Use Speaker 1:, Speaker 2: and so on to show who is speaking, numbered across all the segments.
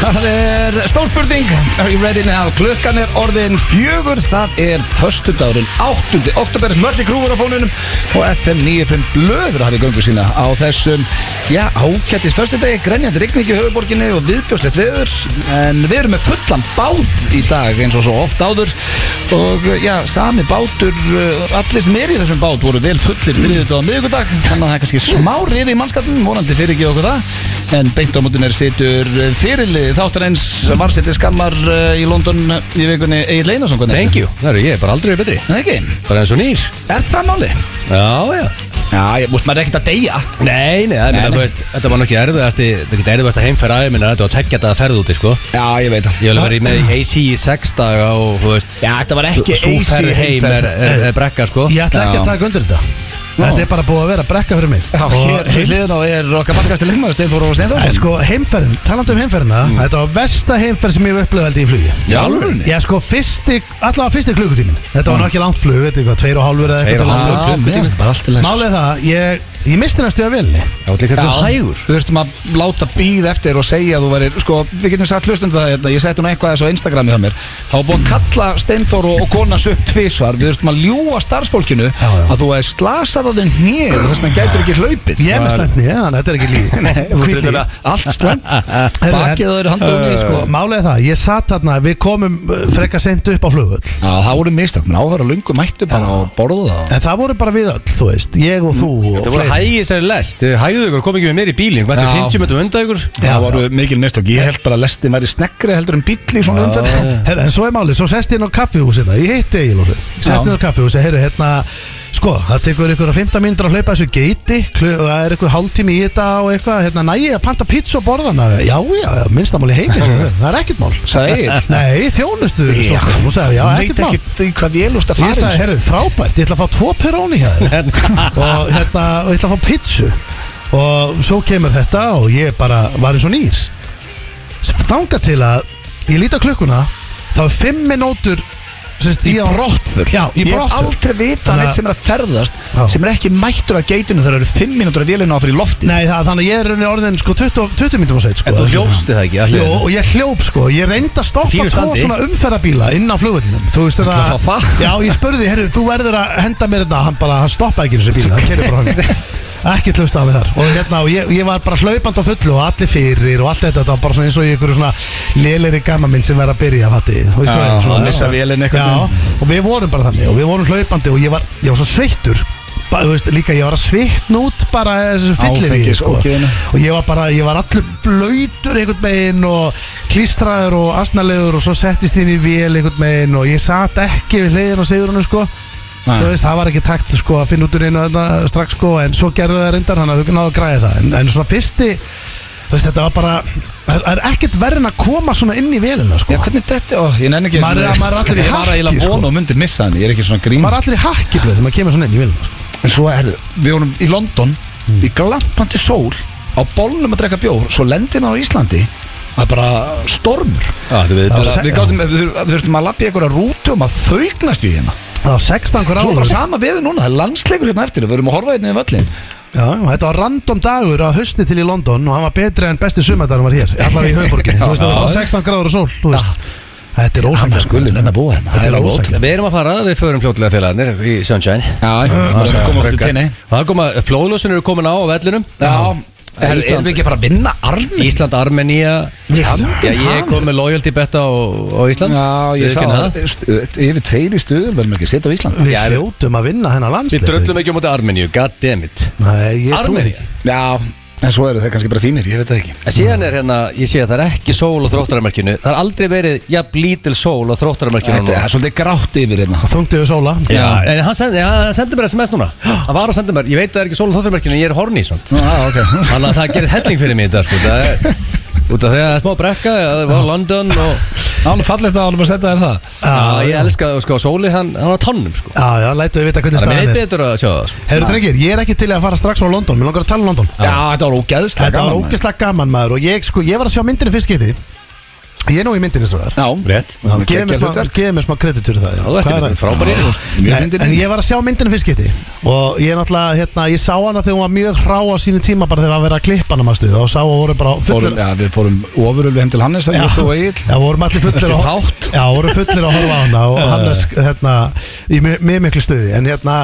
Speaker 1: Það er stórspurning Are you ready now? Klukkan er orðin fjögur Það er föstudagurinn 8. oktober Mörli krúur á fónunum Og FM 95 blöður hafið göngu sína Á þessum, já, ákjættis Föstudagi, grenjandi rigning í höfuborginni Og viðbjóðslegt veður En við erum með fullan bát í dag Eins og svo oft áður Og já, sami bátur uh, Allir sem er í þessum bát voru vel fullir Þriðutáða miðugudag Þannig að það er kannski smá rifi í mannskapnum Vonandi fyrir ekki okkur það En beint á mótin er situr fyrirlið þáttarins varsetti skammar uh, í London í vikunni Egil Einarsson
Speaker 2: Thank you, það eru ég, bara aldrei verið betri
Speaker 1: Það ekki,
Speaker 2: Bara eins og nýr
Speaker 1: er það máli?
Speaker 2: Já, já
Speaker 1: Já, ég múst maður er ekkert að deyja
Speaker 2: Nei, nei, það
Speaker 1: Nei,
Speaker 2: er
Speaker 1: nei.
Speaker 2: þú veist, þetta var nokkið erfiðasti Þetta er ekki erfiðasta heimferð aðeins minna Þetta var tekja þetta að ferð úti, sko
Speaker 1: Já, ég veit það
Speaker 2: Ég vil verið með í AC í sex daga og, þú veist
Speaker 1: Já, þetta var ekki
Speaker 2: Svo ferð heim er, er, er brekka, sko
Speaker 3: Ég ætla ekki
Speaker 1: Já.
Speaker 3: að taka undir þetta Þetta er bara búið að vera brekka fyrir mig
Speaker 1: Já, hér við
Speaker 3: Og
Speaker 1: hliðin á er okkar margasti leikmaður Steinfór og Steinfór
Speaker 3: Nei, sko, heimferðin, talandi um heimferðina Þetta var versta heimferð sem ég hef upplifað held ég í flugi
Speaker 1: Mm. Í alvörunni? Mm.
Speaker 3: Já, sko, fyrsti, allavega fyrsti klukkutímin Þetta var nokkið langt flug, þetta er eitthvað, tveir og hálfur
Speaker 2: Tveir
Speaker 3: eða
Speaker 2: og
Speaker 3: eitthvað
Speaker 2: hálfur
Speaker 3: langt.
Speaker 2: klukkutími.
Speaker 3: Já, mér-
Speaker 1: bara allt í lagi.
Speaker 3: Málið er það, ég, ég misti næstu að vilni
Speaker 2: Það var líka
Speaker 1: Já,
Speaker 2: þetta hægur
Speaker 1: Þú veistum að láta býð eftir og segja að þú væri, sko, við getum sagt hlustum það hérna, ég setti nú eitthvað þessu á Instagrami hjá mér þá var búin að kalla Steindor og, og konas upp tvisvar, við veistum að ljúa starfsfólkinu
Speaker 3: já.
Speaker 1: að þú hefði slasað á þeim hnið og þess vegna gætur ekki hlaupið
Speaker 3: Ég er með slæmni, já, þannig að þetta er ekki líf
Speaker 1: Nei, þú
Speaker 3: Hvít
Speaker 1: veist
Speaker 3: líf.
Speaker 1: þetta allt slæmt
Speaker 3: Herru,
Speaker 1: Bakið á þeir handóni,
Speaker 3: Sko,
Speaker 1: sko
Speaker 3: málið er það, ég satt þarna, við komum uh, frekka seint upp á flugull
Speaker 1: Já, það voru mistök, menn áhverja lungu mættu bara og borða það
Speaker 3: En það voru bara við öll, þú veist, ég og þú
Speaker 1: Mm.
Speaker 3: og
Speaker 2: Þetta voru
Speaker 3: fleiri.
Speaker 2: hægir sér lest Þið hægðu ykkur, kom ekki með mér í bílinn Hvað
Speaker 1: Já.
Speaker 2: er 50 metrur undan ykkur?
Speaker 1: Það voru mikil mistök, ég held bara að lestin væri sneggri heldur en bíll í svona umferð
Speaker 3: Herra, en svo er málið, svo sest ég inn á kaffihúsina Ég hitti Egil og þau Sest
Speaker 1: Já.
Speaker 3: inn á kaffihúsi, herru, hérna Sko, það tekur ykkur að 15 mínútur að hlaupa þessu geiti klu, og Það er ykkur hálftími í þetta og eitthvað Hérna, næ ég að panta pizza og borðana Já, já, minnstamáli heimi, segir þau sko, Það er ekkert mál
Speaker 1: Sagði Egill.
Speaker 3: Nei, þjónustu stúlkan. Hún sagði, já,
Speaker 1: Hún veit
Speaker 3: ekkert mál
Speaker 1: ekkert í hvað vél úrst að
Speaker 3: Ég
Speaker 1: fara
Speaker 3: sagði, herru, frábært, ég ætla að fá tvo peróni hér og hérna, og ég ætla að fá pizzu og svo kemur þetta og ég bara var eins og nýr þanga til að ég líti á klukkuna, þá er fimm minútur sérst,
Speaker 1: í brottfur
Speaker 3: Já, í
Speaker 1: Ég hef
Speaker 3: brottför.
Speaker 1: aldrei vitað
Speaker 3: Þannig
Speaker 1: neitt
Speaker 3: að-
Speaker 1: sem er að ferðast
Speaker 3: Já.
Speaker 1: sem er ekki mættur að geitinu þegar það eru 5 mínútur að vélina á fyrir loftið
Speaker 3: Nei, það, þannig að ég er í rauninni orðin sko 20, 20 mínútur og seitt sko
Speaker 2: En þú hljófstu það ekki að
Speaker 3: Jó,
Speaker 2: hliðinu?
Speaker 3: og ég hljóp sko, ég reyndi að stoppa
Speaker 2: Fínu
Speaker 3: tvo
Speaker 2: standi.
Speaker 3: svona umferðabíla inn á flugvöldinum Þú veist þetta
Speaker 1: að fá far?
Speaker 3: Já, ég spurði, herru, þú verður að henda mér þetta Hann bara, hann stoppa ekki þessu bíla, hann kerur bara hann Ekki hlusta á mig þar Og hérna, og ég, ég var bara hlaupandi á fullu og allir fyrir og allt þetta Þetta var bara svona eins og í einhverju svona lélegri gamma minn sem verður að byrja, fatti Þú veist
Speaker 1: Já,
Speaker 3: er,
Speaker 1: að missa vélina einhvern
Speaker 3: Já, og við vorum bara þannig og við vorum hlaupandi og ég var, ég var svo sveittur Ba, þú veist, líka ég var að svitna út bara þessu fyllir
Speaker 1: Áfengis-
Speaker 3: sko.
Speaker 1: ógeðinu.
Speaker 3: og ég var bara, ég var allur blöytur einhvern veginn og klístraður og asnalegur og svo settist ég inn í vél einhvern veginn og ég satt ekki við hliðin og sigurinu sko
Speaker 1: Nei.
Speaker 3: þú veist, það var ekki takt sko að finna út úr einu þarna strax sko en svo gerðu það reyndar þannig að þú náðu að græða það en, en svona fyrsti, þú veist, þetta var bara það er ekkert verðin að koma svona inn í vélina
Speaker 1: Já,
Speaker 3: sko
Speaker 1: hvernig þetta, ó, ég nenni ekki
Speaker 3: Maður er- maður er allir í
Speaker 1: Ég var
Speaker 3: hakki,
Speaker 1: eiginlega
Speaker 3: sko.
Speaker 1: von og myndir missa hann, ég er ekki svona grín
Speaker 3: maður er allir í hakki blöð þegar maður kemur svona inn í vélina sko.
Speaker 1: En svo er, við vorum í London í glampandi sól á bólnum að drekka bjór, svo lendir maður á Íslandi að bara stormur
Speaker 2: Já, þetta er
Speaker 3: Það
Speaker 2: viðbjóður.
Speaker 3: var
Speaker 1: Bara, Við gátum, við þur- við þurftum að lappa í einhverja rútu og maður faugnast í hérna
Speaker 3: það var 16 hver
Speaker 1: Svo er bara
Speaker 3: áður
Speaker 1: sama veður núna, það er landsleikur hérna eftir Við erum að horfa hérna í völlin
Speaker 3: Já, já, þetta var random dagur á hausti til í London og hann var betri en besti sumardagur var hér allavega í höfuborginni, þú veist það var bara 16 gráður og sól þú veist, þetta er
Speaker 1: Hann er
Speaker 3: ósækja
Speaker 1: skulinn en að búa hérna, það
Speaker 3: Þetta
Speaker 1: er
Speaker 3: er
Speaker 1: alveg
Speaker 3: ósanngjarnt.
Speaker 1: ótrúlega
Speaker 2: Við erum að fara, við förum fljótlega félagarnir í Sunshine
Speaker 1: Já, sem kom út í tenni
Speaker 2: Það koma, flóðlösun eru komin á á vellinum
Speaker 1: Já, er, erum við ekki bara að vinna armi?
Speaker 2: Ísland, Armenía
Speaker 1: Við handinn
Speaker 2: Já, ég
Speaker 1: hafið.
Speaker 2: kom með loyalty betta á, á Ísland
Speaker 1: Já, ég sá
Speaker 2: Viðurkenni
Speaker 1: það Stu- Yfir tveir í stuðum verðum ekki að setja á Ísland
Speaker 3: Við
Speaker 2: Já, við-
Speaker 3: hljótum að vinna hennar landslið
Speaker 2: Við dröllum ekki á móti Armeníu, goddammit
Speaker 3: Nei, ég trúi því
Speaker 2: Armeníu
Speaker 3: ekki
Speaker 1: Já, en svo eru þeir kannski bara fínir, ég veit það ekki
Speaker 2: En síðan er hérna, ég sé að það er ekki sól á þróttaramerkinu Það er aldrei verið jafn lítil sól á þróttaramerkinu
Speaker 1: Þetta er svolítið grátt yfir hérna
Speaker 3: Þungtið við sóla
Speaker 2: Já, en hann sendi, hann sendi mér SMS núna Hann var að senda mér, ég veit að það er ekki sól á þróttaramerkinu En ég er horni í svont
Speaker 1: Já, Ah, ok
Speaker 2: Þannig að það gerir helling fyrir mig þetta sko Það er, út af því að það er smá brekka Það var London og
Speaker 1: Án fallið það ánum að setja þér það
Speaker 2: Já, ég elska, sko, sólið hann, hann var tónnum sko
Speaker 3: Já, já, lætu við vita hvernig
Speaker 2: Það er
Speaker 3: staðan
Speaker 2: mér
Speaker 3: er
Speaker 2: betur að sjá það sko
Speaker 3: Herru drengir, ég er ekki til í að fara strax frá London Mér langar að tala um London
Speaker 1: Já, þetta var ógeðslega
Speaker 3: Þetta var
Speaker 1: gaman, maður.
Speaker 3: ógeðslega gaman maður Og ég, sko, ég var að sjá myndinni fyrst geti Ég er nú í myndinni stráðar
Speaker 1: Já,
Speaker 2: Rétt.
Speaker 1: Já,
Speaker 3: Gefið mér
Speaker 1: geggjað
Speaker 3: smá-
Speaker 1: hlutverk.
Speaker 3: gefið mér smá kredit fyrir það
Speaker 1: þú ert í mynd, frábær í henni, þú- mjög fyndin
Speaker 3: Nei,
Speaker 1: í
Speaker 3: En
Speaker 1: henni.
Speaker 3: ég var að sjá myndinu fyrst geti Og ég er náttúrulega, hérna, ég sá hana þegar hún var mjög hrá á sínu tíma Bara þegar var að vera að klippa hana maður stuð Og sá að voru bara
Speaker 1: Fórum,
Speaker 3: fullir
Speaker 1: ja, við fórum ofurölu heim til Hannes Það er þú og Egil
Speaker 3: Já, vorum allir fullir
Speaker 1: Eftir
Speaker 3: að-
Speaker 1: þátt.
Speaker 3: Já, voru fullir að horfa á hana Og Hannes, hérna, í mjög, mjög miklu stuði En hérna,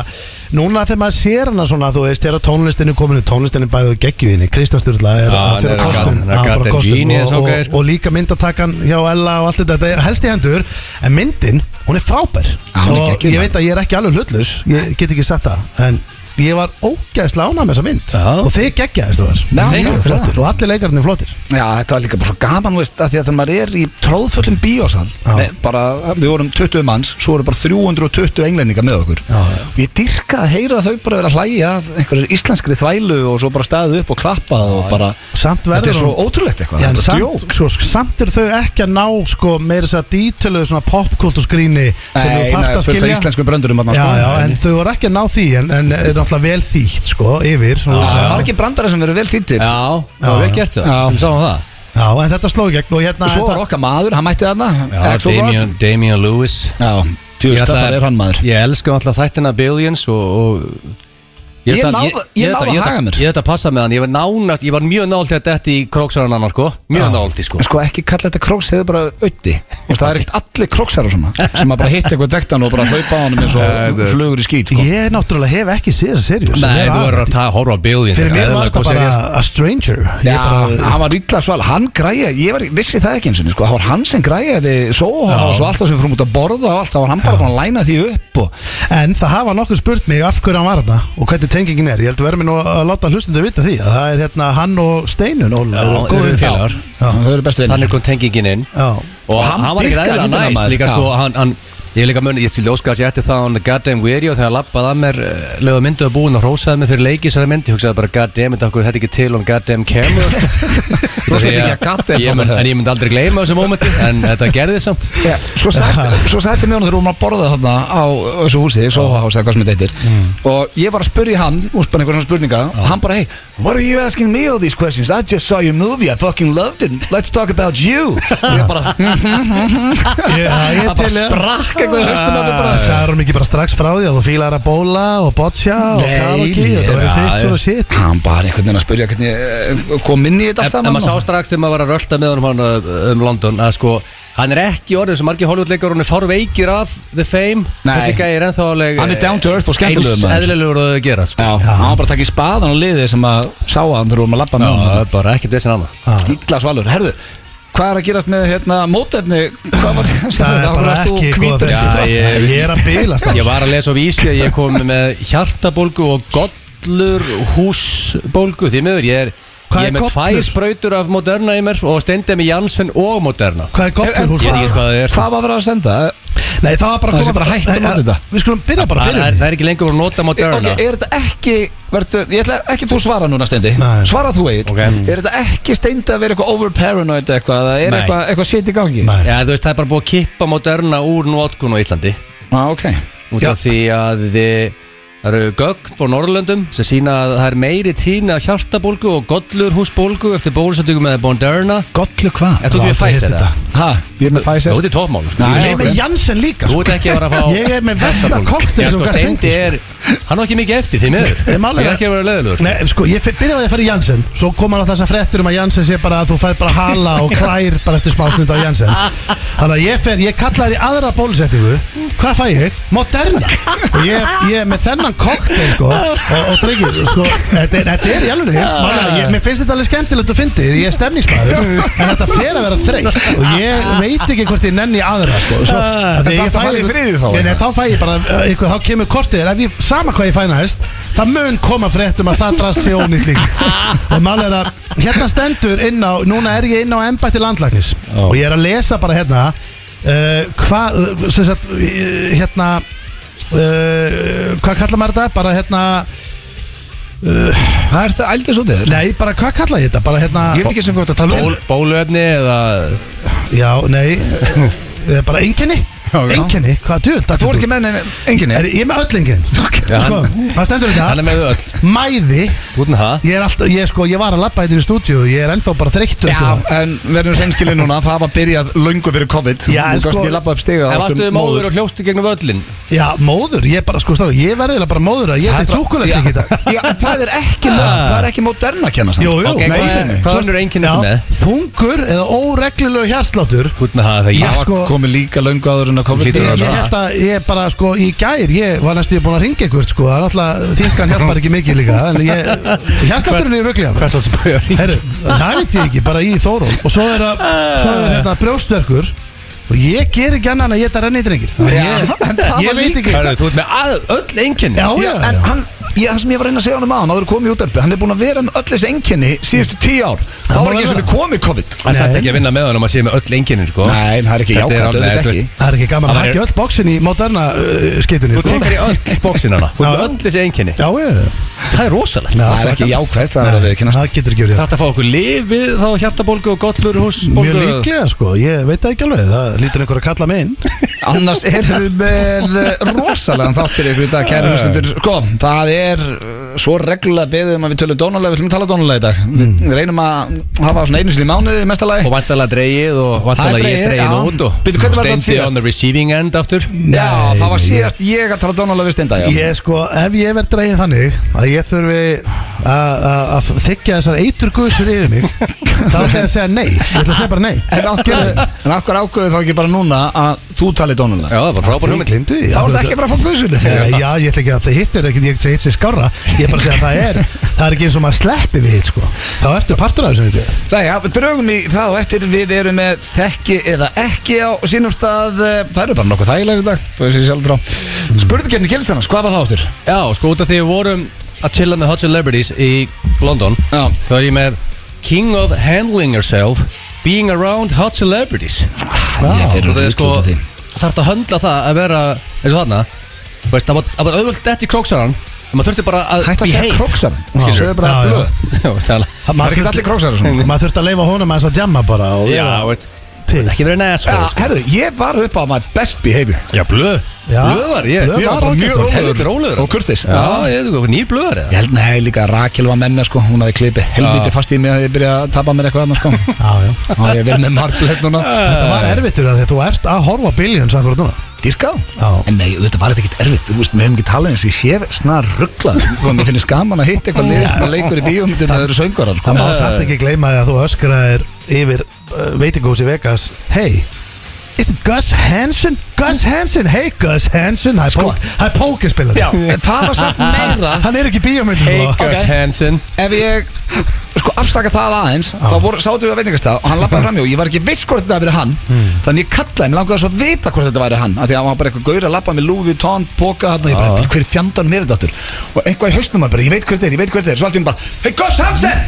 Speaker 3: núna þegar maður sér hana svona Þú veist, þegar tónlistin er komin Tónlistin er bæðið geggjúinni Kristján Sturla er
Speaker 2: Já,
Speaker 3: að
Speaker 2: hann er
Speaker 3: fyrir
Speaker 2: að-
Speaker 3: kostum
Speaker 2: hann er að
Speaker 3: að fara
Speaker 2: gata
Speaker 3: á kostum
Speaker 2: genius,
Speaker 3: og-
Speaker 2: ok,
Speaker 3: og-
Speaker 2: sko.
Speaker 3: og líka myndatakan hjá Ella og allt þetta, þetta er helst í hendur en myndin, hún er frábær
Speaker 1: Ah, hún er
Speaker 3: og
Speaker 1: geggjuð,
Speaker 3: ég
Speaker 1: maður.
Speaker 3: veit að ég er ekki alveg hlutlus ég get ekki sagt það, en ég var ógæðslega ánað með þessa mynd
Speaker 2: Já.
Speaker 3: og þið geggjaðist þú
Speaker 1: Já,
Speaker 3: var
Speaker 1: takk fyrir það.
Speaker 3: flottir, og allir leikarnir flottir
Speaker 1: Já, þetta var líka bara svo gaman, þú veist, að því að þegar maður er í tróðfullum bíósal Nei, bara, við vorum 20 manns, svo voru bara 320 englendinga með okkur
Speaker 3: Já, já.
Speaker 1: og ég dyrka að heyra þau bara vera að hlæja að einhverjir íslenskri þvælu og svo bara staðið upp og klappað og bara
Speaker 3: Samt verður
Speaker 1: Þetta er svo
Speaker 3: hún-
Speaker 1: ótrúlegt eitthvað,
Speaker 3: Já, en
Speaker 1: þetta er
Speaker 3: samt,
Speaker 1: djók
Speaker 3: svo, samt eru þau ekki að ná sko, meira þess að dítöluðu svona popkultusgríni sem
Speaker 1: Nei,
Speaker 3: þú
Speaker 1: nei,
Speaker 3: þarft að
Speaker 1: fullt af
Speaker 3: skilja
Speaker 1: íslenskum bröndurum þarna,
Speaker 3: Já,
Speaker 1: sko.
Speaker 3: já, en þau voru ekki að ná því en, en er náttúrulega vel þýtt sko, yfir svona,
Speaker 1: Það er
Speaker 3: já.
Speaker 1: margir brandara sem eru vel þýttir
Speaker 2: Já, það var vel gert það,
Speaker 1: Já.
Speaker 2: sem sáum það
Speaker 3: já, en þetta sló í gegn og hérna
Speaker 1: og svo
Speaker 3: en
Speaker 1: var
Speaker 3: það-
Speaker 1: okkar maður, hann mætti þarna Axelrod
Speaker 2: Damien, Damien Lewis
Speaker 1: Já, þú
Speaker 2: Ég
Speaker 1: veist að
Speaker 2: ætla-
Speaker 1: það er hann maður
Speaker 2: Ég elska alltaf þættina Billions og, og
Speaker 1: Ég
Speaker 2: ætla-
Speaker 1: náði- ég
Speaker 2: ætla-
Speaker 1: náði að
Speaker 2: ætla-
Speaker 1: haga mér.
Speaker 2: Ég þetta passa með hann, ég var nánast, ég var mjög nált í að detti í króksaran annar sko Mjög nált í sko
Speaker 1: sko ekki kalla þetta króks hefur bara ötti það er ekkert allir króksar og svona sem að bara hitta eitthvað vektan og bara hlaupa á honum eins og flugur í skýt sko.
Speaker 3: Ég náttúrulega hef ekki séð þessa serjus
Speaker 2: Nei, þú verður að ta- horfa á
Speaker 1: um
Speaker 2: Billions
Speaker 3: Fyrir mér
Speaker 2: eðlilega
Speaker 3: var
Speaker 2: góð
Speaker 3: þetta bara
Speaker 2: sería.
Speaker 3: a stranger Ég
Speaker 1: Já,
Speaker 3: bara
Speaker 1: hann var illa sval, hann græja ég var, vissi það ekki eins og sko. það var hann sem græjaði sóhá og svo alltaf sem við fórum út að borða og allt, það var hann bara búin að læna því upp og,
Speaker 3: En það hafa nokkur spurt mig af hverju hann var þarna og hvernig tengingin er Ég held að verður mér nú að láta hlustundu vita því að það er hérna hann og Steinun og eru
Speaker 2: þeir
Speaker 3: góðir
Speaker 2: eru
Speaker 3: félagar.
Speaker 2: félagar.
Speaker 3: Já.
Speaker 1: þau eru bestu vinnir
Speaker 2: Þannig kom tengingin inn
Speaker 3: Já.
Speaker 2: Og
Speaker 1: hann
Speaker 2: hann, var ekki
Speaker 1: dýrkaði
Speaker 2: ræðilega
Speaker 1: myndina,
Speaker 2: næs
Speaker 1: maður.
Speaker 2: líka
Speaker 1: Já.
Speaker 2: sko hann, hann, Ég er líka mun, ég skildi óskast ég ætti það hann Goddamn Weary og þegar hann lappaði að mér eh, lögðu myndu að búin og hrósaði mig fyrir leikisara myndi ég hugsaði bara Goddamn, þetta okkur hætti ekki til um Goddamn Camera
Speaker 1: Þú ert ekki að goddamn
Speaker 2: Ég mun- En ég myndi aldrei gleyma þessu mómenti en þetta gerði samt
Speaker 1: Já, svo sætti, svo sætti mjónu þegar hún var að borða þarna á þessu húsi, Sohaus eða hvað sem þetta heitir
Speaker 3: Mm.
Speaker 1: og ég var að spurja hann úrspann einhverjum spurninga og hann bara hey, what are you asking me all these questions I just saw your movie, I fucking loved it let's talk about you og ég bara,
Speaker 3: Ég, það
Speaker 1: hann
Speaker 3: ég
Speaker 1: bara
Speaker 3: til er
Speaker 1: sprakk eitthvað í höstum að mig bara
Speaker 3: Sæður hún ekki bara strax frá því að þú fílar að bóla og boccia og
Speaker 1: Nei,
Speaker 3: karaoke
Speaker 1: ég-
Speaker 3: Þetta verður
Speaker 2: Já,
Speaker 3: þitt svona shit
Speaker 1: hann bara einhvern veginn að spurja hvernig eh, kom inn í þetta allt
Speaker 2: En en
Speaker 1: saman
Speaker 2: maður sá strax þegar maður var að rölda með honum hann uh, um London að sko hann er ekki orðið sem margir Hollywoodleikar hann er fár veikir af The Fame
Speaker 1: Nei.
Speaker 2: þessi gæði er ennþá alveg
Speaker 1: Hann er down to earth og skemmtilegur
Speaker 2: eins
Speaker 1: maður.
Speaker 2: eðlilegur og þau gera sko.
Speaker 1: Já, hann var bara að taka í spaðan og liðið sem að sá hann þegar hún var að labba
Speaker 2: Já,
Speaker 1: með
Speaker 2: það
Speaker 1: honum.
Speaker 2: er bara ekkert þessin annað
Speaker 1: Ítla svalur, herðu Hvað er að gerast með hérna, mótefni? Hvað var
Speaker 3: Það er bara ekki góða
Speaker 1: góð
Speaker 2: Já,
Speaker 3: fyrst
Speaker 2: ég-
Speaker 3: Ég er að bilast
Speaker 2: Ég var að lesa á vísi að ég kom með hjartabólgu og gollur húsbólgu því miður ég er
Speaker 3: Hvað
Speaker 2: ég
Speaker 3: er
Speaker 2: er með
Speaker 3: gollur?
Speaker 2: tvær sprautur af Moderna í mér og stendið með Janssen og Moderna
Speaker 3: Hvað er gott
Speaker 1: En-
Speaker 3: fyrir
Speaker 1: en-
Speaker 2: Ég veit ekki
Speaker 3: húsfæður?
Speaker 2: hvað það er sko.
Speaker 1: Hvað var verið að senda?
Speaker 3: Nei, það var bara
Speaker 1: Það
Speaker 3: að
Speaker 1: sé
Speaker 3: koma
Speaker 1: bara hægt að nota þetta.
Speaker 3: Við skulum byrja bara að
Speaker 2: það,
Speaker 3: byrja
Speaker 2: er, það er ekki lengur að nota Moderna
Speaker 1: Ok,
Speaker 3: e-
Speaker 1: er þetta ekki vertu, Ég ætla ekki þú svara núna stendi
Speaker 3: Nei.
Speaker 1: Svara þú Egil
Speaker 2: Ok.
Speaker 1: Er þetta ekki stendi að vera eitthvað over paranoid eitthvað eða Er
Speaker 2: Nei.
Speaker 1: eitthvað, eitthvað shit í gangi?
Speaker 3: Nei.
Speaker 2: Já, þú veist, það er bara búið að kippa Moderna úr nótkun á Íslandi
Speaker 1: Á, Ah, ok
Speaker 2: út af því að þið- það eru gögn frá Norrlöndum sem sína að það er meiri tíðni af hjartabólgu og gollurhúsbólgu eftir bólusetningu með Moderna
Speaker 1: Gollu hvað?
Speaker 2: Er þú ekki við
Speaker 3: Aldrei heyrt
Speaker 2: Pfizer
Speaker 3: þetta.
Speaker 2: eða?
Speaker 1: Ha, ég er með
Speaker 2: Þú
Speaker 1: Pfizer
Speaker 2: ert í toppmál sko.
Speaker 1: Nei,
Speaker 3: Ég er með
Speaker 1: ok.
Speaker 3: Janssen líka sko.
Speaker 2: Þú ert ekki að vera að fá
Speaker 3: Ég er með versta
Speaker 2: hjartabólgu.
Speaker 3: kokteil
Speaker 2: Já,
Speaker 3: sem
Speaker 2: sko,
Speaker 3: þú gast
Speaker 2: Steindi
Speaker 3: fengið,
Speaker 2: er Hann á ekki mikið eftir, því miður
Speaker 3: Ég er málega-
Speaker 2: Ég er ekki að vera leðilegur sko.
Speaker 3: Nei, sko, ég fe- byrjaði að fara í Janssen Svo kom hann á þessa frettur um að Janssen sé bara að þú fær bara hala og klær bara eftir smá stund á Janssen Þannig að ég fer, ég kalla þér í aðra bólusetningu Hvað fæ ég? Moderna Og ég, ég er með þennan kokteil, sko Og, og drengir, sko, þetta er, þetta er í alveg Málega, ég, Mér finnst þetta alveg skemmtilegt að fyndi Ég er stemningsmaður En þetta fer að vera þreytt Og ég veit ekki hvort ég nenni aðra, sko Svo, að
Speaker 1: En þarftu Ah. að
Speaker 3: því ég fæ
Speaker 1: fara í
Speaker 3: einhver-
Speaker 1: þriðju þá,
Speaker 3: Nei, nei, þá fæ ég bara uh, eitthvað, þá kemur kortið þér, ef ég sama hvað ég fæ næst það mun koma fréttum að það drast sér ónýtt líka og mál er að hérna stendur inn á, núna er ég inn á embætti landlagnis og ég er að lesa bara hérna uh, hvað, uh, sem sagt uh, hérna uh, hvað kallar maður þetta, bara hérna
Speaker 1: Það er það ældið svo þér
Speaker 3: nei, bara hvað kalla ég þetta, bara hérna
Speaker 1: Ég veit ekki sem hvað þetta tala um
Speaker 2: Ból- Bóluefni eða
Speaker 3: já, nei, uh, bara enginni Einkenni, hvað djöld
Speaker 1: Þú ert ekki með neina enginni
Speaker 3: Er, ég er með öll enginni
Speaker 2: Já,
Speaker 3: Sko,
Speaker 2: hann-
Speaker 3: það stendur
Speaker 2: Hann er
Speaker 3: þetta
Speaker 2: með þau öll
Speaker 3: Mæði
Speaker 2: Út með það
Speaker 3: Ég er alltaf, ég sko, ég var að labba hérna í stúdíu Ég er ennþá bara þreyttur sko.
Speaker 1: Já,
Speaker 3: eftir það.
Speaker 1: en verðum sennskilin núna Það var byrjað löngu fyrir COVID
Speaker 3: Já, en
Speaker 1: Þú gafst
Speaker 3: sko-
Speaker 1: ekki labba upp stiga
Speaker 2: En varstu móður og hljóstu gegnum völlin
Speaker 3: Já, móður, ég bara, sko, stráður Ég verðilega bara móður að ég er tjókulegt ekki þetta
Speaker 1: Já, en það er ekki, mo- það er ekki moderna að kenna samt.
Speaker 3: Jú, jú,
Speaker 2: Ok,
Speaker 1: nei,
Speaker 2: hvað er-
Speaker 1: nei.
Speaker 2: hvað önnur einkenni ertu með?
Speaker 3: Þungur eða óreglilegu hjarsláttur
Speaker 2: Út með það
Speaker 3: Já,
Speaker 2: þegar
Speaker 1: Það
Speaker 3: sko-
Speaker 1: var komið líka löngu áður en að COVID
Speaker 2: Hlýtur
Speaker 3: Ég,
Speaker 2: að
Speaker 1: byrjaði.
Speaker 3: ég held að ég bara sko í gær ég var næstu búin að ringa einhvert sko það er alltaf þingan hjálpar ekki mikið líka en ég, hérstafturinn er í röglið
Speaker 2: Hvert að spöja ringi
Speaker 3: Herru, það veit ég ekki, bara í Þóról Og svo er, að, svo
Speaker 1: Ah.
Speaker 3: er hérna brjóstverkur Og ég ger ekki annan að ég þetta renni drengir Þannig að
Speaker 1: Já, en það
Speaker 3: Ég, ég
Speaker 1: var
Speaker 3: veit ekki Já,
Speaker 2: Þú ert með all, öll einkenni
Speaker 1: Já,
Speaker 3: já,
Speaker 1: en
Speaker 3: já
Speaker 1: hann, ég, það sem ég var að reyna að segja honum á hann áður en komið út alveg, hann er búin að vera með öll þessi enginni síðustu tíu ár, þá
Speaker 3: Það
Speaker 1: var
Speaker 3: má
Speaker 1: ekki
Speaker 3: vera.
Speaker 1: sem við komið COVID
Speaker 2: Það er samt
Speaker 3: Nei.
Speaker 2: ekki að vinna með hann og maður sé með öll einkenni sko.
Speaker 1: Nei, það er ekki
Speaker 2: Þetta er
Speaker 1: jákvæmt,
Speaker 2: alveg-
Speaker 1: auðvitað ekki
Speaker 3: Það er ekki gaman
Speaker 2: Það
Speaker 3: að
Speaker 2: er-
Speaker 3: hakka öll bóksin í mótarna uh, skeitunni
Speaker 2: Þú tekur í öll bóksinana Þú ert með
Speaker 3: Já.
Speaker 2: öll þessi einkenni
Speaker 3: Já, já
Speaker 2: Það er rosalegt
Speaker 3: Já,
Speaker 1: Það er ekki jákvæmt, það er að við kynast
Speaker 3: Það getur ekki verið
Speaker 2: Þetta að fá okkur lifið þá hjartabólgu og gottlur hús
Speaker 3: Mjög líklega sko, ég veit það ekki alveg Það lítur einhver að kalla mig inn
Speaker 1: Annars erum við með eh, rosalegan þátt fyrir ykkur í dag, kæri hlustundur Sko, það er eh, svo reglulega beðið um að við tölum dónulega, við ætlum að tala dónulega í dag Við reynum að hafa svona einu sinni í mánuði mestalagi
Speaker 2: Og vantalega dreigið og
Speaker 1: Það er
Speaker 2: vantalega
Speaker 1: dregið,
Speaker 2: ég dreigið
Speaker 1: já.
Speaker 2: út og
Speaker 1: Bíddu, hvernig var þetta
Speaker 2: Steindi
Speaker 1: síðast?
Speaker 2: on the receiving end aftur
Speaker 1: Já,
Speaker 3: Nei,
Speaker 1: það var
Speaker 3: nei,
Speaker 1: síðast ég að tala dónulega við steinda, já
Speaker 3: Ég sko, ef ég verð dræðið þannig að ég þurfi að- að að þykja þessar eitur guðsur yfir mig þá ætla ég að segja nei, ég ætla að segja bara nei
Speaker 1: En okkur ákveðu þá ekki bara núna að þú tali dónulega
Speaker 2: Já, það var frábær hugmynd
Speaker 3: glindu
Speaker 1: Þá er þetta ekki bara að fá guðsulu
Speaker 3: Já, já, ég ætla ekki að það hittir ekki, ég ætla að hitt sér skarra Ég er bara að segja að það er, það er ekki eins og maður sleppi við hitt sko Þá ertu partur af þessu við
Speaker 1: Nei, ja, draugum í það og eftir við erum með þekki eða ekki á sínum stað eh, Það eru bara nokkuð þægilega í dag, þú veist ég sjálf frá Spurningarni kynst hennast, hvað var það áttur?
Speaker 2: Já, sko út af því við vorum að chilla með Hot Celebrities í London
Speaker 1: Já.
Speaker 2: Þá er ég með King of Handling Yourself Being Around Hot Celebrities
Speaker 1: Ah, Ég fer
Speaker 2: Og
Speaker 1: úr
Speaker 2: það er
Speaker 1: út
Speaker 2: sko
Speaker 1: út af því.
Speaker 2: Þarf þetta að höndla það að vera eins og þarna Þú veist, Það var- það var auðvöld dett í króksaran En maður þurfti bara að
Speaker 1: Hætt að segja króksar
Speaker 2: Skilurðu?
Speaker 1: Segðu bara
Speaker 3: Já, já.
Speaker 1: blöð
Speaker 2: króksar
Speaker 1: Það er ekki allir króksar svona
Speaker 3: Mm. Maður þurft að leifa honum að þess að jamma bara og
Speaker 2: Já,
Speaker 3: vera
Speaker 2: veist
Speaker 3: til
Speaker 2: Ekki verið næs
Speaker 1: Já, herðu, ég var upp á my best behavior
Speaker 2: Já, blöð
Speaker 3: Já.
Speaker 2: Blöð var ég
Speaker 3: Blöð
Speaker 1: Ég
Speaker 3: var
Speaker 1: var bara
Speaker 3: ágætt,
Speaker 1: mjög
Speaker 3: var
Speaker 2: helviti rólegur.
Speaker 1: rólegur Og kurtis
Speaker 2: Já, ég veit ekki, nýr blöðar
Speaker 1: Ég
Speaker 2: eða
Speaker 1: held, nei, líka Rakel var með mér sko Hún hafði klipið helviti fast í mig að ég byrja að tapa mér eitthvað annars sko
Speaker 3: Já, já
Speaker 1: Það er verið með marblett núna
Speaker 3: Þetta
Speaker 1: Eh.
Speaker 3: var erfittur að því að þú ert að horfa billion samkvæmt núna
Speaker 1: Dyrkað?
Speaker 3: Já.
Speaker 1: En nei, þetta var þetta ekkert erfitt Þú veist, við höfum ekki talað eins og ég sé snar rugglað Þú veist, mér finnst gaman að hitta eitthvað lið sem að leikur í bíómyndum Það eru söngvarar, sko
Speaker 3: Það má samt ekki gleyma því að þú öskraðir yfir uh, veitingús í Vegas Hey, is it Gus Hansen? Gus Hansen, hey Gus Hansen Það er
Speaker 1: Sko.
Speaker 3: pók- það er pókerspillar
Speaker 1: Já, en það var samt meira
Speaker 3: Hann er ekki bíómyndum
Speaker 2: Hey Gus
Speaker 1: Ok.
Speaker 2: Hansen
Speaker 1: Ef ég, sko, afsaka það aðeins Þá voru, sáttu við að veitingastað og hann lappaði framjá og Ég var ekki viss hvort þetta hafi verið hann
Speaker 3: Hmm.
Speaker 1: Þannig ég kallaði, mér langaði svo að vita hvort þetta væri hann af Því að hann var bara eitthvað gaur að lappa með Louis Vuitton, Poca hann, Ég bara, hver fjandan mér er þetta aftur?" Og einhvað í hausnum að bara, ég veit hver þetta er, ég veit hver þetta er Svo allt í hann bara, hey Gus Hansen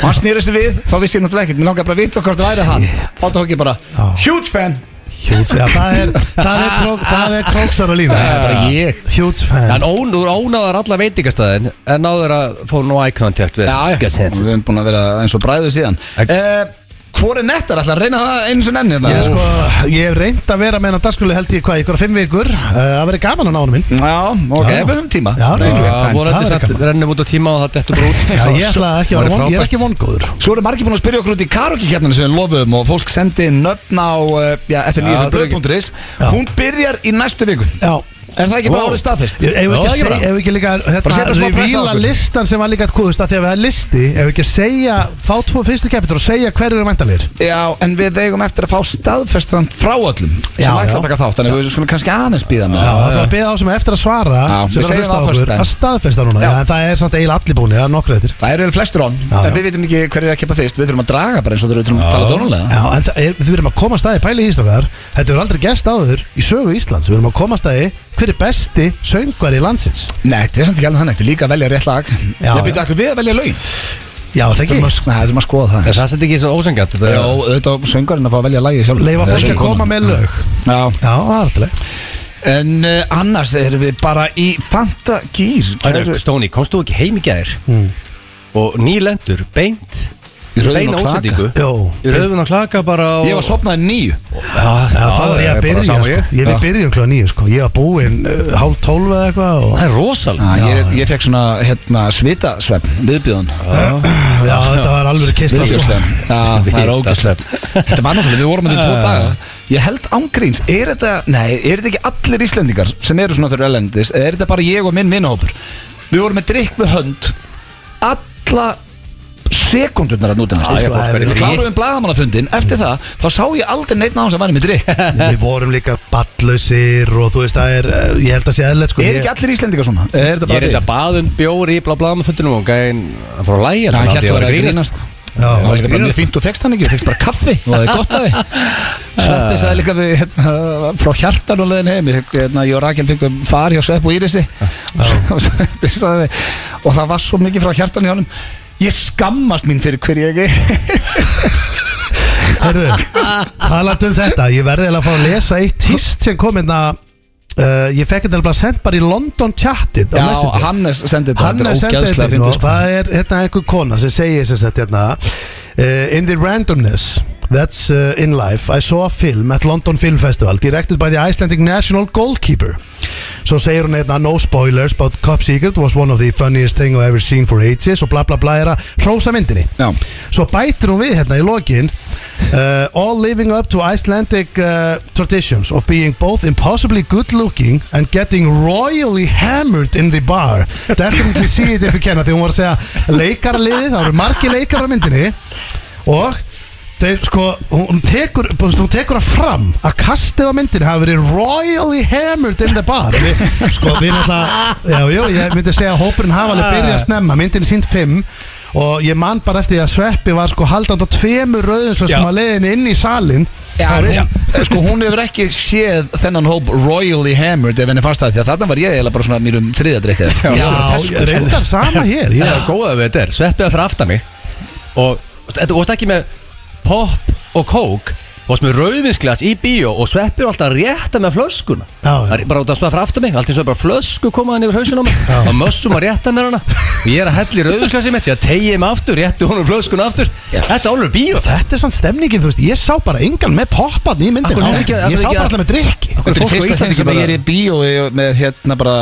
Speaker 1: Og hann snýrist við, þá vissi ég náttúrulega ekkert Mér langaði bara að vita hvort þetta væri hann Þá tók ég bara, huge fan
Speaker 3: Hjúts, já, það er, það er, krók, það er króksar á lína
Speaker 1: Það er bara ég
Speaker 3: Hjúts fan
Speaker 2: En ón, þú ónáðar alla veitingastæðin En náður að fá no eye contact við
Speaker 1: Já, já,
Speaker 2: Gus
Speaker 1: við
Speaker 2: Hansen
Speaker 1: höfum búin að vera eins og bræðu síðan
Speaker 2: Ek-
Speaker 1: uh, Hvor er nettar? Ætla að reyna það eins og nenni
Speaker 3: Ég, sko, ég hef reynd að vera með hennar dagskjölu held ég hvað, ykkur fimm vikur uh, að vera gaman að nánu minn
Speaker 1: Já, ok,
Speaker 3: Já.
Speaker 1: við höfum tíma
Speaker 3: Já,
Speaker 1: Nei,
Speaker 3: já.
Speaker 1: við höfum time.
Speaker 3: það
Speaker 2: Vorandi
Speaker 3: er
Speaker 2: satt,
Speaker 3: gaman.
Speaker 2: rennum út á tíma og það dettur bara út
Speaker 3: Já, ég, ætla ekki að
Speaker 2: Væri
Speaker 3: vera von, ég er
Speaker 2: frábært.
Speaker 3: ekki vongóður
Speaker 1: Svo eru margir búin að spyrja okkur út í karaoke-kjarninu sem við lofum og fólk sendi inn nöfn á eh, já,
Speaker 2: Já, það er ekki-
Speaker 1: fn9.blöð.is
Speaker 3: Já.
Speaker 1: Hún byrjar í næstu viku
Speaker 3: Já,
Speaker 1: Er það ekki bara
Speaker 2: Wow.
Speaker 1: orðið staðfest?
Speaker 3: Ég- ef við
Speaker 2: Já, það
Speaker 3: ekki,
Speaker 2: er
Speaker 3: að
Speaker 2: bara-
Speaker 3: seg- ef við ekki líka
Speaker 1: setja
Speaker 3: hérna,
Speaker 1: smá pressa á
Speaker 3: revíla
Speaker 1: okkur.
Speaker 3: listan sem var líka kúðust að því að við hefði listi ef við ekki að segja, fá tvo fyrstu kepitur og segja hverju eru mæntalir
Speaker 1: Já, en við eigum eftir að fá staðfestan frá öllum sem
Speaker 3: Já,
Speaker 1: ætla
Speaker 3: já.
Speaker 1: að taka þátt Þannig við skulum kannski aðeins býða með
Speaker 3: Já,
Speaker 1: það.
Speaker 3: það er að beða þá sem er eftir að svara
Speaker 1: Já,
Speaker 3: sem
Speaker 1: við
Speaker 3: er að
Speaker 1: segjum það á
Speaker 3: hlusta á okkur
Speaker 1: föstudaginn.
Speaker 3: að staðfesta núna,
Speaker 1: Já.
Speaker 3: já, en það er samt eiginlega allir búinir, það er nokkru eftir
Speaker 1: Það eru eiginlega flestur on,
Speaker 3: Já,
Speaker 1: en
Speaker 3: já.
Speaker 1: við vitum ekki hverju er að keppa fyrst Við þurfum að draga bara eins og við þurfum að tala dónulega
Speaker 3: Já, en það er, við erum að koma að staði pæli í Íslandar Þetta er aldrei gest áður í sögu Íslands Við erum að koma að staði hver er besti söngvar í landsins
Speaker 1: Nei, þetta er samt ekki alveg þannig, þetta er líka að velja rétt lag
Speaker 3: Já,
Speaker 1: Við byrjum allir við að velja laug
Speaker 3: Já, það
Speaker 1: Þurfum
Speaker 3: ekki
Speaker 1: að- Nei, þurfum að skoða það
Speaker 2: En það setja ekki svo ósengat
Speaker 1: Já, auðvitað á söngvarinn að fá að velja lagið sjálf
Speaker 3: Leifa fólki að koma með lög
Speaker 1: Já,
Speaker 3: Já, það er alltaf
Speaker 1: En uh, annars erum við bara í Fanta Gýr
Speaker 2: Stóni, komst þú ekki heim í gær? Og nýlendur, beint
Speaker 1: Hmm. Í rauðum
Speaker 2: beina
Speaker 1: á klaka.
Speaker 2: útsendingu
Speaker 3: Jó.
Speaker 2: Í rauðun og klaka bara á
Speaker 1: Ég var sopnaði nýju
Speaker 2: Já,
Speaker 3: Já,
Speaker 2: er
Speaker 3: það var ég að
Speaker 2: bara
Speaker 3: byrja
Speaker 2: sama
Speaker 3: sko. Ég, ég
Speaker 1: Já.
Speaker 3: við byrjum klá nýju sko. Ég var búinn uh, hálf tólf eða eitthvað og...
Speaker 2: Það er rosalega
Speaker 1: Ah, ég, ég fekk svona hérna, svitasvefn viðbjöðan
Speaker 3: Já, þetta var alveg kistla sko.
Speaker 1: Viðbjöðsvefn Já, það er ógæslegt
Speaker 2: Svitasvefn.
Speaker 1: Þetta var náttúrulega, við vorum að þetta tvo daga Ég held ángríns, er þetta Nei, er þetta ekki allir Íslendingar sem eru svona fyrir elendis eða er þetta bara ég og minn vinnhópur Við vorum með drikk við hönd Alla sekundurnar að núti næstu
Speaker 3: Já, ég fór-
Speaker 1: Við kláruðum blagamannafundin Eftir það, þá sá ég aldrei neitt náðum sem væri með drikk
Speaker 3: Við vorum líka ballausir og þú veist það er, uh, ég held að sé eðlert sko.
Speaker 1: Er
Speaker 3: Ég-
Speaker 1: ekki allir Íslendingar svona? Eða Er þetta
Speaker 2: Ég er
Speaker 1: bara
Speaker 2: þetta baðum bjóri í bla bla með fundunum og gæðin hann fór að læja
Speaker 1: Hann hélt að vera að grínast
Speaker 3: Já,
Speaker 1: Það var líka bara
Speaker 2: grínast.
Speaker 1: mjög fínt og fegst hann ekki, fegst bara kaffi og það er gott að þið Sveppi sagði líka við hérna, frá hjartan og leðin heim ég, hérna, ég og Rakel fengum far hjá Svepp og Írisi og Sveppi sagði og það var svo mikið frá hjartan í honum ég skammast mín fyrir hver ég er
Speaker 3: Herðu, talandu um þetta Ég verði eiginlega að fá að lesa eitt tíst sem kom hérna uh, Ég fekk þetta bara sendt bara í London chatið á
Speaker 1: Já,
Speaker 3: Messenger.
Speaker 1: Hannes sendi þetta,
Speaker 3: Hann
Speaker 1: þetta
Speaker 3: er
Speaker 1: er
Speaker 3: sendið
Speaker 1: ógæðslega
Speaker 3: þetta inn
Speaker 1: fyndið
Speaker 3: og
Speaker 1: sko.
Speaker 3: það er hérna einhver kona sem segir sem sagt hérna uh, In the randomness that's uh, in life I saw a film at London Film Festival directed by the Icelandic National Goalkeeper Svo segir hún hérna No spoilers but Cop Secret was one of the funniest thing I've ever seen for ages og bla bla bla er að hrósa myndinni
Speaker 1: Já.
Speaker 3: Svo bætir hún við hérna í lokin uh, All living up to Icelandic uh, traditions of being both impossibly good looking and getting royally hammered in the bar Definitely see it if you can Þegar hún var að segja leikarliði, það eru margi leikar á myndinni Og þeir sko, hún hún tekur, bara, þú veist, hún tekur að fram að kastið á myndinni hafi verið royally hammered in the bar Vi, Sko, við náttúrulega, já, já, ég myndi segja að hópurinn hafa alveg byrjað að snemma Myndin er sínt fimm og ég man bara eftir því að Sveppi var sko haldand á tveimur rauðinslöskum
Speaker 2: Já.
Speaker 3: að leiðinni inn í salin
Speaker 1: Já, já. Sko hún hefur ekki séð þennan hóp royally hammered ef henni fannst það því að þarna var ég eiginlega bara svona mýrum þriðadrykkaði
Speaker 3: Já, reyndar sama hér
Speaker 2: Það
Speaker 3: ég,
Speaker 2: er góða við þetta er Sveppið að fyrir aftan mig Og þetta vorst ekki með pop og kók Vorst með rauðvinsglas í bíó Og sveppir alltaf að rétta með flöskuna
Speaker 3: Já, já.
Speaker 2: Það er Bara út af sveppið fyrir aftan mig Allt eins og bara flösku komaðan yfir hausin á mig Og mössum að rétta með hana Og ég er að hella í rauðvinsglasi mitt Ég að tegja mig aftur, réttu honum flöskuna aftur Þetta er alveg bíó
Speaker 3: Þetta er sann stemningin, þú veist, ég sá bara engan með popparni í myndin
Speaker 2: Akkur er ekki- akkur
Speaker 3: Ég
Speaker 2: er
Speaker 3: sá
Speaker 2: ekki
Speaker 3: bara
Speaker 2: að-
Speaker 3: alla með drikki
Speaker 2: Akkur-
Speaker 1: Þetta er
Speaker 2: Fólk á
Speaker 1: fyrsta
Speaker 2: Íslandi
Speaker 1: sinn sem
Speaker 2: bara-
Speaker 1: ég er í bíó með hérna bara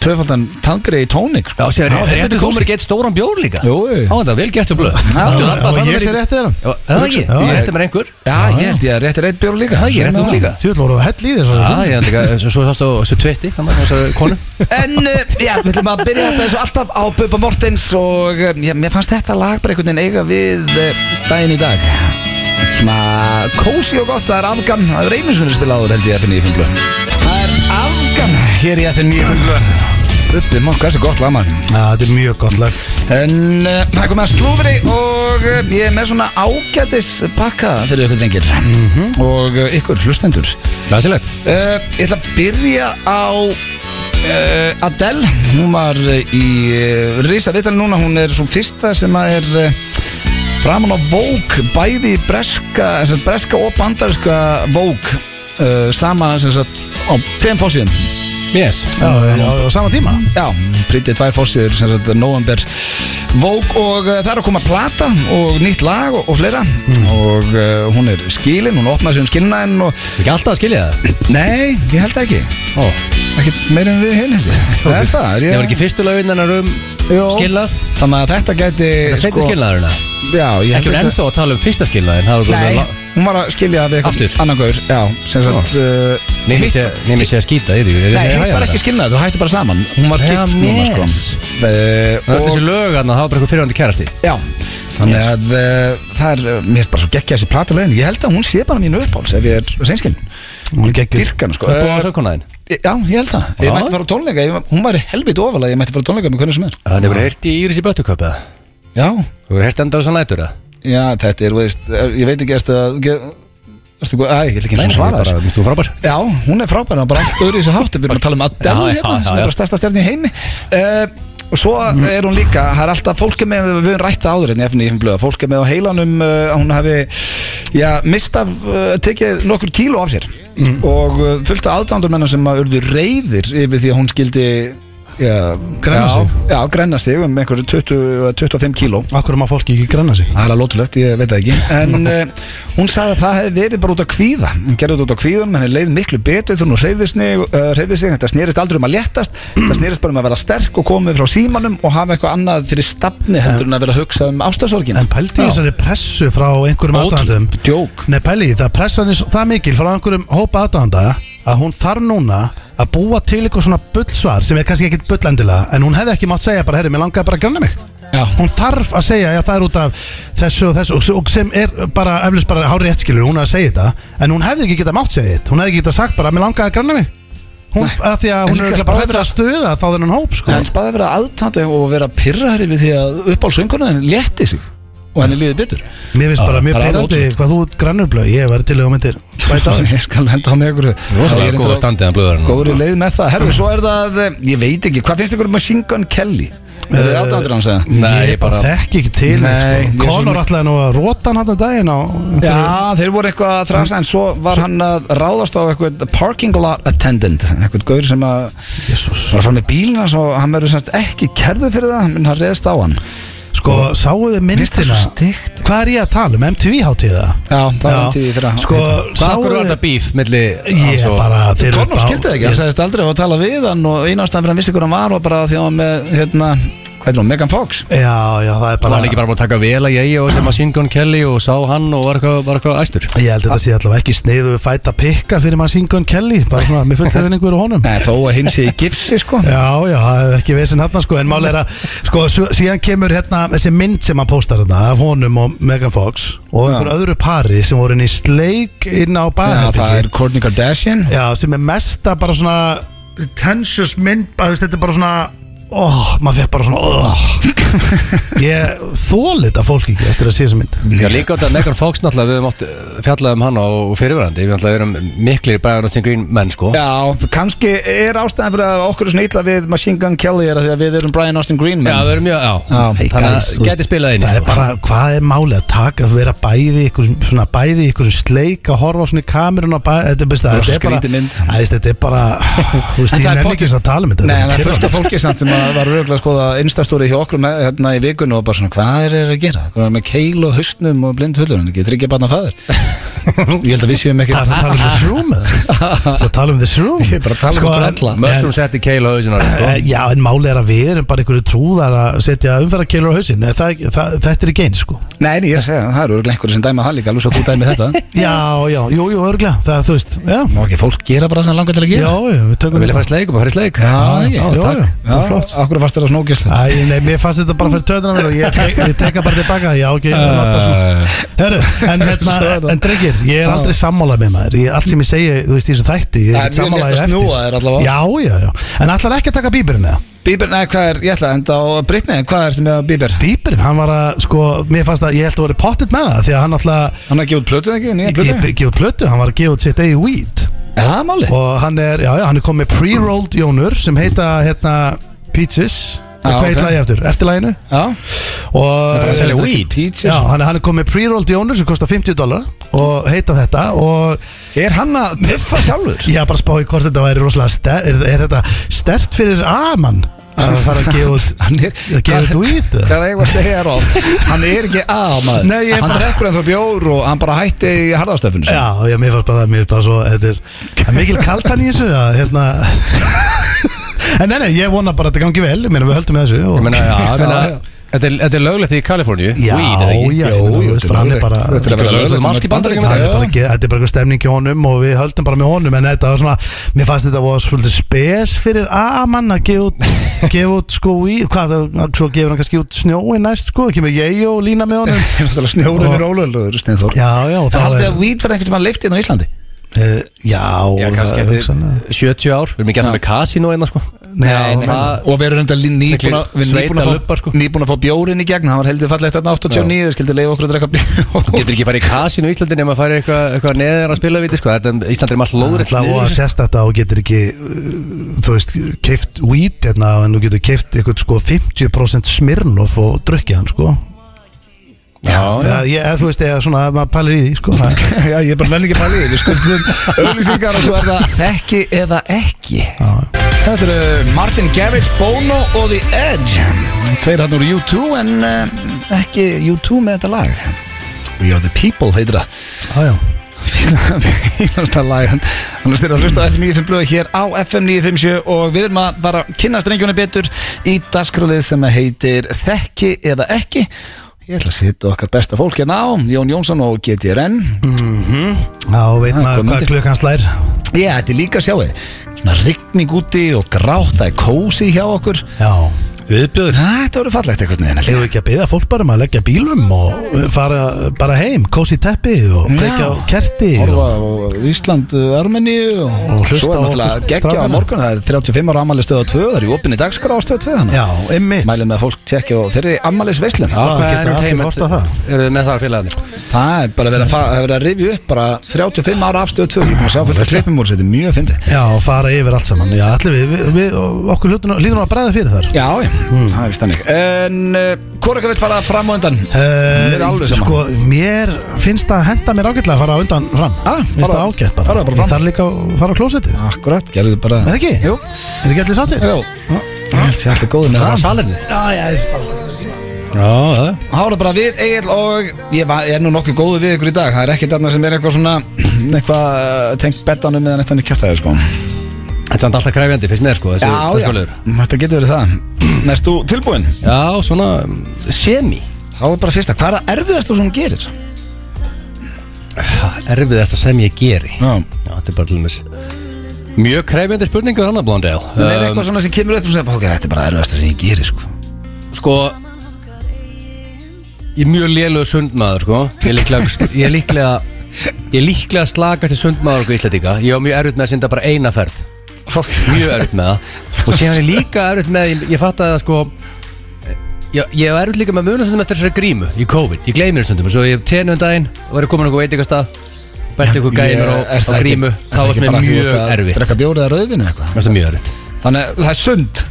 Speaker 1: tvöfaldan tangri í tónik sko.
Speaker 2: Já, sér,
Speaker 1: þetta er
Speaker 2: réttu komur
Speaker 1: kósí.
Speaker 2: ekki eitt stóran bjór líka
Speaker 1: Jú, jú.
Speaker 2: Á þetta, vel gert og blöð Allt í
Speaker 3: Já,
Speaker 2: labba
Speaker 3: og
Speaker 2: þarna
Speaker 3: ég
Speaker 2: verið-
Speaker 3: sé rétt þeirra.
Speaker 2: Já, Er það ekki?
Speaker 3: Já.
Speaker 2: Ég rétti mér einhver
Speaker 1: Já, ég held ég að réttir eitt bjór líka
Speaker 2: Það er ekki, réttu hún líka
Speaker 3: Tjóðl voru að hella í þér svo
Speaker 2: Já, ég held ekki, svo- svo sást á þessu tvitti Þessar konu
Speaker 1: En, eh, já, við ætlum að byrja þetta eins og alltaf á Bubba Mortens og eh, já, mér fannst þetta lag bara einhvern veginn eiga við eh, daginn í dag Svona kósi og gott, það er Afgan, það er einu sinni spilaður held ég FN 95 blöð Það er Afgan hér í FN 95 blöð Bubbi Mortens, þessi gott lag maður
Speaker 3: Já, þetta er mjög gott lag
Speaker 1: En uh, það kom að slúðri og uh, ég er með svona ágætis pakka fyrir ykkur drengir og uh, ykkur hlustendur.
Speaker 2: Læsilegt
Speaker 1: Uh, ég ætla að byrja á uh, Adele, hún var uh, í uh, Risa Vittal núna, hún er svona fyrsta sem að er uh, framan á Vogue, bæði í breska, sem sagt, breska og bandariska Vogue, uh, sama sem sagt á tveim fósíðum.
Speaker 2: Yes
Speaker 3: Já, já, á á sama tíma
Speaker 1: Já, prýttið tvær fórsjöður sem sagt november Vogue og uh, það er að koma plata og nýtt lag og, og fleira og uh, hún er skilin, hún opnaði sig um skilnaðin og
Speaker 2: Ekki alltaf að skilja það
Speaker 1: nei, ég held það ekki
Speaker 2: Ó
Speaker 1: ekki meira en við hinn held ég það er það, er
Speaker 2: Ég var
Speaker 1: ég
Speaker 2: ekki fyrstu laugin hennar um
Speaker 1: Jó.
Speaker 2: skilnað
Speaker 1: þannig að þetta gæti sko-
Speaker 2: Það er sveiti skilnaðurina
Speaker 1: já, ég
Speaker 2: Ekki
Speaker 1: held
Speaker 2: hún
Speaker 1: þetta
Speaker 2: ennþá að tala um fyrsta skilnaðin Það var
Speaker 1: nei,
Speaker 2: bara
Speaker 1: hún var að skilja við
Speaker 2: Aftur?
Speaker 1: annan gaur já, sem sagt uh,
Speaker 2: Nefnir
Speaker 1: hitt-
Speaker 2: sé nemi sé að skýta í því Ég- ég-
Speaker 1: Nei,
Speaker 2: ég-
Speaker 1: hitt
Speaker 2: ég-
Speaker 1: var ekki skilnað, þú hætti bara saman Hún var
Speaker 2: Já,
Speaker 1: gift núna sko
Speaker 2: yes.
Speaker 1: Eh,
Speaker 2: Það var
Speaker 1: og-
Speaker 2: þessi lög hann Það var bara eitthvað fyrirhandi kærasti
Speaker 1: Já, þannig að uh, það er, uh, mér finnst bara svo geggja þessi platulegin Ég held að hún sé bara mínu uppáls ef ég er seinskilin
Speaker 3: Hún er geggjur
Speaker 1: Dyrkan, sko
Speaker 2: Það var
Speaker 1: uh,
Speaker 2: sögkonaðin
Speaker 1: Já, ég held það Ég
Speaker 2: Já.
Speaker 1: mætti fara á tónleika, ég, hún var helvit ofalega Ég mætti fara á tónleika með hvernig sem er
Speaker 2: Þannig hefur heyrt í Íris í Böttuköp eða?
Speaker 1: Já,
Speaker 2: Þú hefur heyrt endar þessan lætur eða?
Speaker 1: já, þetta er, þú veist, er- ég veit ekki erstu að ge- Erstu hvað, æ, ég vil ekki eins og svara
Speaker 2: bara,
Speaker 1: þessu
Speaker 2: minnst þú frábær
Speaker 1: sko. Já, hún er frábær, hún er bara allt öðru í þessu hátt Við erum að tala um Adele
Speaker 2: Já, já,
Speaker 1: hérna,
Speaker 2: já,
Speaker 1: sem er
Speaker 2: já.
Speaker 1: bara stærsta stjarni í heimi uh, Og svo er hún líka, það er alltaf fólk er með, við höfum rætt það áður hérna en ég finn blöða Fólk er með á heilanum, uh, að hún hafi, já, mistað, uh, tekið nokkur eh, kíló af sér Og uh, fullt af aðdándur menna sem að urðu reyðir yfir því að hún skildi Já,
Speaker 3: Grenna
Speaker 1: já,
Speaker 3: sig.
Speaker 1: Já, grenna sig um einhverju 20 eða 25 kíló
Speaker 3: Akkur má fólki ekki granna sig
Speaker 1: Það er alveg lótulegt, ég veit það ekki En uh, hún sagði að það hefði verið bara út að kvíða Hún gerði þetta út að kvíðan, henni leið miklu betur Þegar hún hreyfði sig, uh, hreyfði sig Þetta snerist aldrei um að léttast Það snerist bara um að vera sterk og komið frá símanum Og hafa eitthvað annað fyrir stafni Heldur en að vera að hugsa um ástasorgin
Speaker 3: En pældi í þessari pressu frá einhverjum aðdæðandum
Speaker 1: Ótrúlegt djók
Speaker 3: Nei pæli, í það pressan er svo- það mikil frá einhverjum hópa aðdæðanda að hún þarf núna að búa til eitthvað svona bullsvar sem er kannski ekkit bullendilega en hún hefði ekki mátt segja bara, herri, mér langaði bara að granna mig
Speaker 1: Já.
Speaker 3: hún þarf að segja, já það er út af þessu og þessu og- og sem er bara, eflust bara hárið ettskilur, hún er að segja þetta en hún hefði ekki getað mátt segja þetta, hún hefði ekki getað sagt bara, mér langaði að granna mig hún, að því að
Speaker 1: En
Speaker 3: hún er
Speaker 1: líka
Speaker 3: örugglega bara
Speaker 1: sprota-
Speaker 3: hættur að stuða þá þennan hóp sko.
Speaker 1: En spæði að vera aðtandi og vera pyrrari Við því að uppálsönguna henni létti sig Og henni líði betur
Speaker 3: Mér finnst
Speaker 1: Ah,
Speaker 3: bara mjög
Speaker 2: það er alveg
Speaker 3: peirandi hvað þú ert grannurblöð Ég væri til að þú myndir bæta á því
Speaker 1: Ég skal henda á mig ykkur
Speaker 2: Það er góða standið hann blöðurinn
Speaker 1: Góður í leið með það Herðu, svo er það, eh, ég veit ekki, hvað finnst ykkur um Machine Gun Kelly? Er það aðdándur hans eða?
Speaker 2: Nei,
Speaker 3: Ég bara þekki ekki til
Speaker 1: Nei, ég er
Speaker 3: neitt, sko.
Speaker 1: svo
Speaker 3: Conor
Speaker 1: mikið-
Speaker 3: ætlaði nú að róta hann hann daginn á
Speaker 1: Já, þeir voru eitthvað að þrasa en svo var hann að ráðast á eitthvað parking lot attendant eitthvað gaur sem að
Speaker 3: Jésús
Speaker 1: var að fara með bílina og hann verður semst ekki kerðu fyrir það menn hann reðst á hann
Speaker 3: Sko, sáu þið
Speaker 1: Finnst það
Speaker 3: myndina
Speaker 1: svo stygt?
Speaker 3: Hvað er ég að tala um? MTV-hátíða?
Speaker 1: Já, það var MTV fyrir að-
Speaker 3: Sko,
Speaker 2: Hvað
Speaker 3: sáu
Speaker 2: akkur var
Speaker 3: þið
Speaker 2: þetta bíf milli
Speaker 3: Ég
Speaker 2: hans og-
Speaker 3: bara, þeir eru
Speaker 1: Connor
Speaker 3: bá-
Speaker 1: skildi það ekki, hann sagðist aldrei að tala við hann og einastan fyrir hann vissi hver hann var og bara því að hann var með, hérna, hvað er hún, Megan Fox
Speaker 3: Já, já, það er
Speaker 2: Var
Speaker 3: bara
Speaker 2: hann ekki bara búin að taka vel að ég og sem að Singon Kelly og sá hann og var eitthvað, var eitthvað æstur
Speaker 3: Ég held að þetta sé allavega ekki sniðu fætt að pikka fyrir maður Singun Kelly Bara svona, mér fullt þeirinn einhverju honum
Speaker 1: Nei, þó að hinn sé í gifsi, sko
Speaker 3: Já, já, það er ekki vesinn hérna sko En mál er að, sko, svo- síðan kemur hérna Þessi mynd sem hann póstar hérna Af honum og Megan Fox
Speaker 1: Já.
Speaker 3: Og einhver öðru pari sem voru inn í sleik Inn á
Speaker 1: Já, það
Speaker 3: baðherbyggir
Speaker 1: er Kourtney Kardashian
Speaker 3: Já, sem er mesta bara svona Tensious mynd, að þú veist, þetta er bara svona Ó, maður fekk bara svona ó. Ég þóli þetta fólk ekki Eftir að sé þessa mynd
Speaker 2: Já, líka á þetta að Megan Fox náttúrulega við höfum oft fjallað um hann og fyrirverandi við náttúrulega erum miklir Brian Austin Green menn sko
Speaker 1: Já, kannski er ástæðan fyrir að okkur er svona illa við Machine Gun Kelly er að því að við erum Brian Austin Green
Speaker 2: Já,
Speaker 1: menn.
Speaker 2: við erum mjög, já,
Speaker 1: Já.
Speaker 2: þannig að
Speaker 3: Guys, þú veist,
Speaker 2: geti spilað inn í,
Speaker 3: Það er
Speaker 2: sko.
Speaker 3: bara, hvað er málið að taka að vera bæði í ykkur, svona bæði í ykkur sleik að horfa á svona í kamerun og bæði, þetta er best að
Speaker 1: Rosa
Speaker 3: þetta er bara
Speaker 1: skrýtin mynd.
Speaker 3: Æ, veist, þetta er bara, þú veist,
Speaker 1: En
Speaker 3: ég
Speaker 1: það er
Speaker 3: nenni
Speaker 1: pottþétt-
Speaker 3: ekki þess að tala um þetta
Speaker 1: Nei,
Speaker 3: þetta
Speaker 1: en það er fullt af
Speaker 3: pirrandi.
Speaker 1: fólki samt sem að var rauglega að skoða instastúri hjá okkur með, hérna í vikunni og bara svona, hvað er þeir að gera? Hvað er með keil og haustnum og blind hullur, hann getur ekki barna fæður. Ég held að við séum ekki
Speaker 3: Það er að tala um this room eða? Það er að tala um this room
Speaker 1: Ég er bara að tala um
Speaker 3: Sko,
Speaker 1: okkur
Speaker 3: en-
Speaker 1: alla.
Speaker 2: Mushroom setti keil á hausinu á þér, sko.
Speaker 3: Eh, Já, en málið er að við erum bara einhverju trúðar að setja umferðarkeilur á hausin Nei, það, það, Þetta er ekki eins sko
Speaker 1: Nei, nei, ég er að segja, það eru rauglega einhverju sem dæma það líka, alveg svo þú dæmi þetta.
Speaker 3: Já, já, jú, jú, örglega, það, þú veist, já
Speaker 1: Má ekki fólk gera bara sem langar til að
Speaker 3: Já,
Speaker 1: gera?
Speaker 3: já, við
Speaker 2: sko
Speaker 3: tökum
Speaker 2: Vilja fara í sleik og bara fara í sleik Eh,
Speaker 1: Já, það ekki.
Speaker 2: já,
Speaker 3: Já,
Speaker 2: takk.
Speaker 3: já,
Speaker 1: Já, okkur fannst þér að snókist þetta.
Speaker 3: Æ, nei, mér fannst þetta bara fyrir töðunar mér og ég, tek, ég teka bara tilbaka, já, ok, ég nota svona Herru, en hérna, en drengir, ég er aldrei sammála með maður ég, Allt sem ég segi, þú veist, í þessu þætti Ég
Speaker 1: Það er
Speaker 3: er
Speaker 1: mjög létt að
Speaker 3: sammála ég eftir
Speaker 1: snúa þér allavega.
Speaker 3: Já, já, já, en allar ekki að taka bíberinn eða
Speaker 1: Bíber, nei, hvað er, ég ætla að enda á Britney, hvað er sem með Bíber?
Speaker 3: Bíberinn, hann var að, sko, mér fannst að Ég held að voru pottit með það, því að hann alltaf
Speaker 1: Hann er að gefa út plötu ekki, nýja
Speaker 3: Ég
Speaker 1: plötu?
Speaker 3: ég gefa út plötu, hann var að gefa út sitt eigi weed
Speaker 1: Er það málið?
Speaker 3: Og hann er, já, já, hann er komið með pre-rolled jónur Sem heita, hérna, Peaches
Speaker 1: Já,
Speaker 3: Hvað
Speaker 1: ok.
Speaker 3: heit lagi eftir? Eftirlæginu
Speaker 1: Já.
Speaker 3: Og
Speaker 2: að selja
Speaker 1: Þetta er
Speaker 2: weed?
Speaker 1: ekki Peaches.
Speaker 3: Já, hann, hann er komið með pre-rolled jónur sem kostar 50 dólar og heita þetta og
Speaker 1: Er hann að piffa sjálfur?
Speaker 3: ég er bara að spá í hvort þetta væri rosalega ster, er, er þetta stert fyrir A-mann að fara að gefa út
Speaker 1: Hann er-
Speaker 3: að gefa út út
Speaker 1: Hvað er ég að segja þér á? Hann er ekki að maður
Speaker 3: Nei, ég er
Speaker 1: Hann
Speaker 3: bara-
Speaker 1: drekkur ennþá bjór og hann bara hætti í harðastöfun
Speaker 3: Já, já, mér fannst bara, mér bara svo, þetta er það er mikil kaltan í þessu, að hérna En nei, nei, ég vona bara að þetta gangi vel, ég meina við höldum með þessu og,
Speaker 2: Ég meina, já, ég meina,
Speaker 1: Já, já.
Speaker 2: Þetta er- þetta er löglegt í Kaliforníu
Speaker 3: Já,
Speaker 2: Weed, eða ekki?
Speaker 3: já,
Speaker 1: Jú,
Speaker 3: ég meina,
Speaker 1: jú,
Speaker 3: þú
Speaker 1: þetta
Speaker 3: veist,
Speaker 1: er
Speaker 3: hann er
Speaker 1: löglegt.
Speaker 3: bara
Speaker 1: Þetta er
Speaker 3: Þetta
Speaker 1: bara
Speaker 2: Þetta er
Speaker 1: löglegt
Speaker 2: löglegt
Speaker 1: margt í Bandaríkjunum.
Speaker 2: Bandaríkjunum.
Speaker 1: Já,
Speaker 3: er bara ekki, þetta er bara eitthvað stemning hjá honum og við höldum bara með honum en þetta var svona, mér fannst þetta var svolítið spes fyrir A-mann að gefa út, gefa út sko í, hvað það, svo gefur hann kannski út snjói næst sko, kemur ég og lína með honum
Speaker 1: Það er náttúrulega snjórun er ólöðlugur Steinþór
Speaker 3: Já, já, og
Speaker 1: Það
Speaker 3: þá
Speaker 1: haldið
Speaker 3: er,
Speaker 1: að weed verði ekkert mann leiftið á Íslandi
Speaker 3: uh, já,
Speaker 2: Já, kannski
Speaker 3: það er hugsanlega.
Speaker 2: eftir 70 ár Við erum ekki eftir með kasino einna sko
Speaker 3: Nei, já,
Speaker 2: Nei,
Speaker 3: það-
Speaker 2: það-
Speaker 1: Og við erum enda lí- nýbúin að- við erum
Speaker 2: Sveita
Speaker 1: nýbúin að fá-
Speaker 2: lubbar, sko.
Speaker 1: nýbúin að fá bjórin í gegn Það var heldur fallegt að 89 Þeir skildi leiða okkur að drekka bjór
Speaker 2: Getur ekki farið í kasinu í Íslandi nema að fara eitthvað eitthva neðar að spila við sko. Þetta er Íslandi er margt
Speaker 3: Það er
Speaker 2: lóðrætt
Speaker 3: alltaf og að sérst þetta og getur ekki uh, þú veist, keift weed hérna en þú getur keift eitthvað sko 50% smirnof og drukkið hann sko
Speaker 2: Já, já.
Speaker 3: eða, ég- eða þú veist, eða svona, ef maður pælir í því sko, það er
Speaker 1: Já, sko. ég er bara menn ekki að pæla í því Við skuldum auðlýsingar og svo er það þekki eða ekki
Speaker 3: Já, já.
Speaker 1: Þetta eru eh, Martin Garrix, Bono og The Edge Tveir hann úr U2 en uh, ekki U2 með þetta lag We are the people heitir það
Speaker 3: já, já.
Speaker 1: Fína- Fínasta lag Þannig styrir að hlusta á FM 95 hér á FM 957 og við erum að fara að kynna strengjónu betur í dasgrálið sem heitir Þekki eða ekki Ég ætla að setja okkar besta fólk hérna á Jón Jónsson og GTRN
Speaker 3: Já, veit
Speaker 1: Ah,
Speaker 3: maður
Speaker 1: hvað
Speaker 3: hvað
Speaker 1: myndir?
Speaker 3: klukkan slær
Speaker 1: Já, þetta er líka sjáið Svona rigning úti og grátt Það er kósi hjá okkur
Speaker 3: Já,
Speaker 2: Viðbjöður
Speaker 1: Ha, Þetta voru fallegt einhvern veginn
Speaker 3: hefur ekki að byggja fólk bara um að leggja bílum og eh, fara bara heim, kósi teppi og
Speaker 1: Já.
Speaker 3: kveikja á kerti
Speaker 1: Orfa
Speaker 3: og,
Speaker 1: og Ísland, uh, Armeni og,
Speaker 3: Og hlusta
Speaker 1: svo er
Speaker 3: á
Speaker 1: náttúrulega
Speaker 3: okkur
Speaker 1: geggja á
Speaker 3: strákana.
Speaker 1: morgun Það er 35 ára ammali stöða 2 Það er í opinni dagskrá á stöða 2 þannig
Speaker 3: Já, emmitt
Speaker 1: Mælið með að fólk tekja og þeirri ammælis veislun
Speaker 3: Já.
Speaker 2: Hvað
Speaker 3: geta
Speaker 2: er
Speaker 3: allir
Speaker 2: entertainment?
Speaker 3: horft á það.
Speaker 2: Eru þið með það félagarnir?
Speaker 1: Það er bara verið að, fa- að, vera að rifja upp bara 35 ára af stöða 2 Ég er búin að sjá fullt að klippum úr sér, þetta er mjög fyndið
Speaker 3: Já, og fara yfir allt saman Já, allir við, við, við okkur hlutur, líður nú að bræða fyrir þar
Speaker 1: Já, já, Hmm. það er vist þannig En uh, hvort ekki vill fara fram og undan? Mér er alveg sama.
Speaker 3: sko, mér finnst það henda mér ágætlega að fara á undan fram
Speaker 1: Ah,
Speaker 3: Finnst
Speaker 1: fara-
Speaker 3: það ágætt bara,
Speaker 1: fara bara fram.
Speaker 3: Ég þarf líka að fara á klósettið
Speaker 1: Akkurat, gerðu bara
Speaker 3: Er það ekki?
Speaker 1: Jú,
Speaker 3: Er ekki allir sáttir?
Speaker 1: jú Ég held sér allir góðið með það
Speaker 2: salinni?
Speaker 3: Já, já,
Speaker 2: Já, það
Speaker 1: Þá er það bara við Egil og ég va- er nú nokkuð góðu við ykkur í dag Það er ekkert annað sem er eitthvað svona eitthvað eh, tengt betanum eða neitt hann í kjartaði sko.
Speaker 2: Þetta er samt alltaf kræfjandi, finnst mér sko þessi- þessi skóliður.
Speaker 1: þetta getur verið það Næst þú tilbúin?
Speaker 2: Já, svona um, semi
Speaker 1: Þá er bara fyrsta, hvað er það erfiðast þú sem þú gerir?
Speaker 2: Erfiðasta sem ég geri
Speaker 1: Já.
Speaker 2: Já, þetta er bara til dæmis Mjög kræfjandi spurningu þannig Blondale
Speaker 1: Það er eitthvað svona sem kemur upp og segir bara, ok, þetta er bara erfiðast sem ég gerir sko.
Speaker 2: Sko Ég er mjög lélög sundmaður sko Ég er líklega Ég er líklega, ég er líklega slakast í sundmaður okkur íslendinga Ég var mjög erfitt með að synda bara eina ferð
Speaker 1: Fólk,
Speaker 2: Mjög erfitt með það Og síðan er ég líka erfitt með Ég, ég fatt að það sko Ég, ég var erfitt líka með munum stundum eftir þessari grímu Í COVID, ég gleymi þér stundum Svo ég tenu um daginn og var ég komin okkur veitingastað Bætti okkur gæmur á,
Speaker 1: Er
Speaker 2: á
Speaker 1: það ekki-
Speaker 2: grímu
Speaker 1: er
Speaker 2: Það
Speaker 1: ekki
Speaker 2: var
Speaker 1: bara
Speaker 2: mér
Speaker 1: að þú
Speaker 2: mjög
Speaker 1: ert að
Speaker 2: erfitt
Speaker 1: Drekka bjórið eða rauðvin eða eitthvað
Speaker 2: Það var mjög erfitt
Speaker 1: Þannig að það er sund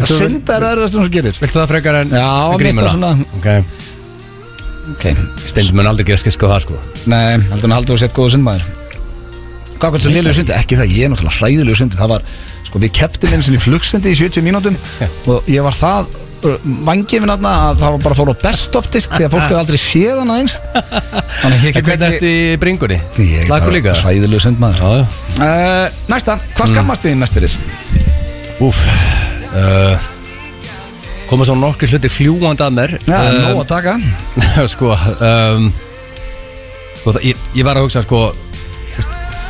Speaker 2: Viltu-
Speaker 1: Sund er erfiðast sem þú gerir
Speaker 2: Viltu það frekar en
Speaker 1: Já,
Speaker 2: en
Speaker 1: mér finnst það
Speaker 2: grímuna? Ok,
Speaker 1: okay.
Speaker 2: Steindi mun aldrei gera skisk á það sko
Speaker 1: Nei, heldur hann að haldur að setja góða sundmaður Hvað hvað sem liðlegu sundi? Ekki það, ég er náttúrulega hræðilegu sundi Það var, sko, við keftum eins og í flugsundi í 70 mínútum Og ég var það vangifin aðna að það var bara að fóra á best of disk Þegar fólk hefði aldrei séð hann aðeins Þannig að ég
Speaker 2: En
Speaker 1: get
Speaker 2: hvernig
Speaker 1: ekki
Speaker 2: ertu í bringunni?
Speaker 1: Ég er
Speaker 2: Slakur
Speaker 1: bara
Speaker 2: líka?
Speaker 1: hræðilegu sundmaður
Speaker 2: já
Speaker 1: uh, Næsta, hvað skammast þið næst fyrir?
Speaker 2: Úf uh, Koma svo nokkur hluti fljúandi að mér
Speaker 1: Já, um,
Speaker 2: Um,
Speaker 1: nóg að taka
Speaker 2: Sko um, Sko það, ég, ég var að hugsa sko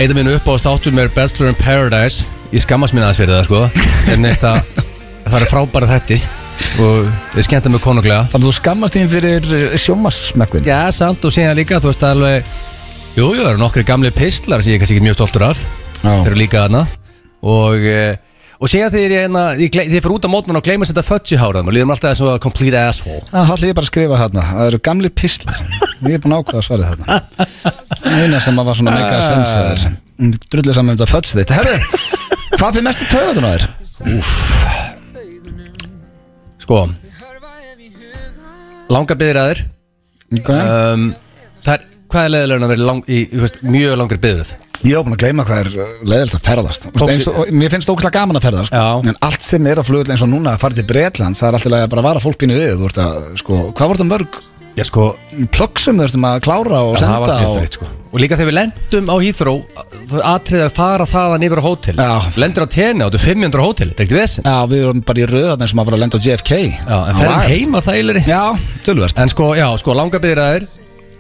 Speaker 2: Eitt af mínu uppáðast áttum er Bachelor in Paradise Ég skammast mín aðeins fyrir það sko En neist að það eru frábæra þettir Og þið skemmta mig konunglega
Speaker 1: Þannig að þú skammast þín fyrir sjómassmekkun
Speaker 2: Já, samt og síðan líka, þú veist það er alveg Jú, jú, það eru nokkri gamli pistlar sem ég er kannski ekki mjög stoltur af
Speaker 1: Já.
Speaker 2: Þeir eru líka þarna Og, eh, og síðan þegar ég, hérna- ég, gle- þeir fyrir út á mótnan og gleyma að setja fötsi hárað og líðum alltaf þessu complete asshole
Speaker 1: Það ætla ég bara að skrifa þarna Það eru gamli pislar Ég er búin að ákveða svarið þarna Eina sem að var svona mega sensaður Drullið saman um þetta fötsi þitt Herðu, hvað fyrir mest í taugatun á þér?
Speaker 2: Sko Langa byggðir aður
Speaker 1: Okay.
Speaker 2: um, Það er, hvað er leiðilegurinn að vera lang, í, í, veist, mjög langri byggðið?
Speaker 1: Ég er búin að gleyma hvað er leðilt að ferðast Þú
Speaker 2: Tók
Speaker 1: veist, eins og, og Mér finnst óklæða gaman að ferðast
Speaker 2: Já.
Speaker 1: En allt sem er á flugul eins og núna að fara til Bretland Það er alltaf að bara vara fólk bínu við Þú veist að, sko, hvað voru það mörg
Speaker 2: Já, sko,
Speaker 1: plögg sem þú veist að klára og
Speaker 2: Já, það
Speaker 1: senda
Speaker 2: var
Speaker 1: og,
Speaker 2: fyrfrið, sko. og líka þegar við lendum á Heathrow atriðið að fara þaðan yfir á hótel
Speaker 1: Já.
Speaker 2: lendir á tenni áttu 500 á hótel þetta er ekkert vesen
Speaker 1: Já, við erum bara í röðan sem að fara að lenda á JFK
Speaker 2: Já, en
Speaker 1: Það var-
Speaker 2: ferðum heima þægilegri
Speaker 1: Já, tölvöst
Speaker 2: en sko, já, sko, langa byrðir að þér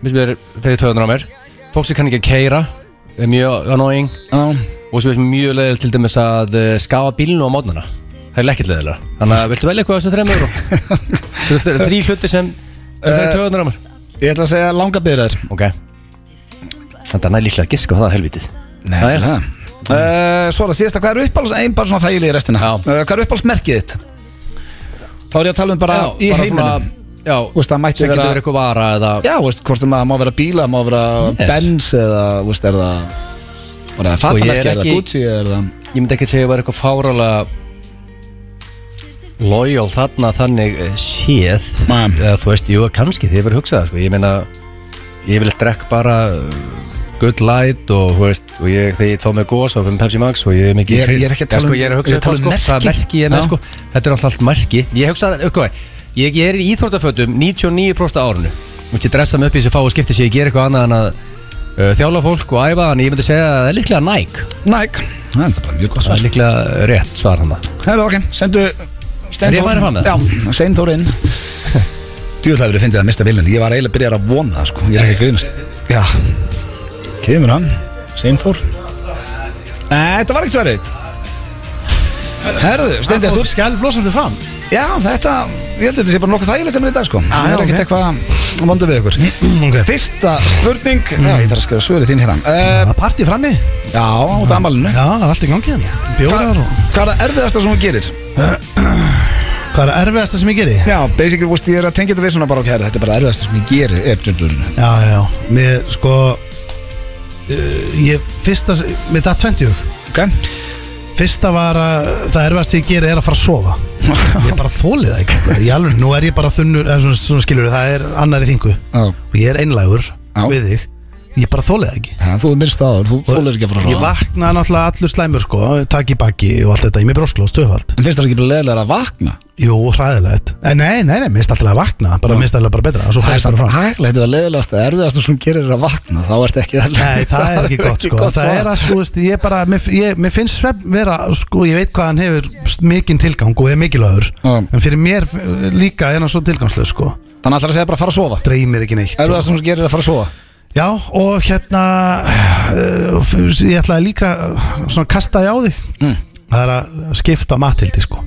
Speaker 2: mér sem er fyrir töðunar á mér fólk sem kann ekki að keira er mjög annoying og sem er mjög leðil til dæmis að uh, skafa bílinu á mótnana það er ekkert leðilega þannig að viltu velja eitthvað af þessu þremur þetta eru þrý hluti sem sem fyrir töðunar á mér
Speaker 1: Ég ætla að segja langa byrðar
Speaker 2: ok þetta er nælíklega að giska á það helvitið
Speaker 1: Nei,
Speaker 2: Það er-
Speaker 1: það uh, Svara síðasta, hvað er uppáhalds Einn bara svona þægilega í restina
Speaker 2: Já.
Speaker 1: uh, Hvað er uppáhaldsmerkið þitt? Þá er ég að tala um bara
Speaker 2: já,
Speaker 1: í
Speaker 2: bara
Speaker 1: heiminum
Speaker 2: svona- Já,
Speaker 1: Þú veist, það mætti
Speaker 2: sem
Speaker 1: vera-
Speaker 2: getur verið eitthvað vara eða
Speaker 1: Já, veist, hvort sem að það má vera bíla Má vera
Speaker 2: Yes.
Speaker 1: Benz eða, veist, er það Bara
Speaker 2: ég er
Speaker 1: fatamerki, er það
Speaker 2: ekki-
Speaker 1: Gucci er það
Speaker 2: Ég myndi ekki segja að það var eitthvað fáralega Loyal þarna þannig eh, séð
Speaker 1: Man.
Speaker 2: eða, Þú veist, jú, kannski því ég verið hugsað það, sko. Ég meina, ég vil drekk bara eh, good light og, þú veist, og ég, þegar ég fá mig gós og fyrir Pepsi Max og ég er mikið
Speaker 1: Ég er- ég er ekki að tala
Speaker 2: Eða,
Speaker 1: um-
Speaker 2: sko, ég er að hugsa
Speaker 1: ég er að tala um
Speaker 2: sko, hvaða
Speaker 1: merki.
Speaker 2: merki ég er með
Speaker 1: Já.
Speaker 2: sko þetta er alltaf allt merki ég hugsa okay, ég, ég er í íþróttafötum 99% á árinu og ég dressa mig upp í þessu fá og skipti ég ger eitthvað annað en að uh, þjála fólk og æfa þannig ég myndi segja að það er líklega Nike
Speaker 1: Næk Það er bara mjög gott
Speaker 2: það
Speaker 1: svar
Speaker 2: er líklega rétt svar hann
Speaker 1: Hefur ok, sendu
Speaker 2: Er ég farið fram með það?
Speaker 1: Já, Steinþór inn Djúðlega verið fyndið að mista viljandi Ég var eiginlega byrjar að vona það sko Ég er ekki að grínast Já Kemur hann Steinþór Nei, þetta var ekki svarið Herðu, Steindi, þú
Speaker 3: skæl blósandi fram
Speaker 1: Já, þetta Ég held að þetta sé bara nokkuð þægilegt sem er í dag sko Það
Speaker 3: já,
Speaker 1: er ekkert
Speaker 3: ok.
Speaker 1: eitthvað Vondu við ykkur
Speaker 3: Ok.
Speaker 1: Fyrsta spurning Já, ég þarf að skrifa svörið þín hérna uh,
Speaker 3: Það er partí frammi
Speaker 1: Já, út af amalinu
Speaker 3: Já, það er allt í gangi hérna. Bjórar
Speaker 1: Hvað
Speaker 3: og
Speaker 1: hvað er það erfiðasta sem hún gerir?
Speaker 3: Hvað er það erfiðasta sem ég geri?
Speaker 1: Já, basically, þú veist, ég er að tengja þetta við svona bara okkar Þetta er bara erfiðast sem ég geri er djöndurinn
Speaker 3: Já, já, mér sko uh, Ég fyrsta Mér datt 20
Speaker 1: Ok?
Speaker 3: Fyrsta var að það erfiðast sem ég geri er að fara að sofa Ég bara þóli það ekki Ég alveg, nú er ég bara þunnur eða svona, svona skilur, það er annar í þingu
Speaker 1: Já,
Speaker 3: og ég er einlægur
Speaker 1: Já.
Speaker 3: við þig Ég bara þóli það ekki
Speaker 1: Ha, þú er minnst aður, þú fólir ekki að fara
Speaker 3: Ég
Speaker 1: frá
Speaker 3: vaknaði náttúrulega allur slæmur sko Takk í baki og allt þetta Ég er mér brosklóð stöðvald
Speaker 1: En finnst það ekki bara leðilega að vakna?
Speaker 3: Jú, hræðilegt Eh, Nei, nei, nei, minnst alltaf að vakna Bara minnst alltaf bara betra Svo
Speaker 1: Það er
Speaker 3: fæst bara
Speaker 1: samt
Speaker 3: fram
Speaker 1: hæglega, þetta er leðilegast að erfiðast sem hún gerir er að vakna Þá ert ekki það
Speaker 3: Nei, það er ekki gott sko Það
Speaker 1: svar.
Speaker 3: er að, þú veist, ég bara Mér, ég, mér finnst svefn vera, sko, ég veit hvað hann hefur Mikinn tilgang og er mikilvægur
Speaker 1: Já.
Speaker 3: En fyrir mér eh, líka er hann svo tilgangslega sko
Speaker 1: Þannig ætlar að segja bara að fara að sofa
Speaker 3: Dreymir ekki neitt og-
Speaker 1: Erfiðast sem hún gerir er að fara að sofa
Speaker 3: Já, og hérna eh, f- Ég ætlaði líka eh, Svona kastaði á þig
Speaker 1: Mm.
Speaker 3: Það er að skipta matildi sko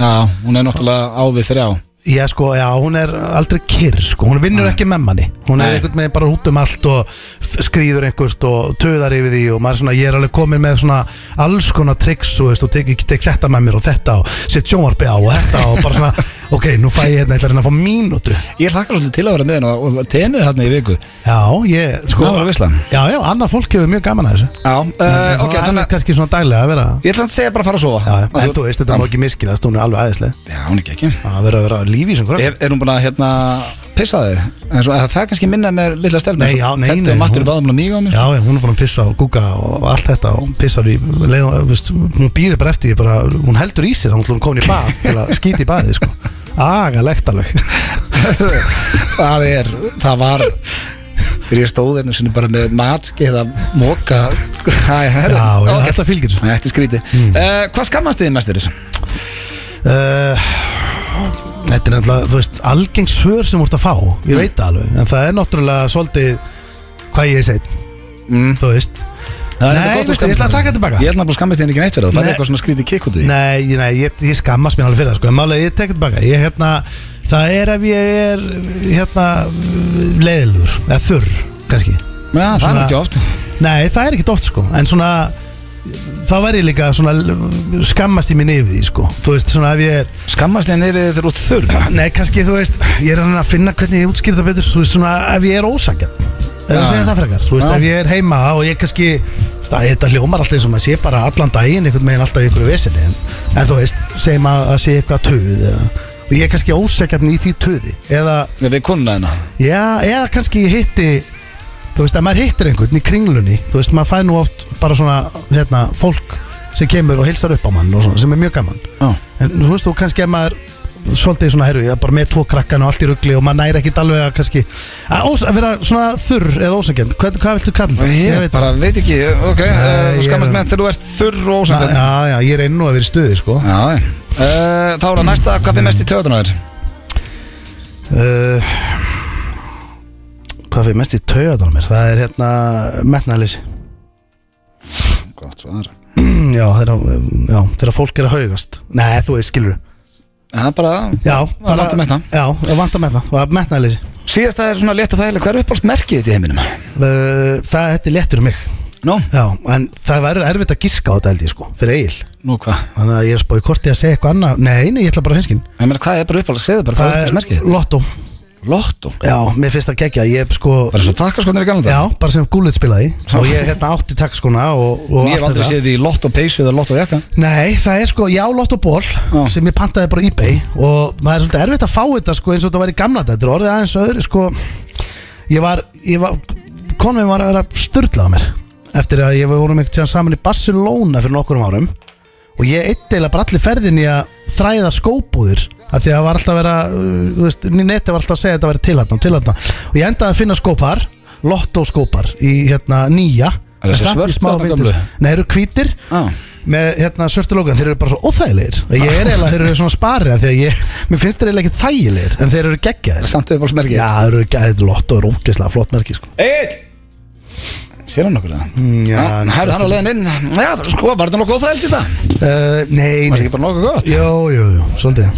Speaker 1: Já, hún er náttúrulega ávið þrjá
Speaker 3: Já, sko, já, hún er aldrei kyrr, sko, hún vinnur ekki með manni Hún
Speaker 1: Mm. Nei.
Speaker 3: er einhvern veginn bara út um allt og f- skrýður einhvert og töðar yfir því og maður er svona, ég er alveg komin með svona alls konar tricks og, veist, og tek, tek, tek þetta með mér og þetta og sitt sjónvarpi á og þetta og bara svona, ok, nú fæ ég hérna, ég ætla að reyna að fá mínútu
Speaker 1: Ég hlakka svolítið til að vera með henn og tenið þarna í viku
Speaker 3: Já, ég, sko,
Speaker 1: Það var veisla.
Speaker 3: Já, já, annað fólk hefur mjög gaman að þessu
Speaker 1: Já, uh,
Speaker 3: uh,
Speaker 1: ok,
Speaker 3: Það
Speaker 1: þannig
Speaker 3: er kannski svona daglega að vera
Speaker 1: að- Ég ætla að segja bara að fara að sofa
Speaker 3: Já, já, en þú veist, þetta má ekki miskinast, hún er alveg aðeinslega
Speaker 1: Já, hún er ekki ekki
Speaker 3: að vera að vera um lífi sem
Speaker 1: Er,
Speaker 3: hvernig
Speaker 1: er hún búin að hérna pissa þig? En svo, það er kannski minna með lilla stelna
Speaker 3: Nei, já, nei,
Speaker 1: Þetta
Speaker 3: nei,
Speaker 1: er mattur
Speaker 3: hún-
Speaker 1: báðum að míga á mér
Speaker 3: Já, já, hún er búin að pissa og gúka og allt þetta og pissar í leið, og, veist, hún býður bara eftir því bara, hún heldur í sér, hún er komin í bað til að skýti í baðið, sko agalegt alveg
Speaker 1: Það er, það var Þegar ég stóð einu sinni bara með matskið að móka Hæ, herri,
Speaker 3: Já, já,
Speaker 1: ok.
Speaker 3: þetta fylgir þessu. Hmm.
Speaker 1: Nei, Þetta er skríti mm. Hvað skammast þið mest fyrir þessu?
Speaker 3: uh, Þetta er náttúrulega, þú veist, algeng svör sem þú ert að fá, ég veit það alveg en það er náttúrulega svolítið hvað ég segi,
Speaker 1: Mm.
Speaker 3: þú veist
Speaker 1: Það er
Speaker 3: Nei,
Speaker 1: þetta gott að
Speaker 3: veistu,
Speaker 1: skammast
Speaker 3: ég ætla að
Speaker 1: þín.
Speaker 3: taka þetta tilbaka.
Speaker 1: Ég ætla að skammast þið ekki neitt fyrir það Það er
Speaker 3: Nei.
Speaker 1: eitthvað svona skríti kikk út í því.
Speaker 3: Nei, ég- nei ég, ég skammast mér alveg fyrir það sko En málega ég tek þetta baka ég, hérna, Það er ef ég er hérna, leiðilur Eða þurr, kannski
Speaker 1: Já, það er
Speaker 3: Svona-
Speaker 1: ekki oft
Speaker 3: Nei, það er ekkert oft sko En svona Þá væri ég líka svona Skammast ég minni yfir því sko Þú veist svona ef ég er
Speaker 1: Skammast þið nefið þegar út þurr
Speaker 3: Nei, kannski þú veist Ég er að reyna að finna hvernig ég útskýr það betur Þú veist svona ef ég er ósakjarn Ef
Speaker 1: Já.
Speaker 3: ég segja það frekar Þú veist
Speaker 1: Já.
Speaker 3: ef ég er heima og ég kannski þú veist, að Þetta hljómar alltaf eins og maður sé bara allan daginn Einhvern veginn alltaf í einhverju veseni En, en þú veist, segjum að, að sé eitthvað töð eða, Og ég er kannski ósakjarn í því töði Eða,
Speaker 1: Við konuna hérna
Speaker 3: já, eða kannski ég hitti Þú veist, að maður hittir einhvern í kringlunni Þú veist, maður fær nú oft bara svona hérna, Fólk sem kemur og heilsar upp á mann og svona, Sem er mjög gaman
Speaker 1: Já.
Speaker 3: en þú veist þú kannski að maður svolítið svona herru, ég er bara með tvo krakkan og allt í ruggli og maður næri ekkit alveg að kannski að, ós, að vera svona þurr eða ósakend hvað, hvað viltu kalla þetta?
Speaker 1: Ég
Speaker 3: bara
Speaker 1: bara veit ekki, ok
Speaker 3: Nei,
Speaker 1: eh,
Speaker 3: ég
Speaker 1: Skammast
Speaker 3: er-
Speaker 1: með þegar þú ert þurr og ósætt
Speaker 3: Já, já, ég er enn og að vera í stuði sko uh,
Speaker 1: Já, uh, þá er það næsta Hvað fyrir mest í töðunar?
Speaker 3: Hvað fyrir Uh, mest í taugadanum mér? Það er hérna metnaðleysi
Speaker 1: Gott svar
Speaker 3: Já, þegar, já, þegar fólk er að haugast Nei, þú veist, skilur
Speaker 1: Það er bara
Speaker 3: Já,
Speaker 1: Það vantar metnað.
Speaker 3: Já, það vantar metna og metnaðleysi
Speaker 1: Síðast það er svona létt og þægileg Hvað er uppáhaldsmerkið þitt í heiminum?
Speaker 3: uh, Það, þetta er léttur um mig
Speaker 1: Nú?
Speaker 3: Já, en það verður erfitt að giska á þetta held ég sko, fyrir Egil
Speaker 1: Nú hvað?
Speaker 3: Þannig að ég er spáði korti að segja eitthvað annað Nei, nei, ég ætla bara hinskinn
Speaker 1: Ég meina, hvað er bara uppáhalds? Segðu bara hvað er uppáhaldsmerkið þitt?
Speaker 3: Lotto
Speaker 1: Lotto
Speaker 3: Já, mér finnst það gegja Ég sko
Speaker 1: Bara svo takkaskotnir í galna
Speaker 3: Já,
Speaker 1: dag
Speaker 3: bara sem gúlit spilaði Og ég hérna átti takskona og, og
Speaker 1: Ég hef
Speaker 3: allt
Speaker 1: aldrei
Speaker 3: þetta.
Speaker 1: séð því Lotto peysu eða Lotto jakka
Speaker 3: Nei, það er sko, já, Lotto ból Sem ég pantaði bara á ebay Og það er svolítið erfitt að fá þetta sko eins og þetta var í gamla daga. Þetta er orðið aðeins öðru sko Ég var, ég var konum var að vera styrlað mér eftir að ég við vorum einhvern tíðan saman í Barcelona fyrir nokkurum árum og ég eitt eila bara allir ferðin í að þræða skóbúðir af því að það var alltaf að vera uh, þú veist, netti var alltaf að segja að þetta væri tilhatna og tilhatna og ég endaði að finna skópar lottóskópar í hérna nýja
Speaker 1: Er þessi
Speaker 3: Samt í
Speaker 1: svört
Speaker 3: smá
Speaker 1: þarna
Speaker 3: vindur.
Speaker 1: gömlu? Ah.
Speaker 3: Nei, þeir eru hvítir
Speaker 1: Já.
Speaker 3: með hérna svörtu lókan, þeir eru bara svo óþægilegir ég er eiginlega, þeir eru svona sparið af því að ég, mér finnst þeir eiginlega ekki þægilegir en þeir eru geggjaðir
Speaker 1: Samt við bara smerkið
Speaker 3: Já, þeir eru geggjaðir lott og rókislega flott merki sko.
Speaker 1: Egil Sér hann okkur það?
Speaker 3: já.
Speaker 1: Hæru Mm, hann á leiðin inn Já, sko, var þetta nokkuð óþægild í það?
Speaker 3: uh, Nei,
Speaker 1: Var
Speaker 3: nei
Speaker 1: þetta ekki bara nokkuð gott?
Speaker 3: Jú, jú, jú, svolítið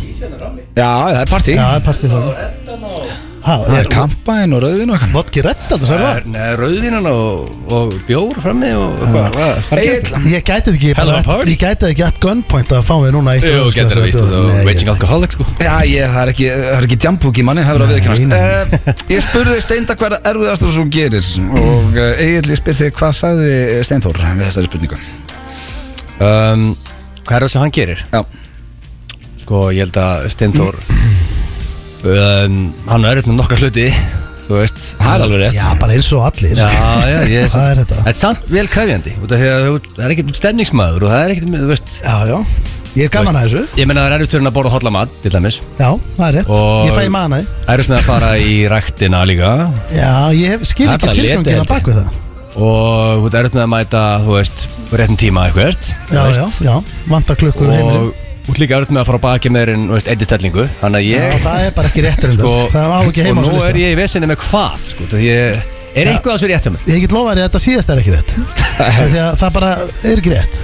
Speaker 1: Já, það er partí
Speaker 3: Já, partið frá Há,
Speaker 1: Það
Speaker 3: er
Speaker 1: er kampaðin og rauðin og eitthvað
Speaker 3: vodki retta, það sagði það
Speaker 2: Nei, rauðvínan og, og bjór frammi og
Speaker 3: Ah.
Speaker 2: hvað, hvað, hvað er
Speaker 1: Egil,
Speaker 2: gerst?
Speaker 3: Ég gæti þetta ekki,
Speaker 2: Hello,
Speaker 3: bara,
Speaker 2: party.
Speaker 3: ég gæti þetta ekki að gunpoint að fá við núna eitt
Speaker 2: Jú,
Speaker 3: og-
Speaker 2: getur það víst,
Speaker 3: Nei,
Speaker 2: það
Speaker 3: ég-
Speaker 2: er raging alcoholic sko
Speaker 1: Já, ég, það er ekki, það er ekki jambúk í manni, það verður að
Speaker 3: Nei,
Speaker 1: viðkennast uh, Ég spurði Steinda hvað er erfiðast þú gerir og uh, Egil, ég spyr þig hvað sagði Steinþór við þessari spurningu
Speaker 2: um, Hvað er það sem hann gerir?
Speaker 1: Já,
Speaker 2: Sko, ég held að Steintor um, Hann er auðvitað með nokkar hluti Þú veist
Speaker 1: það er alveg rétt
Speaker 3: Já, bara eins og allir
Speaker 2: Já, já, ég
Speaker 3: Hvað er þetta?
Speaker 2: Þetta er samt vel kræfjandi út af því að þú- Það er ekkert stemningsmaður og það er ekkert, þú veist
Speaker 3: já, já. Ég er gaman að þessu
Speaker 2: Ég meina það er erfitt fyrir hann að borða holla mat, til dæmis
Speaker 3: Já, það er rétt,
Speaker 2: Og-
Speaker 3: ég fæ manaði
Speaker 2: Erfitt með að fara í ræktina líka
Speaker 3: Já, ég hef- skil
Speaker 1: Það er
Speaker 3: ekki
Speaker 1: bara leti,
Speaker 3: tilgangina
Speaker 1: held ég.
Speaker 3: bak við það
Speaker 2: Og þú veist, erfitt með að mæta, þú veist, á réttum tíma eitthvað
Speaker 3: Já, já, já, vantar klukku og... heimilin
Speaker 2: og út líka erfitt með að fara á baki með þér veist, einnig stellingu þannig að
Speaker 3: Já,
Speaker 2: ég
Speaker 3: það er bara ekki rétt reynda
Speaker 2: sko,
Speaker 3: Það má ekki heima á
Speaker 2: og
Speaker 3: þessu
Speaker 2: nú er
Speaker 3: lista ég...
Speaker 2: ég í vesinni með hvað sko, því ég er eitthvað að svo rétt hjá mér
Speaker 3: get lofa þér að þetta síðast er ekki rétt Því að það bara er ekki rétt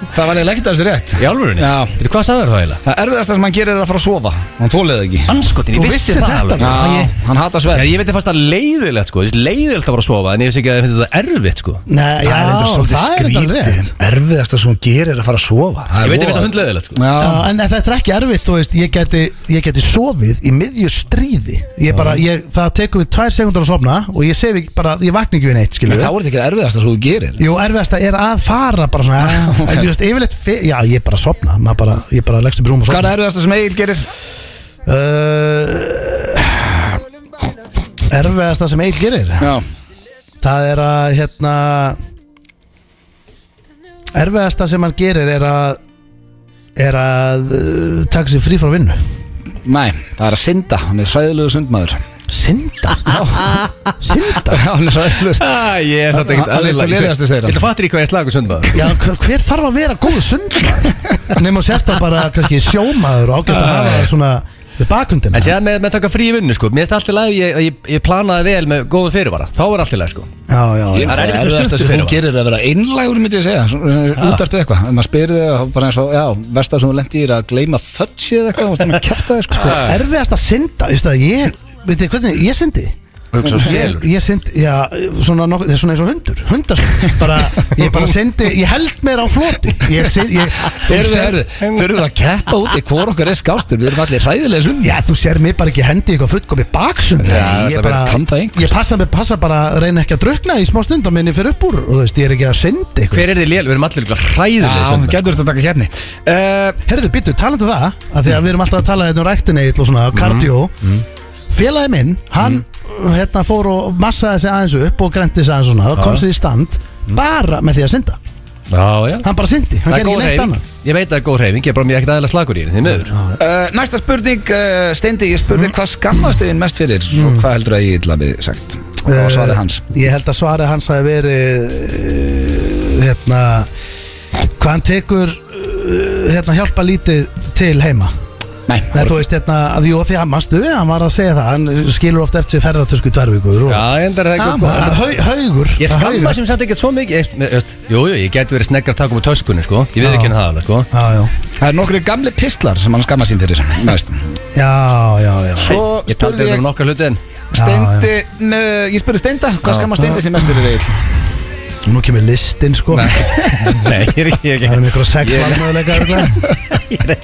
Speaker 1: Það var eiginlega ekkert að þessu rétt
Speaker 2: í alvörunni,
Speaker 1: Já.
Speaker 2: Veitu, hvað sagður það eiginlega?
Speaker 1: Það erfiðast sem hann gerir er að fara að sofa Hann þóliði ekki
Speaker 2: anskotin,
Speaker 3: Þú
Speaker 2: ég vissi
Speaker 3: vissir
Speaker 2: það
Speaker 3: þetta
Speaker 2: alveg
Speaker 3: alveg.
Speaker 2: Já,
Speaker 1: Já,
Speaker 2: ég-
Speaker 1: hann hata
Speaker 2: Já,
Speaker 1: svefn
Speaker 2: ég veit að fasta leiðilegt sko, ég finnst leiðilegt að fara að sofa en ég finnst ekki að ég finnst þetta erfitt sko
Speaker 3: Nei, já, það er þetta alveg rétt
Speaker 1: Erfiðast sem hann gerir er að fara að sofa Það
Speaker 2: Ég
Speaker 1: er
Speaker 2: veit að ég
Speaker 1: voða-
Speaker 2: finnst það hundleiðilegt sko
Speaker 3: Já,
Speaker 1: Já,
Speaker 3: en þetta er ekki erfitt, þú veist, ég geti, ég geti sofið í miðju stríði ég bara, ég, Það tekur við tvær sekundur að sofna og ég sef ekki bara, ég vakna ekki við neitt,
Speaker 1: En
Speaker 3: skiljum
Speaker 1: þá er þetta ekki erfiðast sem þú gerir
Speaker 3: Jú, erfiðasta er að fara bara svona en, Þú veist, yfirleitt, fe- já, ég bara sofna maður bara, Ég bara leggst upp í rúm og
Speaker 1: Hvað er
Speaker 3: sofna
Speaker 1: erfiðast sem Egil gerir?
Speaker 3: uh, Erfiðasta sem Eil gerir
Speaker 1: Já,
Speaker 3: Það er að hérna Erfiðasta sem hann gerir er að er að uh, taka sér frí frá vinnu
Speaker 1: nei, það er að synda Hann er hræðilegu sundmaður
Speaker 3: Synda Synda
Speaker 1: Hann er hræðilegu
Speaker 2: Ah, ég er satt
Speaker 1: Hann- hann
Speaker 2: ekkert
Speaker 1: er
Speaker 2: alveg
Speaker 1: svo
Speaker 2: slagur.
Speaker 1: leiðilegastur, segir
Speaker 2: Ég
Speaker 1: hann.
Speaker 2: ætla að fatta í hvað ég slagur sundmaður
Speaker 3: Já, hver, hver þarf að vera góð sundmaður Nefnum að sérta bara kannski sjómaður og ágætt að hafa það svona við bakundina
Speaker 2: En séðan með, með taka frí í vinnu sko, mér finnst allt í lagi að ég, ég, ég planaði vel með góðu fyrirvara, þá er allt í lagi sko
Speaker 3: Já, já,
Speaker 1: Það er
Speaker 3: já
Speaker 2: erfitt að
Speaker 1: erfiðast
Speaker 2: stuttu
Speaker 1: að þú
Speaker 2: fyrir, va?
Speaker 1: gerir er að vera einlægur myndi ég segja, útarpið eitthvað ef maður spyrir þig, þá bara eins og, já, verst að sem þú lendi í er að gleyma fudge eða eitthvað, þú veist, þannig að kæfta þig sko.
Speaker 3: Erfiðast að synda, þú veist að ég veit þið hvernig, ég syndi
Speaker 2: Hugsa um selur.
Speaker 3: ég, ég syndi, já, svona nokkuð, það er svona eins og hundur, hundarsund bara, ég bara syndi, ég held mér á floti ég syndi, ég þú
Speaker 1: Heyrðu,
Speaker 3: sérð-
Speaker 1: heyrðu, þurfum við að keppa út í hvor okkar er skástur, við erum allir hræðilega sund
Speaker 3: Já, þú sér mig bara ekki hendi í eitthvað fullkomi baksund
Speaker 1: Já,
Speaker 3: ég
Speaker 1: þetta
Speaker 3: bara,
Speaker 1: verður- kann það einhver.
Speaker 3: ég passa, mig- passa bara að reyna ekki að drukna í smá stund á minni fyrir upp úr og þú veist, ég er ekki að syndi eitthvað
Speaker 2: Hver er þið lél? Við erum allir líka hræðilega
Speaker 1: getur þetta að taka hérni uh,
Speaker 3: Herðu, býttu, talandu um það að því að við erum alltaf að tala hérna um ræktinni og svona, kardió Félagi minn, hann hérna fór og massaði sig aðeins upp og grænti sig aðeins svona og kom sér í stand bara með því að synda
Speaker 2: Já, já
Speaker 3: Hann bara syndi, hann
Speaker 2: Það er
Speaker 3: gerði
Speaker 2: góð
Speaker 3: ekki neitt
Speaker 2: reyfing,
Speaker 3: annað
Speaker 2: ég veit að það er góð reyfing, ég er bara mjög ekkert aðeins slagur í henni, því miður
Speaker 1: uh, Næsta spurning, uh, Steindi, ég spurði hvað skammast þið mest fyrir og hvað heldur að ég illa við sagt og svarið hans
Speaker 3: Eh, Ég held að svarið hans hafi verið eh, hérna hvað hann tekur eh, hérna hjálpa lítið til heima
Speaker 1: Nei,
Speaker 3: Nei, þú veist, hérna, að jú, því að mannstu, hann var að segja það, hann skilur oft eftir sig ferðartösku tværvíkur og
Speaker 2: Já, endar það
Speaker 1: Já,
Speaker 2: ekki
Speaker 1: maður.
Speaker 2: góð
Speaker 3: Að haug- Haugur
Speaker 2: Ég
Speaker 3: að
Speaker 2: skamma
Speaker 3: haugur.
Speaker 2: sem sagt ekkert svo mikið ég- með- veist, Jú, jú, ég gæti verið sneggar að taka um töskunni, sko Ég
Speaker 3: Já.
Speaker 2: við ekki henni það alveg, sko
Speaker 3: Já, já,
Speaker 1: það er nokkru gamli pistlar sem hann skammast sín fyrir næst.
Speaker 3: já, já, já.
Speaker 1: Svo
Speaker 2: Ég taldi
Speaker 1: spurði
Speaker 2: þetta um
Speaker 1: ég
Speaker 2: nokkar hluti en
Speaker 1: Steindi, uh, ég spurði Steinda, hvað skammast Steindi sem mest fyrir Egil?
Speaker 3: Nú kemur listin sko Það
Speaker 2: Nei, ég er ekki ég
Speaker 3: er
Speaker 2: er
Speaker 3: um ykkur sex
Speaker 2: Ég-
Speaker 3: valmöðuleika
Speaker 2: ekki-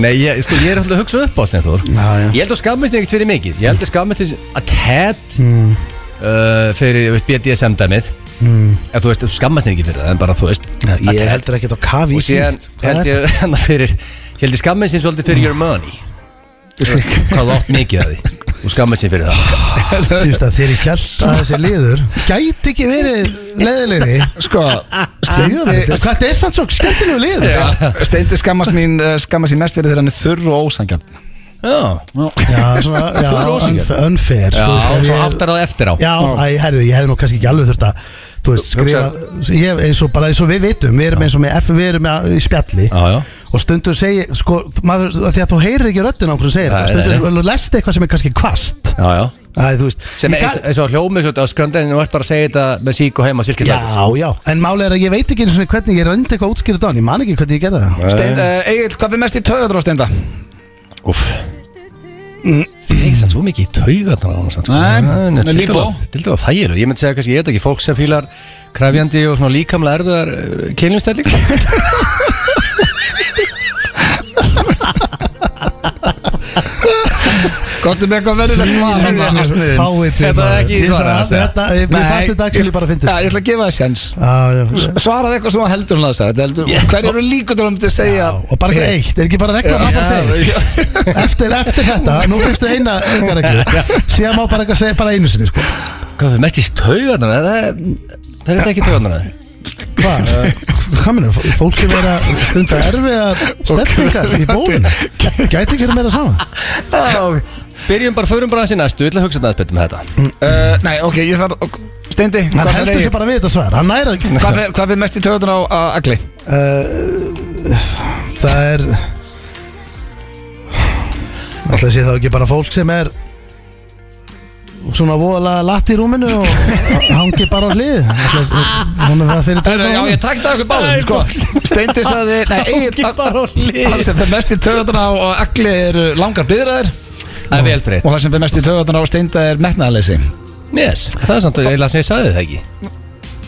Speaker 2: Nei, ég, sko, ég er alltaf að hugsa upp á þess Þór
Speaker 3: Já, já.
Speaker 2: Ég held að skammist þér ekkert fyrir mikið Ég held að skammist þér að tett uh, Fyrir, veist, BDSM-dæmið En þú veist, þú skammast þér ekki fyrir það En bara, þú veist, að
Speaker 3: Ég
Speaker 2: tett-
Speaker 3: heldur ekkert á kafi
Speaker 2: og síðan held ég hennar fyrir ég held ég skammið sín svolítið fyrir your money hvað þú átt mikið að því og skammast sér fyrir það
Speaker 3: Þú veist að þér í hjælt að þessi liður Gæti ekki verið leðilegri
Speaker 1: Sko,
Speaker 3: Steindi eh, Hvað er það svo skemmtilegu liður? Já,
Speaker 1: Steindi skammast mín eh, Skammast sín mest fyrir þegar hann er þurr og ósangjarn
Speaker 3: Eh.
Speaker 2: Já,
Speaker 3: svona, já,
Speaker 2: Þú er ósanngjarn.
Speaker 3: unf- unfair
Speaker 2: já
Speaker 3: þú veist, ef
Speaker 2: og svo
Speaker 3: ég-
Speaker 2: áttar það eftir á
Speaker 3: Já, æ, herri, ég hefði nú kannski ekki alveg þurft að Þú veist, skrifa ég, eins og bara eins og við vitum Við erum eins og með F, við erum með, í spjalli
Speaker 2: Já, já.
Speaker 3: Og stundum segi, sko, maður, af því að þú heyrir ekki röddina á hverju segir
Speaker 2: Nei,
Speaker 3: það
Speaker 2: nei,
Speaker 3: Stundum lest eitthvað sem er kannski kvast
Speaker 2: Já, já
Speaker 3: Æ, þú veist
Speaker 2: Sem
Speaker 3: ég
Speaker 2: er eins-
Speaker 3: gat-
Speaker 2: eins og hljómið svo á skröndan og ert bara að segja þetta með sík og heima silkið
Speaker 3: Já, já, en málið er að ég veit ekki eins og hvernig ég reyndi eitthvað útskýrðu dán, ég man ekki hvernig ég gerði það
Speaker 1: Steind, uh, Egil, hvað er mest í töður á Steinda?
Speaker 2: Úff Það er ekki sann svo mikið í taugarnar á hún samt, sko.
Speaker 1: Nei,
Speaker 2: Nei,
Speaker 1: hún er líbó.
Speaker 2: Dildu að þægileg Ég myndi segja kannski, ég veit ekki, fólk sem fílar krefjandi og svona líkamlega erfiðar uh, kynlumstælling
Speaker 1: Gottum eitthvað verðilegt svar þarna, asniðin.
Speaker 3: Fáviti
Speaker 2: Þetta er
Speaker 3: maður.
Speaker 2: ekki
Speaker 3: Ég
Speaker 2: svarað,
Speaker 3: veist að
Speaker 2: þetta.
Speaker 3: Þetta, ég
Speaker 1: Nei,
Speaker 3: fannst þetta ekki bara að fyndi
Speaker 1: Já, ég ætla að gefa það sjans
Speaker 3: Já,
Speaker 1: Svaraði eitthvað sem hún heldur hún að það heldur,
Speaker 2: Já.
Speaker 1: Hverju eru líkur til að hún myndi
Speaker 3: já
Speaker 1: segja Eh,
Speaker 3: Og bara ekki eitt, er ekki bara regla að bara segja eftir, eftir þetta, nú fyrstu eina engar reglu, síðan má bara eitthvað segja bara einu sinni, sko
Speaker 2: Hvað við mettist taugarnar? Það er, það er þetta ekki taugarnar
Speaker 3: Hvað? Hvað minnum, fólk er verið að stunda erfiðar stefningar í bóðinu Gæti ekki verið meira saman
Speaker 2: Byrjum bara, förum bara aðeins í næstu Ég ætla að hugsa þetta aðeins betur með þetta
Speaker 1: uh, Nei, ok, ég þarf ok, Steindi,
Speaker 3: Hann
Speaker 1: hvað
Speaker 3: heldur
Speaker 1: segir
Speaker 3: sér
Speaker 1: Egil?
Speaker 3: bara við þetta svar, hann næra ekki
Speaker 1: Hvað fer- Hvað er mest í töður á á Agli?
Speaker 3: Það er Ætla að sé þá ekki bara fólk sem er svona voðalega latt í rúminu og hangi bara á hlið Ætla að hún er það fyrir
Speaker 1: Heyrðu, Já, ég
Speaker 3: tók
Speaker 1: takta okkur báðum, sko Steindi sagði, nei, Egil
Speaker 2: bara á hlið.
Speaker 1: Það sem fyrir mest í töðan á og Agli eru langar byðraðir
Speaker 2: Það er vel
Speaker 1: Og
Speaker 2: þreitt
Speaker 1: það sem fyrir mest í töðan á Steinda er metnaðaleysi
Speaker 2: Yes, það er samt eiginlega sem ég sagði það ekki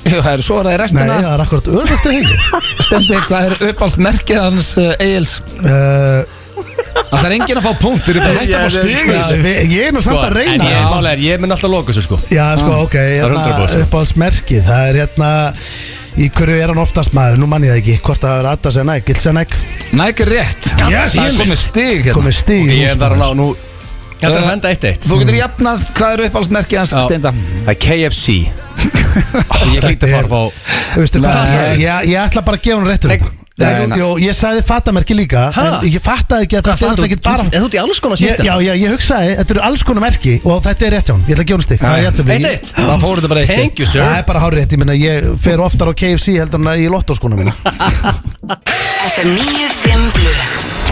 Speaker 1: Jú, Það eru svo að það er
Speaker 3: Nei,
Speaker 1: restina
Speaker 3: það er akkurat öðvögt að hegja
Speaker 1: Steindi, hvað er uppált merkið hans uh, Egil's?
Speaker 3: Uh,
Speaker 1: Það er enginn að fá punkt, þeir eru bara hægt að fá
Speaker 2: Já,
Speaker 1: stig í
Speaker 2: já,
Speaker 1: þessu.
Speaker 3: við- ég er nú samt að
Speaker 2: Sko, En
Speaker 3: reyna
Speaker 2: ég, málega er, ég mun alltaf loka þessu sko
Speaker 3: Já, sko, ok,
Speaker 2: er
Speaker 3: hérna
Speaker 2: 100%.
Speaker 3: uppáhaldsmerkið Það er hérna, í hverju er hann oftast maður Nú mann ég það ekki, hvort það er Atta Senæk, Gilt Senæk
Speaker 1: Næk er rétt
Speaker 3: Yes,
Speaker 1: Það er komið stig hérna
Speaker 3: Komið stíð
Speaker 2: Ég er þar að ná nú Þetta er að henda eitt eitt
Speaker 1: Þú getur jafnað, hvað eru uppáhaldsmerkið hans
Speaker 2: Já.
Speaker 1: Steinda?
Speaker 2: Það er KFC Ég hlýtti að fara á
Speaker 3: Veistu
Speaker 1: Nei.
Speaker 3: hvað, ég, ég, ég ætla bara að gefa hún réttur
Speaker 2: Nei,
Speaker 1: nei,
Speaker 3: Nei,
Speaker 1: nei.
Speaker 3: Jó, ég sagði fatamerki líka
Speaker 2: Ha?
Speaker 3: En ég fattaði ekki að þetta er alltaf ekki bara
Speaker 2: þú ert í alls konar
Speaker 3: ég, Já, já, ég hugsaði, þetta eru alls konar merki Og þetta er rétt hjá hún, ég ætla að gefa hún stík Það er jafntefli.
Speaker 2: Eitt
Speaker 3: Ég-
Speaker 2: eitt
Speaker 1: Það fór þetta bara eitt
Speaker 2: Thank you sir
Speaker 3: Það er bara hár rétt, ég minna, ég fer oftar á KFC heldur en að í lottóskona mína
Speaker 4: FM 95 Blu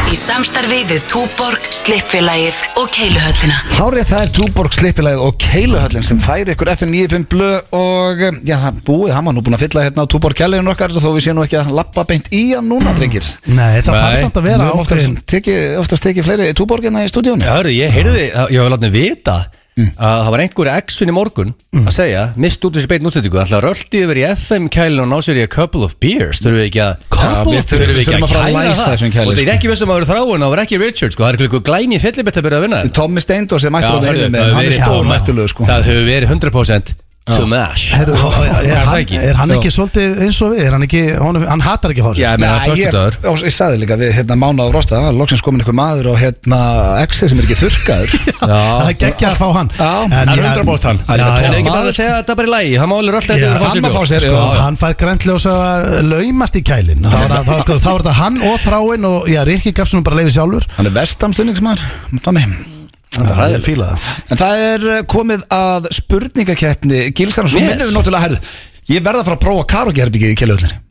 Speaker 4: Í samstarfi við Túborg, Slippfélagið og Keiluhöllina
Speaker 1: Hárið það er Túborg slippilæð og Keiluhöllin sem færi ykkur FN95 blöð og um, já, það búið, hann var nú búin að fylla hérna á Túborg kjærlegin okkar þó við séum nú ekki að lappa beint í hann núna, drengir
Speaker 3: Nei, það
Speaker 2: Nei.
Speaker 3: þarf samt að vera
Speaker 1: Nú erum
Speaker 3: ákveðin
Speaker 1: oftast tekið- Oftast tekið fleiri Túborg hérna í stúdíónu
Speaker 2: Já, hörðu, ég heyrði, ég hef látið vita að það var einhverja exun í morgun að segja, mist út úr þessi beitin útsendingu alltaf röldi yfir í FM kælinu og ná sér í a couple of beers, þurfum við ekki að
Speaker 3: Couple
Speaker 1: Já,
Speaker 3: of
Speaker 1: við þurfum
Speaker 2: þurfum við
Speaker 1: þurfum
Speaker 2: ekki að
Speaker 1: að fara að
Speaker 2: kæla
Speaker 1: læsa
Speaker 2: það
Speaker 1: þessum kæli,
Speaker 2: og það er
Speaker 1: sko.
Speaker 2: ekki vissum að vera þráin það var ekki Richard, sko, það er eitthvað glæni fyllibett að byrja að vinna þetta.
Speaker 1: Tommi Steindor sem
Speaker 2: Já,
Speaker 1: mættur á
Speaker 2: hörðu,
Speaker 1: þeirri með hann
Speaker 2: það hefur
Speaker 1: er
Speaker 2: verið-
Speaker 1: stór mættulegu sko
Speaker 2: það hefur verið 100% to mash
Speaker 3: Herru,
Speaker 2: Er
Speaker 3: er,
Speaker 2: það
Speaker 3: hann,
Speaker 2: ekki?
Speaker 3: er hann
Speaker 1: Já.
Speaker 3: ekki svolítið eins og við? Er hann, ekki, hann, hann hatar ekki að fá
Speaker 2: Já,
Speaker 3: sér?
Speaker 2: ég meina,
Speaker 1: Nei, ég,
Speaker 2: föstudagur
Speaker 1: og ég sagði líka við hérna mánuð á rosta það var loksins komin einhver maður og hérna exið sem er ekki þurrkaður
Speaker 3: Það er geggja að fá hann
Speaker 1: Já.
Speaker 2: Það
Speaker 3: En
Speaker 2: er
Speaker 3: ég-
Speaker 2: 100% hann
Speaker 3: Já,
Speaker 2: Það
Speaker 3: já.
Speaker 2: er ekki bara að segja að þetta er bara í lagi Það má alveg rölda
Speaker 3: Já,
Speaker 2: þetta
Speaker 1: hann má fá sér,
Speaker 2: sko.
Speaker 1: já.
Speaker 3: Hann fær græntljósa að laumast í kælin Þá er það- þá- þá er þetta hann og þráin og já, Rikki gaf svo nú bara leiði sjálfur
Speaker 1: hann er vestamstunningsmaður Tommi
Speaker 3: Það er fílað það.
Speaker 1: en það er eh, komið að spurningakeppni Gilsarans og
Speaker 2: Yes.
Speaker 1: minnum við náttúrulega herðu ég verða að fara að prófa karaokeherbyggið í keiluhöllinni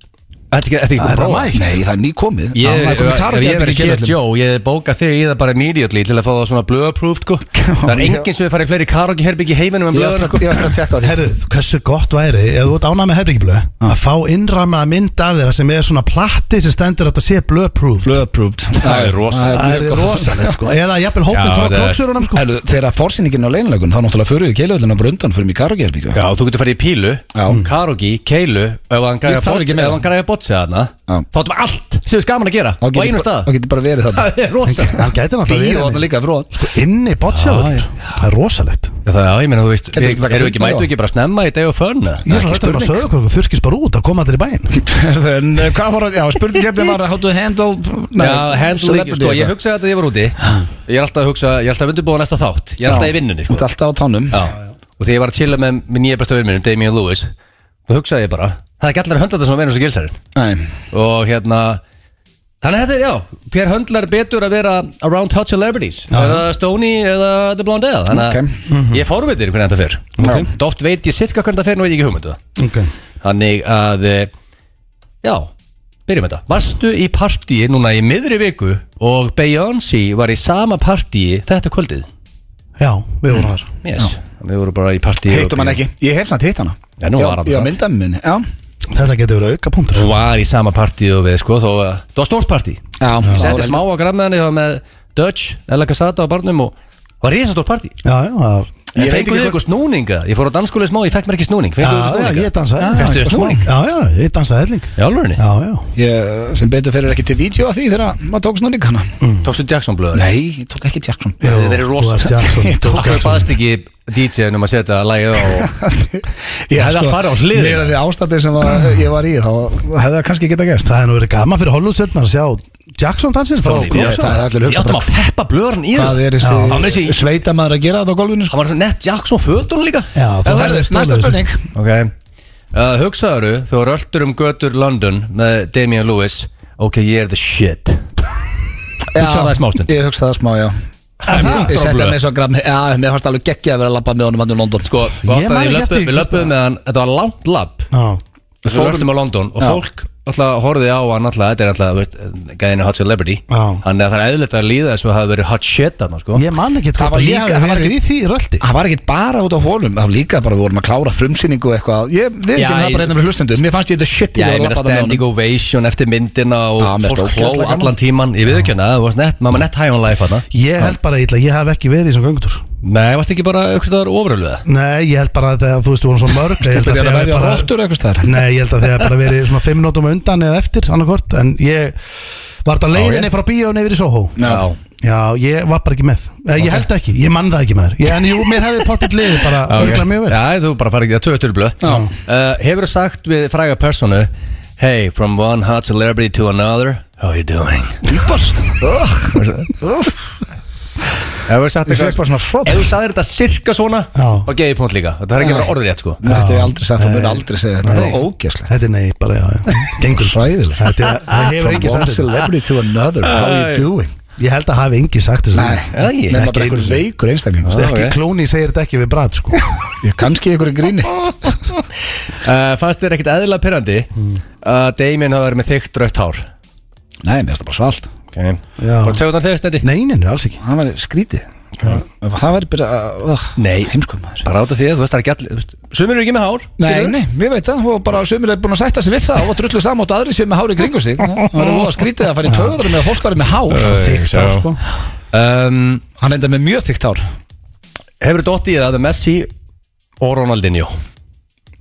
Speaker 2: Þetta er ekki- þetta er ekki
Speaker 3: Það er
Speaker 2: bara
Speaker 3: mætt.
Speaker 1: nei það er ný komið
Speaker 2: Ég
Speaker 1: Það
Speaker 2: er,
Speaker 1: er komið
Speaker 2: ef ég verið
Speaker 1: karaokeherbergi í
Speaker 2: sér
Speaker 1: Keiluhöllinni.
Speaker 2: Jó, ég bóka þig í það bara immediately til að fá það svona blue approved sko. Það er enginn sem við farið í fleiri karaokeherbyggi í heiminum en
Speaker 1: ég
Speaker 2: blue
Speaker 1: ætla
Speaker 2: sko.
Speaker 1: ég ætla að tjekka á því
Speaker 3: Herðu, hversu gott væri ef þú ert ánað með herbyggiblu að fá innramaða mynd af þeirra sem er svona platti sem stendur að þetta sé blöðproof
Speaker 1: Blöð approved
Speaker 2: Það er rosalegt.
Speaker 1: Það er
Speaker 3: Það er
Speaker 1: mjög gott.
Speaker 3: rosalegt sko Eða jafnvel hópin
Speaker 2: Já,
Speaker 3: frá
Speaker 2: þetta er-
Speaker 3: klóksurunum sko
Speaker 1: Herðu, þegar fórsýningin á leinlögun þá náttúrulega fyrir við keiluhöllinna bara undan fyrir mig karaokeherbyggið
Speaker 2: Já, þú getur farið í pílu,
Speaker 1: Já.
Speaker 2: karaoke, keilu Ef hann
Speaker 1: Ég þarf ekki meira.
Speaker 2: græði mótsið þarna
Speaker 1: Já.
Speaker 2: Þá áttum við allt sem við skaman að gera Á einu stað
Speaker 1: Það getur bara verið þarna
Speaker 2: Það er rosa
Speaker 3: Hann gæti náttúrulega
Speaker 1: Bíó
Speaker 3: verið
Speaker 1: þarna
Speaker 3: með-
Speaker 1: líka frá
Speaker 3: sko, inni
Speaker 2: Já,
Speaker 3: bottsjáður
Speaker 2: já.
Speaker 3: Það er rosalegt
Speaker 2: Já, það, já, ég meina, þú veist,
Speaker 1: Getur ekki
Speaker 2: við,
Speaker 1: taka
Speaker 2: erum
Speaker 1: fimm
Speaker 2: við ekki,
Speaker 1: daga?
Speaker 2: mætu ekki bara snemma í dag og förna
Speaker 3: Ég er
Speaker 1: ekki
Speaker 3: svo hættur um að
Speaker 1: spurning.
Speaker 3: sögðu okkur þurrkist bara út að koma allir í bæinn
Speaker 1: En eh, hvað var það, já, spurningkefni var How to handle nei,
Speaker 2: Já, handle ekki,
Speaker 1: celebrity
Speaker 2: sko, ég
Speaker 1: eitthvað.
Speaker 2: hugsaði þetta þegar ég var úti Ég er alltaf að hugsa, ég er alltaf að undirbúa næsta þátt Ég er alltaf
Speaker 1: Já.
Speaker 2: í vinnunni,
Speaker 1: Þú
Speaker 2: sko
Speaker 1: ert alltaf á tánum
Speaker 2: Já, og þegar ég var að chilla með, með nýja bestu vinninum, Damien Lewis Þá hugsaði ég bara, það er ekki allir að höndla þetta svona vinnur sem gilsarinn
Speaker 1: Nei,
Speaker 2: Og hérna, þannig að þetta er, já, hver höndlar betur að vera around hot celebrities Eða Stoney eða The Blondell Þannig að
Speaker 1: Ok. Mhm.
Speaker 2: ég fórvitir hvernig þetta fer
Speaker 1: Ok.
Speaker 2: Dótt veit ég sirka hvernig þetta fer, nú veit ég ekki hugmyndu það
Speaker 3: okay.
Speaker 2: Þannig að eh, Já, byrjum þetta Varstu í partíi núna í miðri viku Og Beyoncé var í sama partíi Þetta kvöldið
Speaker 3: Já, við vorum þar
Speaker 2: yes. Við vorum bara í partíi
Speaker 1: hittum hann ekki Ég hef samt hitt hana
Speaker 2: Já, nú var hann
Speaker 1: Já,
Speaker 2: samt.
Speaker 1: myndaði minni Já,
Speaker 3: Þetta getur verið auka punktur
Speaker 2: Hún var í sama partíi og við sko þó, að- Það var stórt partí Ég
Speaker 1: já það var
Speaker 2: setti smá
Speaker 1: heldur-
Speaker 2: á grammeðan Ég var með Dutch, Ella Casata á barnum Og var risa stórt partí
Speaker 3: Já, já, það-
Speaker 1: Ég
Speaker 2: En
Speaker 1: veit ekki
Speaker 2: fenguðu
Speaker 1: hvort-
Speaker 2: ykkur snúninga Ég fór á danskóli smá, ég fekk mér ekki snúning
Speaker 3: já,
Speaker 2: Fenguðu ykkur
Speaker 3: já,
Speaker 2: snúninga
Speaker 3: ég dansaði
Speaker 1: Já,
Speaker 2: Fekstu
Speaker 1: eitthvað smá.
Speaker 2: snúning?
Speaker 3: Já, já, ég dansaði helling
Speaker 2: Já, alveg
Speaker 3: Já, já,
Speaker 1: Ég sem betur fyrir ekki til vídeo að því þegar maður tók snurning hana
Speaker 2: Tókstu Jackson blöður
Speaker 1: Nei, ég tók ekki Jackson
Speaker 3: Jú,
Speaker 2: Þeir eru
Speaker 3: þú
Speaker 2: rosa.
Speaker 3: ert Jackson,
Speaker 1: Ég
Speaker 3: þú
Speaker 1: tók
Speaker 3: ert
Speaker 2: Akkur
Speaker 3: Jackson.
Speaker 2: baðst ekki DJ-num að setja lagið á og
Speaker 1: Ég
Speaker 2: hefði allt farið á hliðina.
Speaker 1: Meðan Sko, við ástandið sem var, ég var í þá hefði það kannski geta gerst
Speaker 3: Það er nú verið gaman fyrir Hollywoodstjörnar að sjá Jackson dansins frá
Speaker 2: Ég veit
Speaker 1: Klofsa.
Speaker 2: það,
Speaker 1: Það er allir að
Speaker 2: Ég
Speaker 1: hugsa
Speaker 2: áttum að peppa blöðurinn í
Speaker 1: Hvað
Speaker 2: það
Speaker 1: er
Speaker 3: Já.
Speaker 2: Hann vissi-
Speaker 1: þessi sveitamaður að gera þetta á golfinu sko?
Speaker 2: Hann var svo nett Jackson fötunum líka
Speaker 3: Já, þú
Speaker 1: Það
Speaker 3: hefðir
Speaker 1: er
Speaker 3: stolið
Speaker 1: næsta
Speaker 3: þessu.
Speaker 1: spurning
Speaker 2: Ok uh, Hugsaðu, þú röldur um götur London með Damian Lewis Ok, ég er the shit Hugsaðu það í smástund
Speaker 1: Ég hugsaði það smá, já
Speaker 2: Það er mjög
Speaker 1: Ég setja
Speaker 2: blöð.
Speaker 1: með svo graf Já, mér fannst alveg geggja að vera að labba með honum hann í London
Speaker 2: Sko,
Speaker 3: man
Speaker 2: gott að
Speaker 3: ekki
Speaker 2: við
Speaker 3: eftir því,
Speaker 2: löpum, við löpum með hann Þetta var langt lapp
Speaker 3: Já,
Speaker 2: Við
Speaker 1: Fórum-
Speaker 2: löpum á London og
Speaker 1: Já.
Speaker 2: fólk alltaf horfið á hann alltaf Þetta er alltaf, veist, gæðinu hot celebrity
Speaker 3: Já.
Speaker 2: Þannig að það er eðlilegt að líða þessu að hafa verið hot shit þarna, sko
Speaker 3: ég man ekki
Speaker 1: Það var
Speaker 3: hvort að
Speaker 1: líka-
Speaker 3: ég
Speaker 1: það
Speaker 3: hafi
Speaker 1: var
Speaker 3: verið í
Speaker 1: ekki-
Speaker 3: því röldi
Speaker 1: Það var ekkit bara út á hólum Það var líka bara við vorum að klára frumsýningu og eitthvað Ég veit
Speaker 2: Já,
Speaker 1: ekki það
Speaker 2: ég-
Speaker 1: bara hérna fyrir hlustendu Mér fannst ég þetta shit
Speaker 2: Já,
Speaker 1: ég
Speaker 2: ég
Speaker 1: var að
Speaker 2: meina
Speaker 1: labba með
Speaker 2: standing
Speaker 1: honum
Speaker 2: ovation eftir myndina og
Speaker 1: Já, mér
Speaker 2: fólk
Speaker 1: finnst
Speaker 2: hló
Speaker 1: ógeðslega gaman.
Speaker 2: allan tíman Ég við ekki hana, það var nett, maður var nett high on life hana
Speaker 3: Ég held bara illa, ég haf ekki verið í þessum göngutur
Speaker 2: Nei, varst ekki bara aukvitaðar ofröluða?
Speaker 3: Nei, ég held bara að það, þú veist, þú vorum svo mörg Ég held að
Speaker 1: Byrjar
Speaker 3: þið
Speaker 1: að
Speaker 3: hafi
Speaker 1: veðja á
Speaker 3: bara-
Speaker 1: rottur eitthvað staðar
Speaker 3: Nei, ég held að þið hafi bara verið svona fimm nótum undan eða eftir, annarkort En ég var þetta á leiðinni frá bíóinu yfir í Soho
Speaker 1: Já.
Speaker 3: Já, ég var bara ekki með okay. Ég held ekki, ég mann það ekki með þér En jú, mér hefði pottitt liðið bara okay. mjög vel
Speaker 2: Já, þú bara farið ekki að töðu tölblöð uh, Hefur þú sagt við fræga personu Hey, from one hot celebrity to another How are you doing?
Speaker 1: Íbast
Speaker 2: Hefur þú sagt
Speaker 1: Ég fekk
Speaker 2: eitthvað
Speaker 1: bara svona hróp
Speaker 2: Ef þú sagðir þetta cirka svona
Speaker 3: Já.
Speaker 2: Og geði punkt líka Þetta er ekki bara orðið rétt sko
Speaker 1: Þetta hef ég aldrei sagt og mun aldrei segja þetta Það var ógeslegt
Speaker 3: Þetta er nei, bara já, já
Speaker 1: Gengur hræðilega
Speaker 3: Þetta er, það hefur
Speaker 1: From
Speaker 3: engi
Speaker 1: one
Speaker 3: sagt þetta
Speaker 1: celebrity to another How you doing?
Speaker 3: Ég held að hafi engi sagt þetta
Speaker 1: Nei,
Speaker 2: Já, ég-
Speaker 1: nema
Speaker 3: ekki
Speaker 1: bara einhver
Speaker 3: einu sinni.
Speaker 1: veikur einstakling
Speaker 3: Þú veist, Ekki
Speaker 2: ok.
Speaker 3: klóni segir þetta ekki við bræð sko
Speaker 1: Ég- Kannski einhver í gríni
Speaker 2: uh, Fannst þér ekkit eðla pyrrandi Að Damien hafa verið með þykkt rautt hár
Speaker 1: Nei, mér finnst það bara svalt
Speaker 2: okay.
Speaker 3: Já.
Speaker 2: Bara tökum það þegar stendi
Speaker 3: Nei, nei, nei, alls ekki
Speaker 1: Það var skrítið Það var bara uh,
Speaker 2: Nei.
Speaker 1: Heimskum maður
Speaker 2: Bara átta því að þú veist það er ekki allir þú veist, Sumir eru ekki með hár
Speaker 1: Nei,
Speaker 2: skilurðu?
Speaker 1: nei, ég veit það og bara sömur er búin að sætta sig við það og drullu samátt aðri sem með hári kringu sig það var voða skrítið að fara í töður með að fólk var með hár
Speaker 2: Æ,
Speaker 3: Þykkt
Speaker 2: sjá.
Speaker 3: á sko
Speaker 2: um,
Speaker 1: hann enda með mjög þykkt hár
Speaker 2: Hefur þú dottið að Messi og Ronaldinho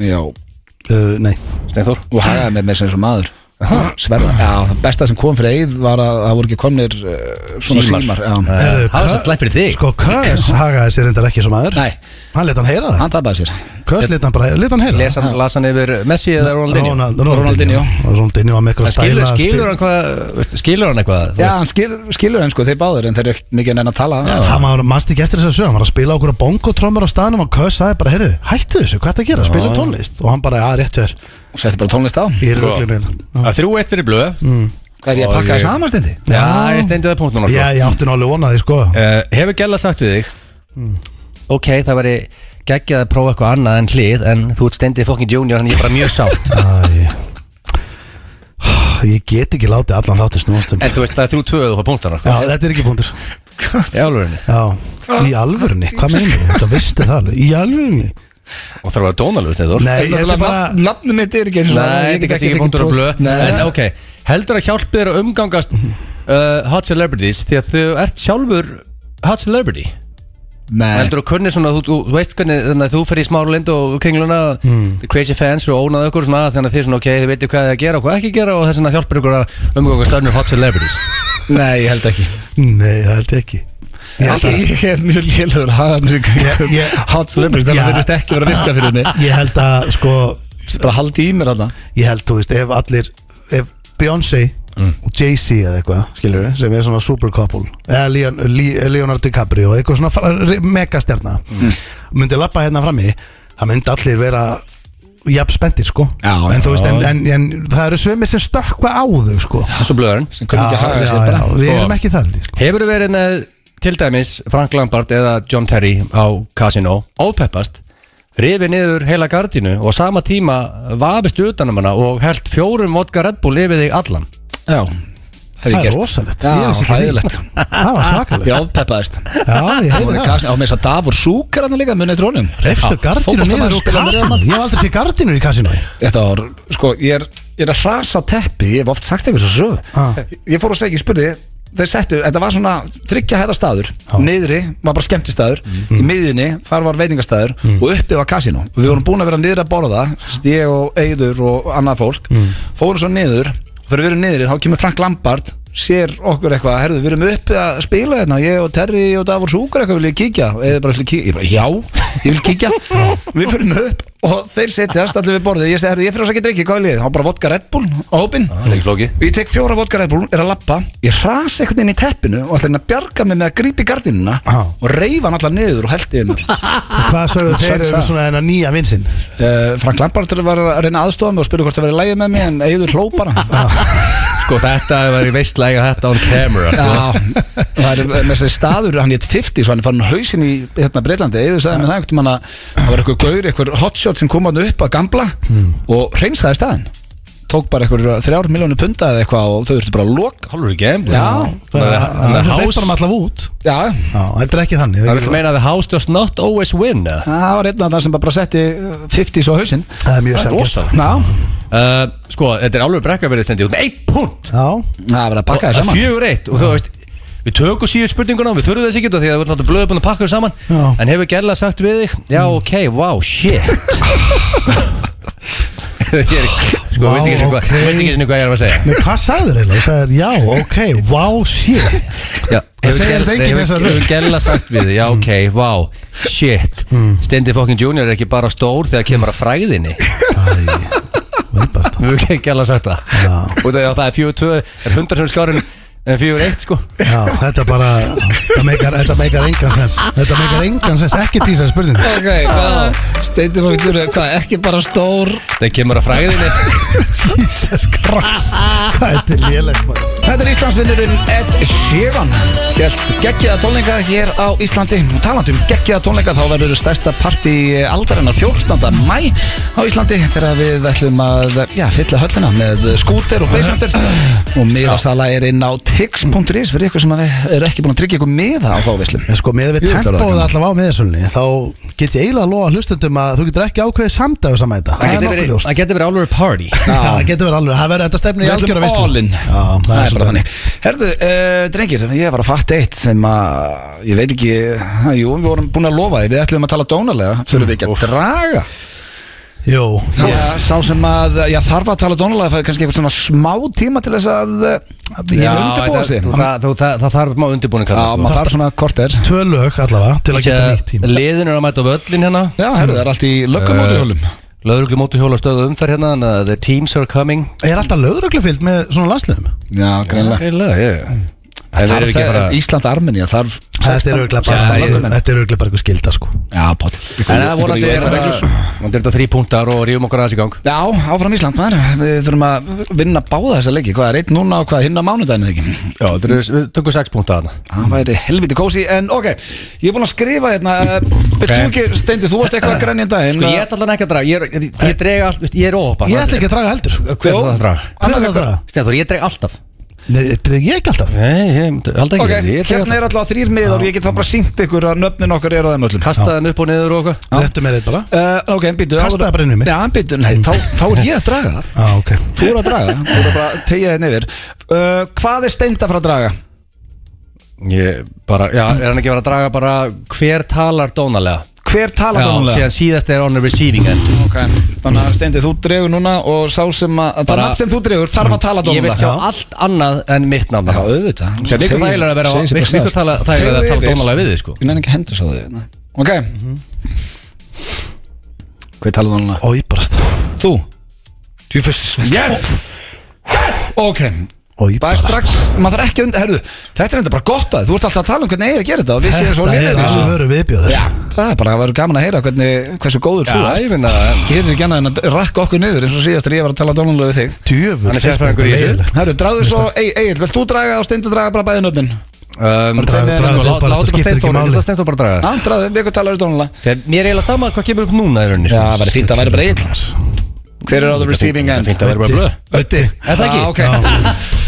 Speaker 1: Já. og
Speaker 3: Uh, Nei
Speaker 2: Steinþór
Speaker 1: hagaði með mér sem svo maður Sverða, já, það besta sem kom fyrir eigið var að það voru ekki komnir uh, svona símar, já.
Speaker 2: Það
Speaker 3: Heyrðu,
Speaker 2: var
Speaker 3: Kö-
Speaker 2: svo slæmt fyrir þig
Speaker 3: Sko, Kös hagaði sér reyndar ekki sem aður
Speaker 1: Nei,
Speaker 3: Hann let hann heyra það
Speaker 1: hann tapaði sér
Speaker 3: Kös let hann bara, let hann heyra
Speaker 2: Les hann- Las hann yfir Messi eða Ronaldinho
Speaker 3: Ronald- Ronaldinho Ronaldinho var með eitthvað
Speaker 2: En Skilur,
Speaker 3: stæla að
Speaker 2: skilur
Speaker 3: spila.
Speaker 2: hann hvað veist, Skilur hann eitthvað
Speaker 1: Já, hann skil, skilur henn sko, þeir báður en þeir eru ekkert mikið enn að tala
Speaker 3: Það maður mannst ekki eftir þess að sögja, hann var að spila okkur á bongotrömmur á staðnum og Kös sagði bara, heyrðu, hættu þessu, hvað er það að gera, spila tónlist og hann bara, að rétt þér,
Speaker 1: og setti bara tónlist á
Speaker 3: ég er
Speaker 2: Sko.
Speaker 3: röglinu
Speaker 2: Að Þrjú eitt fyrir blöð
Speaker 3: Mm.
Speaker 1: Hvað er ég að
Speaker 2: Og
Speaker 1: pakka
Speaker 2: ég-
Speaker 1: það samanstendi?
Speaker 2: Já, ég steindi það punkt núna sko.
Speaker 3: Já, ég átti nálega vonaði, sko
Speaker 2: uh, Hefur Gjalla sagt við þig
Speaker 3: Mm.
Speaker 2: Ok, það væri geggjað að prófa eitthvað annað en hlið En þú ert steindið fokkin junior Þannig ég er bara mjög sátt
Speaker 3: Æ. Ég get ekki látið allan þáttir snúastum
Speaker 2: En þú veist það er þrjú tvöðu á punktana
Speaker 3: Já, þetta er ekki búndur
Speaker 2: Í alvörinni
Speaker 3: Já, í alvörunni, hvað meina þú? Þetta vistu það alveg, í alvörunni
Speaker 2: Og það var dónalöf Steindur
Speaker 3: Nei, ég er bara
Speaker 1: Nafnum mitt er ekki eins og
Speaker 2: Nei,
Speaker 1: ég get
Speaker 2: þetta er kannski ekki
Speaker 1: fengið
Speaker 2: punktur á
Speaker 1: tól-
Speaker 2: blöð
Speaker 1: Nei.
Speaker 2: En ok, heldur að hjálpi þér að umgangast uh, Hot celebrities Því að þú ert sjálfur Hot celebrity
Speaker 1: Nei,
Speaker 2: Heldur þú kunni svona, þú, þú- þú veist hvernig þannig að þú fer í smáru lindu og kringluna the crazy fans og ónað ykkur svona þannig að þið svona ok, þið veitir hvað þið að gera og hvað ekki gera og þess vegna hjálpar ykkur að umgangast önnur hot celebrities
Speaker 1: nei, ég held ekki
Speaker 3: Nei, það held ég ekki Ég held að,
Speaker 1: Ég er mjög lélögur hafðamsing
Speaker 3: Ég- ég-
Speaker 1: Hot celebrities, þannig að
Speaker 3: Já.
Speaker 1: það verðist ekki vera að virka fyrir mig
Speaker 3: ég held að sko,
Speaker 1: Bara haldi í mér alltaf
Speaker 3: ég held, þú veist, ef allir ef Beyoncé
Speaker 1: Mm.
Speaker 3: og Jay-Z eða eitthvað, skilur við, sem er svona super couple, eða Leon, Le- Leonardo DiCaprio eitthvað svona fra- megastjarna
Speaker 1: Mm.
Speaker 3: myndi lappa hérna fram í það myndi allir vera jafn spendir, sko,
Speaker 1: Já,
Speaker 3: en þú veist en, en, en það eru svömið sem stökkva á þau, sko
Speaker 2: og svo blöðurinn
Speaker 1: sem kunni ekki að haga sér bara
Speaker 3: við
Speaker 2: Sko.
Speaker 3: erum ekki það held ég, sko.
Speaker 2: Hefur þú verið með til dæmis Frank Lampard eða John Terry á Casino ópeppast, rifið niður heila gardínu og sama tíma vafist utanum hana og held fjórum vodka Red Bull yfir þig allan
Speaker 1: Já, hef ég
Speaker 3: Það er
Speaker 1: gert
Speaker 3: rosalegt.
Speaker 1: Já,
Speaker 3: Ég vissi ekki
Speaker 1: hræðilegt
Speaker 3: það var svakalegt
Speaker 1: Ég ofpeppaðist
Speaker 3: Já, ég
Speaker 1: Það voru
Speaker 3: hefði það
Speaker 1: gasin á með þess að Davor Súkar hann líka munið trónum
Speaker 3: Refstu gardinu niður úr kassinu Ég hef aldrei sé gardinu í kassinu
Speaker 1: Þetta var, sko, ég er, ég er að hrasa á teppi Ég hef oft sagt eitthvað svo
Speaker 3: Ah.
Speaker 1: sög Ég fór að segja, ég spurði Þeir settu, þetta var svona tryggja hæða staður Niðri var bara skemmtistaður
Speaker 2: Mhm.
Speaker 1: Í miðinni, þar var veitingastaður Og uppi var kasino Við vorum búin að vera niður að borða Stig og Eyður og annað fólk
Speaker 2: Mhm.
Speaker 1: Fórum svo niður Og þegar við erum niðri, þá kemur Frank Lampard Sér okkur eitthvað, herðu, við erum uppi að spila hérna Ég og Terry og Davor Súkur eitthvað vil ég kíkja Eða bara vil kíkja, ég bara, já, ég vil kíkja Við fyrir upp og þeir setjast allir við borðið Ég segi, herðu, ég fyrir að segja drikki, hvað vil ég? Há bara vodka Red Bull á hópin
Speaker 2: Það er ekki flóki
Speaker 1: Ég tek fjóra vodka Red Bull, er að lappa Ég hrasa einhvern veginn í teppinu og ætla henni að bjarga mig með að grípa í gardinuna
Speaker 3: Já.
Speaker 1: og reyfa hann allar niður og held yfir mér Ah.
Speaker 3: Hvað sögðu þeir eru svona þennan nýja vinsinn
Speaker 1: uh, Frank Lampard var að reyna aðstofað mig og spurði hvort það verið lægið með mig en eigður hlópana
Speaker 2: Sko þetta var í veistlæga þetta on camera sko.
Speaker 1: Já, það er með þessi staður hann hétt 50, svo hann er farin á hausinn í hérna Breitlandi, eða sagði með það einhvern tímann að það var eitthvað gaur, eitthvað hotshot sem kom hann upp að gamla og reynsaði staðin tók bara eitthvað þrjár miljónu punda eða eitthvað og þau þurftu bara að loka
Speaker 2: Hálfur í game
Speaker 1: Já,
Speaker 2: Það
Speaker 3: Það er
Speaker 2: er
Speaker 3: veitt honum
Speaker 2: hás
Speaker 3: allaf út
Speaker 1: já,
Speaker 3: Já, þetta er ekki þannig
Speaker 2: Það vil meina að the house does not always win eða?
Speaker 1: það var einn af það sem bara setti 50 svo hausinn
Speaker 3: Það er mjög
Speaker 2: Það er rosa
Speaker 3: sjálfgjöld
Speaker 1: Já,
Speaker 2: uh, Sko, þetta er alveg brekka verið þendi út með eitt punkt
Speaker 3: Já,
Speaker 1: það var að pakka það saman
Speaker 2: Fjögur eitt og þú veist Við tökum síðu spurninguna, við þurfum þess ekki út af því að við ætlum að blöða búin að pakka þér saman
Speaker 3: Já. Mm.
Speaker 2: En hefur gerlega sagt við þig, já ok, wow, shit Ég er, sko,
Speaker 3: Vá,
Speaker 2: veit ekki einu sinni hvað,
Speaker 3: ok.
Speaker 2: veit ekki einu hvað ég er að segja
Speaker 3: Nei, hvað sagður eiginlega? Þú sagður, já, ok, wow, shit
Speaker 2: Já, hefur Gell-
Speaker 3: segir þetta enginn
Speaker 2: hefur-
Speaker 3: þessa rödd. Mm.
Speaker 2: Hefur gerlega sagt við þig, já ok, wow, shit Stendi fokkin junior er ekki bara stór þegar kemur að fræðinni
Speaker 3: Viðbært
Speaker 2: Við hefur gerlega sagt það
Speaker 3: Já.
Speaker 2: Og það, já, það er fjögur tvö, er hundar sem skárin en fjögur eitt sko
Speaker 3: Já, þetta er bara, þetta meikar, þetta meikar engan sens Þetta meikar engan sens, ekki tísa spurningu
Speaker 1: Ok, hvað, steintum við að hvað, ekki bara stór
Speaker 2: Það kemur að fræðinni
Speaker 3: Jesus Christ, hvað þetta er lélegt maður
Speaker 1: Þetta er Íslandsvinnurinn Ed Sheeran Hjælt geggjaða tónleika hér á Íslandi Talandum geggjaða tónleika þá verður stærsta partí aldarinnar 14. mæ á Íslandi þegar við ætlum að já, fylla höllina með skúter og beisandir og miðasala er inn á tix.is fyrir ykkur sem er ekki búin að tryggja ykkur miða á þá veislum
Speaker 3: En sko, með við
Speaker 1: Jú, þetta er
Speaker 3: tempóið
Speaker 1: gaman.
Speaker 3: allavega á meðsölunni þá get ég eiginlega að lofa hlustendum að þú getur ekki ákveðið samdagur samæta
Speaker 2: Það
Speaker 3: það er
Speaker 2: getur
Speaker 3: nokkuð
Speaker 2: verið,
Speaker 3: ljóst
Speaker 2: það getur verið álur party
Speaker 3: Já, það getur verið alveg, það verður þetta stefni í
Speaker 1: Við
Speaker 3: algjöra
Speaker 1: ætlum
Speaker 3: veislu
Speaker 1: all in
Speaker 3: Já, það,
Speaker 1: Það bara
Speaker 3: er bara þannig
Speaker 1: þannig Herðu, uh, drengir, ég var að fatta eitt sem að ég veit ekki, ha, jú, við vorum búin að lofa því, við ætlum að tala dónalega þurfum við ekki að draga
Speaker 3: Jú,
Speaker 1: Já, sá sem að já, þarf að tala dónalega það er kannski eitthvað svona smá tíma til þess að eh, ég vil undirbúa
Speaker 2: það-
Speaker 1: sig
Speaker 2: þú-
Speaker 1: Já,
Speaker 2: það- þú- það- það þarf má undirbúning
Speaker 1: maður þarf svona korter
Speaker 3: tvö lög allavega til að geta nýtt tíma
Speaker 2: Liðin er að mæta á völlin hérna Eh,
Speaker 1: Já, herðu, það er allt í löggum og hljólum
Speaker 2: Löðrugli mótu hjóla stöðu umferð hérna Þannig að the teams are coming
Speaker 3: Er alltaf lögreglufyllt með svona landsliðum?
Speaker 1: Já, greinlega
Speaker 2: Eða, ég Það er
Speaker 1: Þarf
Speaker 2: ekki
Speaker 1: það,
Speaker 2: bara
Speaker 1: Ísland Armenia þarf
Speaker 3: Þetta er örugglega
Speaker 1: Já, ég-
Speaker 3: bara Þetta er örugglega bara eitthvað skilda sko
Speaker 1: Já, pát
Speaker 2: En það vonandi er það Vonandi er þetta þrý punktar og rífum okkur aðeins í gang
Speaker 1: Já, áfram Ísland maður Við þurfum að vinna báða þessa leiki Hvað er einn núna og hvað hinn á mánudaginu þykir
Speaker 2: Já, þetta eru- við tökum sex punktar þarna
Speaker 1: Það væri helviti kósi En ok, ég er búin að skrifa hérna eh, Vilt þú ekki, Steindi, þú varst eitthvað grænjum daginn
Speaker 2: Sko ég ætla allan ekki að draga Ég er- ég- ég dreg allt, veist, ég er óhoppa
Speaker 3: Ég ætla ekki að draga heldur
Speaker 2: Hver er það að draga?
Speaker 3: Hver er það að draga?
Speaker 2: Stenþór, ég dreg alltaf
Speaker 3: Nei, þetta er ég ekki alltaf
Speaker 2: Nei, ég held
Speaker 1: Ok,
Speaker 2: ekki Ég dreg
Speaker 1: hérna er
Speaker 2: alltaf.
Speaker 1: alltaf þrýr miður Ég get þá bara sínt ykkur að nöfnin okkar er á þeim öllum
Speaker 2: Kasta þeim upp og niður og eitthvað
Speaker 3: Réttu mér þetta bara
Speaker 1: Uh, ok, en býtu
Speaker 3: Kastaðu bara inn í mig.
Speaker 1: Já, en býtu, nei, þá, þá er ég að draga það
Speaker 3: Já, ok
Speaker 1: Eh, Þú er að draga það, þú er að bara tegja þið nefir uh, Hvað er steinda frá að draga?
Speaker 2: Ég bara, já, er hann ekki verið að draga bara hver talar dónalega?
Speaker 1: Hver tala
Speaker 2: Já,
Speaker 1: dónulega?
Speaker 2: síðan síðast er on the receiving end
Speaker 1: Ok, þannig að steindi þú dregur núna og sá sem að, það
Speaker 2: Bara- Mm.
Speaker 1: nafn sem þú dregur þarf að tala
Speaker 2: Ég veit
Speaker 1: dónulega
Speaker 2: sjá allt annað en mitt nafn
Speaker 1: Já, auðvitað
Speaker 2: Það er miklu þægilega að vera
Speaker 1: Segir sig bara
Speaker 2: miklu
Speaker 1: sjálft.
Speaker 2: tala- þægilegra að
Speaker 1: Tegðu
Speaker 2: tala
Speaker 1: yfir.
Speaker 2: dónalega við þig sko Mhm.
Speaker 1: Ég nefn ekki að hendur svo þig hérna. Ok Hvað tala dónulega?
Speaker 3: Og ég barast
Speaker 1: Þú Þú fyrst Yes Ok
Speaker 3: Og
Speaker 1: Það
Speaker 3: ég
Speaker 1: er
Speaker 3: barast
Speaker 1: strax, maður þarf ekki að undir, herðu, þetta er enda bara gott að þú ert alltaf að tala um hvernig eigið að gera þetta og við séum svo
Speaker 3: Þetta er
Speaker 1: leiðir
Speaker 3: þessu vöru viðbjöður
Speaker 1: Það er bara að vera gaman að heyra hvernig, hversu góður þú
Speaker 2: Já,
Speaker 1: ert
Speaker 2: ég finna
Speaker 1: Gerir ekki annað en að rakka okkur niður eins og síðast er ég var að tala dónulega við þig
Speaker 3: Djöfull
Speaker 2: Hann er sérfræðingur í þessu.
Speaker 1: Herru, dráðu svo, Egil, vilt þú draga og steindu draga bara bæði nöfnin?
Speaker 2: Um,
Speaker 3: draga- draga þig bara, þetta skiptir ekki máli.
Speaker 2: Láta steintóra bara draga
Speaker 1: Já, dráðu, við um okkur talar í dónulega
Speaker 2: Þegar mér er eiginlega sama hvað kemur upp núna í rauninni
Speaker 1: Já,
Speaker 2: sko.
Speaker 1: það væri fínt að væri bara Egil Hver er á the receiving end?
Speaker 2: Fínt að vera bara blöð
Speaker 1: Ötti Er
Speaker 2: það ekki?
Speaker 1: Ah, ok.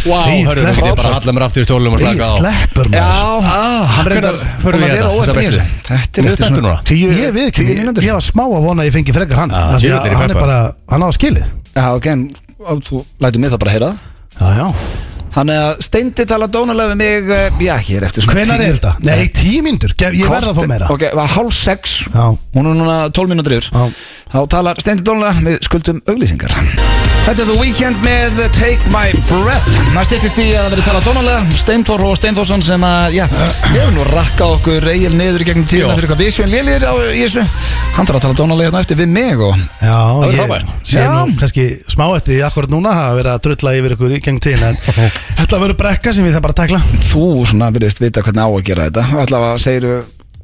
Speaker 2: Vá,
Speaker 3: Egil,
Speaker 2: hörðu, við getum bara að
Speaker 3: frábært.
Speaker 2: halla mér aftur í stólum og
Speaker 3: Ég
Speaker 2: slaka á
Speaker 3: sleppur
Speaker 1: Já,
Speaker 3: maður
Speaker 1: hann reyndar
Speaker 2: Hvenær förum
Speaker 1: Hún
Speaker 2: við
Speaker 1: að
Speaker 2: í
Speaker 1: vera
Speaker 2: þetta, þessa
Speaker 1: óöfn í
Speaker 2: bestu?
Speaker 1: þessu Þetta er
Speaker 2: Mjög
Speaker 1: eftir
Speaker 2: spenntur
Speaker 1: svona
Speaker 2: núna.
Speaker 1: tíu
Speaker 3: Ég við ekki,
Speaker 1: tíu mínútur.
Speaker 3: ég var smá að vona að ég fengi frekar hann Það
Speaker 2: ég
Speaker 3: því
Speaker 2: er
Speaker 3: að
Speaker 2: í
Speaker 3: hann er
Speaker 2: peppa.
Speaker 3: bara, hann á að skilið
Speaker 1: Já, ok, en á, þú lætur mig það bara heyra það.
Speaker 3: Já, já
Speaker 1: Þannig að Steindi tala dónalega við mig eh, Já, hér eftir svona
Speaker 3: Hvenar er þetta? Nei, tíu myndur, ég verð að fá meira
Speaker 1: Ok, var hálf sex
Speaker 3: Já.
Speaker 1: Hún er núna 12 mínútur yfir
Speaker 3: Já.
Speaker 1: Þá talar Steindi dónalega Við skuldum auglýsingar Þetta er The Weeknd með Take My Breath Það styttist í að það verið tala dónalega Steindor og Steindorsson sem að, já Hefur nú rakka okkur eigil niður í gegnum tíðina
Speaker 2: Jó.
Speaker 1: Fyrir hvað við sjöum lélir á í þessu Hann þarf að tala dónalega hérna eftir við mig og
Speaker 3: Já,
Speaker 2: er
Speaker 3: ég
Speaker 2: frábært.
Speaker 3: sé
Speaker 1: Já.
Speaker 3: nú kannski smá eftir því akkurat núna að vera að drulla yfir ykkur í geng tíðin en þetta verður brekka sem við það bara að tækla
Speaker 1: þú svona virðist vita hvernig á að gera þetta allavega segiru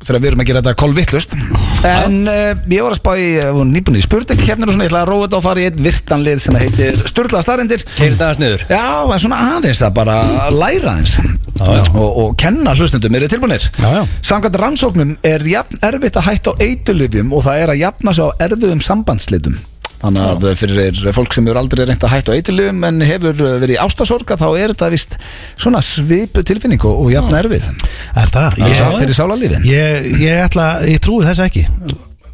Speaker 1: þegar við erum að gera þetta kolvittlust en uh, ég var að spá í uh, nýbunni í spurning hérna og svona ég ætla að róa þetta og fara í einn virtanlið sem heitir Sturla starindir
Speaker 2: Keirið það aðeins niður
Speaker 1: já, en svona aðeins að bara læra aðeins
Speaker 2: já.
Speaker 1: Og, og kenna hlustendum eru tilbúinir
Speaker 3: Já, já.
Speaker 1: samkvæmt rannsóknum er jafn erfitt að hætta á eitulifjum og það er að jafna sig á erfiðum sambandslitum Þannig að fyrir fólk sem eru aldrei reynt að hætta á eitilifjum en hefur uh, verið í ástasorga þá er þetta vist svona svipu tilfinning og og jafn erfið
Speaker 3: Er það?
Speaker 1: Ég
Speaker 3: Ég,
Speaker 1: sá fyrir sálarlífin
Speaker 3: ég, ég ætla, ég trúi þess ekki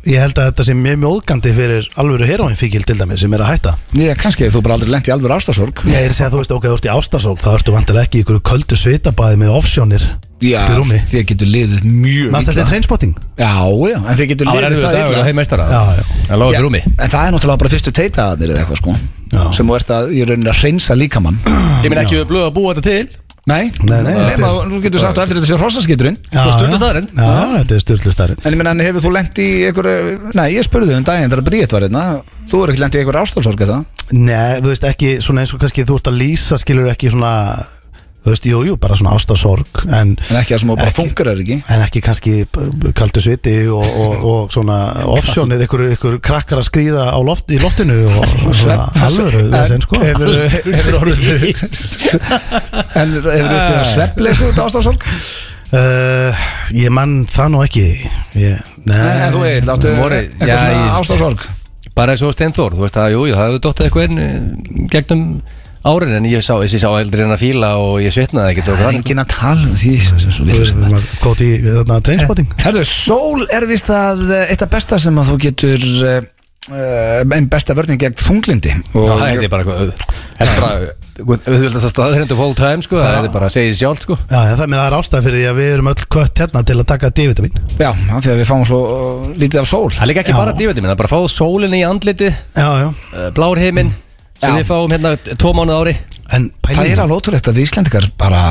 Speaker 3: Ég held að þetta sé mjög mjóðgandi fyrir alvöru heroinfíkil til dæmi sem er að hætta
Speaker 1: Ég kannski hefur þú bara aldrei lent í alveg ástasorg
Speaker 3: Ég er að segja þú veist, ok, þú ert í ástasók þá ertu vantilega ekki í ykkur köldu svitabæði með offsjónir
Speaker 1: Já,
Speaker 3: í rúmi
Speaker 1: þið getur liðið mjög
Speaker 3: Mast þetta er treinspotting?
Speaker 1: Já, já, en þið getur
Speaker 2: Það var
Speaker 1: liðið
Speaker 2: erfiður
Speaker 1: það
Speaker 2: dagur
Speaker 1: illa
Speaker 2: og þeim meistara
Speaker 3: Já, já.
Speaker 2: Það lág
Speaker 1: Já,
Speaker 2: upp í rúmi
Speaker 1: En það er náttúrulega bara fyrstu teitaðanir eða eitthvað sko
Speaker 3: Já.
Speaker 1: sem þú ert að, ég raunin að reynsa líkamann
Speaker 2: Ég minn ekki við blöð að búa þetta til
Speaker 1: Nei,
Speaker 3: Nei, nei, þetta
Speaker 1: nema,
Speaker 3: er-
Speaker 1: þú getur sagt á eftir þetta sé hrossaskýturinn
Speaker 3: Já,
Speaker 2: Og
Speaker 3: já.
Speaker 2: sturlu staðreynd.
Speaker 3: Já, þetta er styrlu staðrind
Speaker 1: En ég meina, en hefur þú lent í einhverju Nei, ég spurði þau um daginn þegar Bríett var hérna Þú er ekki lent í einhverju ástofsorg eða?
Speaker 3: Nei, þú veist ekki, svona eins og kannski þú ert að lýsa skilur ekki svona þú veist, jú, jú, bara svona ástasorg en,
Speaker 1: En ekki það sem þú bara
Speaker 3: Ekki.
Speaker 1: fungerar ekki
Speaker 3: en ekki kannski kaldu sviti og, og, og svona offsjónir, ykkur, ykkur krakkar að skrýða á loft, í loftinu og svona alvöru þessin sko
Speaker 1: Hefur hefur orðið fyrir- En hefur þú uppið að sveppleisu út ástofsorg?
Speaker 3: uh, Ég mann það nú ekki ég,
Speaker 1: Nei,
Speaker 3: Nei,
Speaker 1: en þú er, láttu
Speaker 2: Voru-
Speaker 1: eitthvað
Speaker 2: Já,
Speaker 1: svona
Speaker 2: ég-
Speaker 1: ástofsorg
Speaker 2: Bara eins og Steinþór Þú veist að jú, jú, það hefur dottað eitthvað inn eh, gegnum árin En ég sá, ég sá eldri en að fíla og ég svitnaði ekkert og
Speaker 1: Það er
Speaker 2: hvað
Speaker 1: enginn að tala um því sem- sem svo
Speaker 3: þú
Speaker 1: vitlaust.
Speaker 3: veist, maður gótt í þarna trainspotting
Speaker 1: Herðu, sól er vist að eh, eitt af besta sem að þú getur eh, eh, einn besta vörning gegn þunglindi og
Speaker 2: Það heiti bara eitthvað Það er bara auðvöldast að staðrendu full time sko Það heiti bara að segja því sjálf sko
Speaker 3: Já, já, það meina það er ástæð fyrir því að við erum öll kött hérna til að taka divitamin
Speaker 1: Já, af því að við fáum svo eh, lítið af sól
Speaker 2: Það er líka ekki
Speaker 3: Já.
Speaker 2: bara dífandi minn Það er bara að fá sólinni í andliti
Speaker 3: Já, já,
Speaker 2: Blár heiminn
Speaker 1: Já.
Speaker 2: Sem við fáum hérna tvo mánuð ári
Speaker 3: en pæling
Speaker 1: Það er alveg ótrúlegt að við Íslendingar bara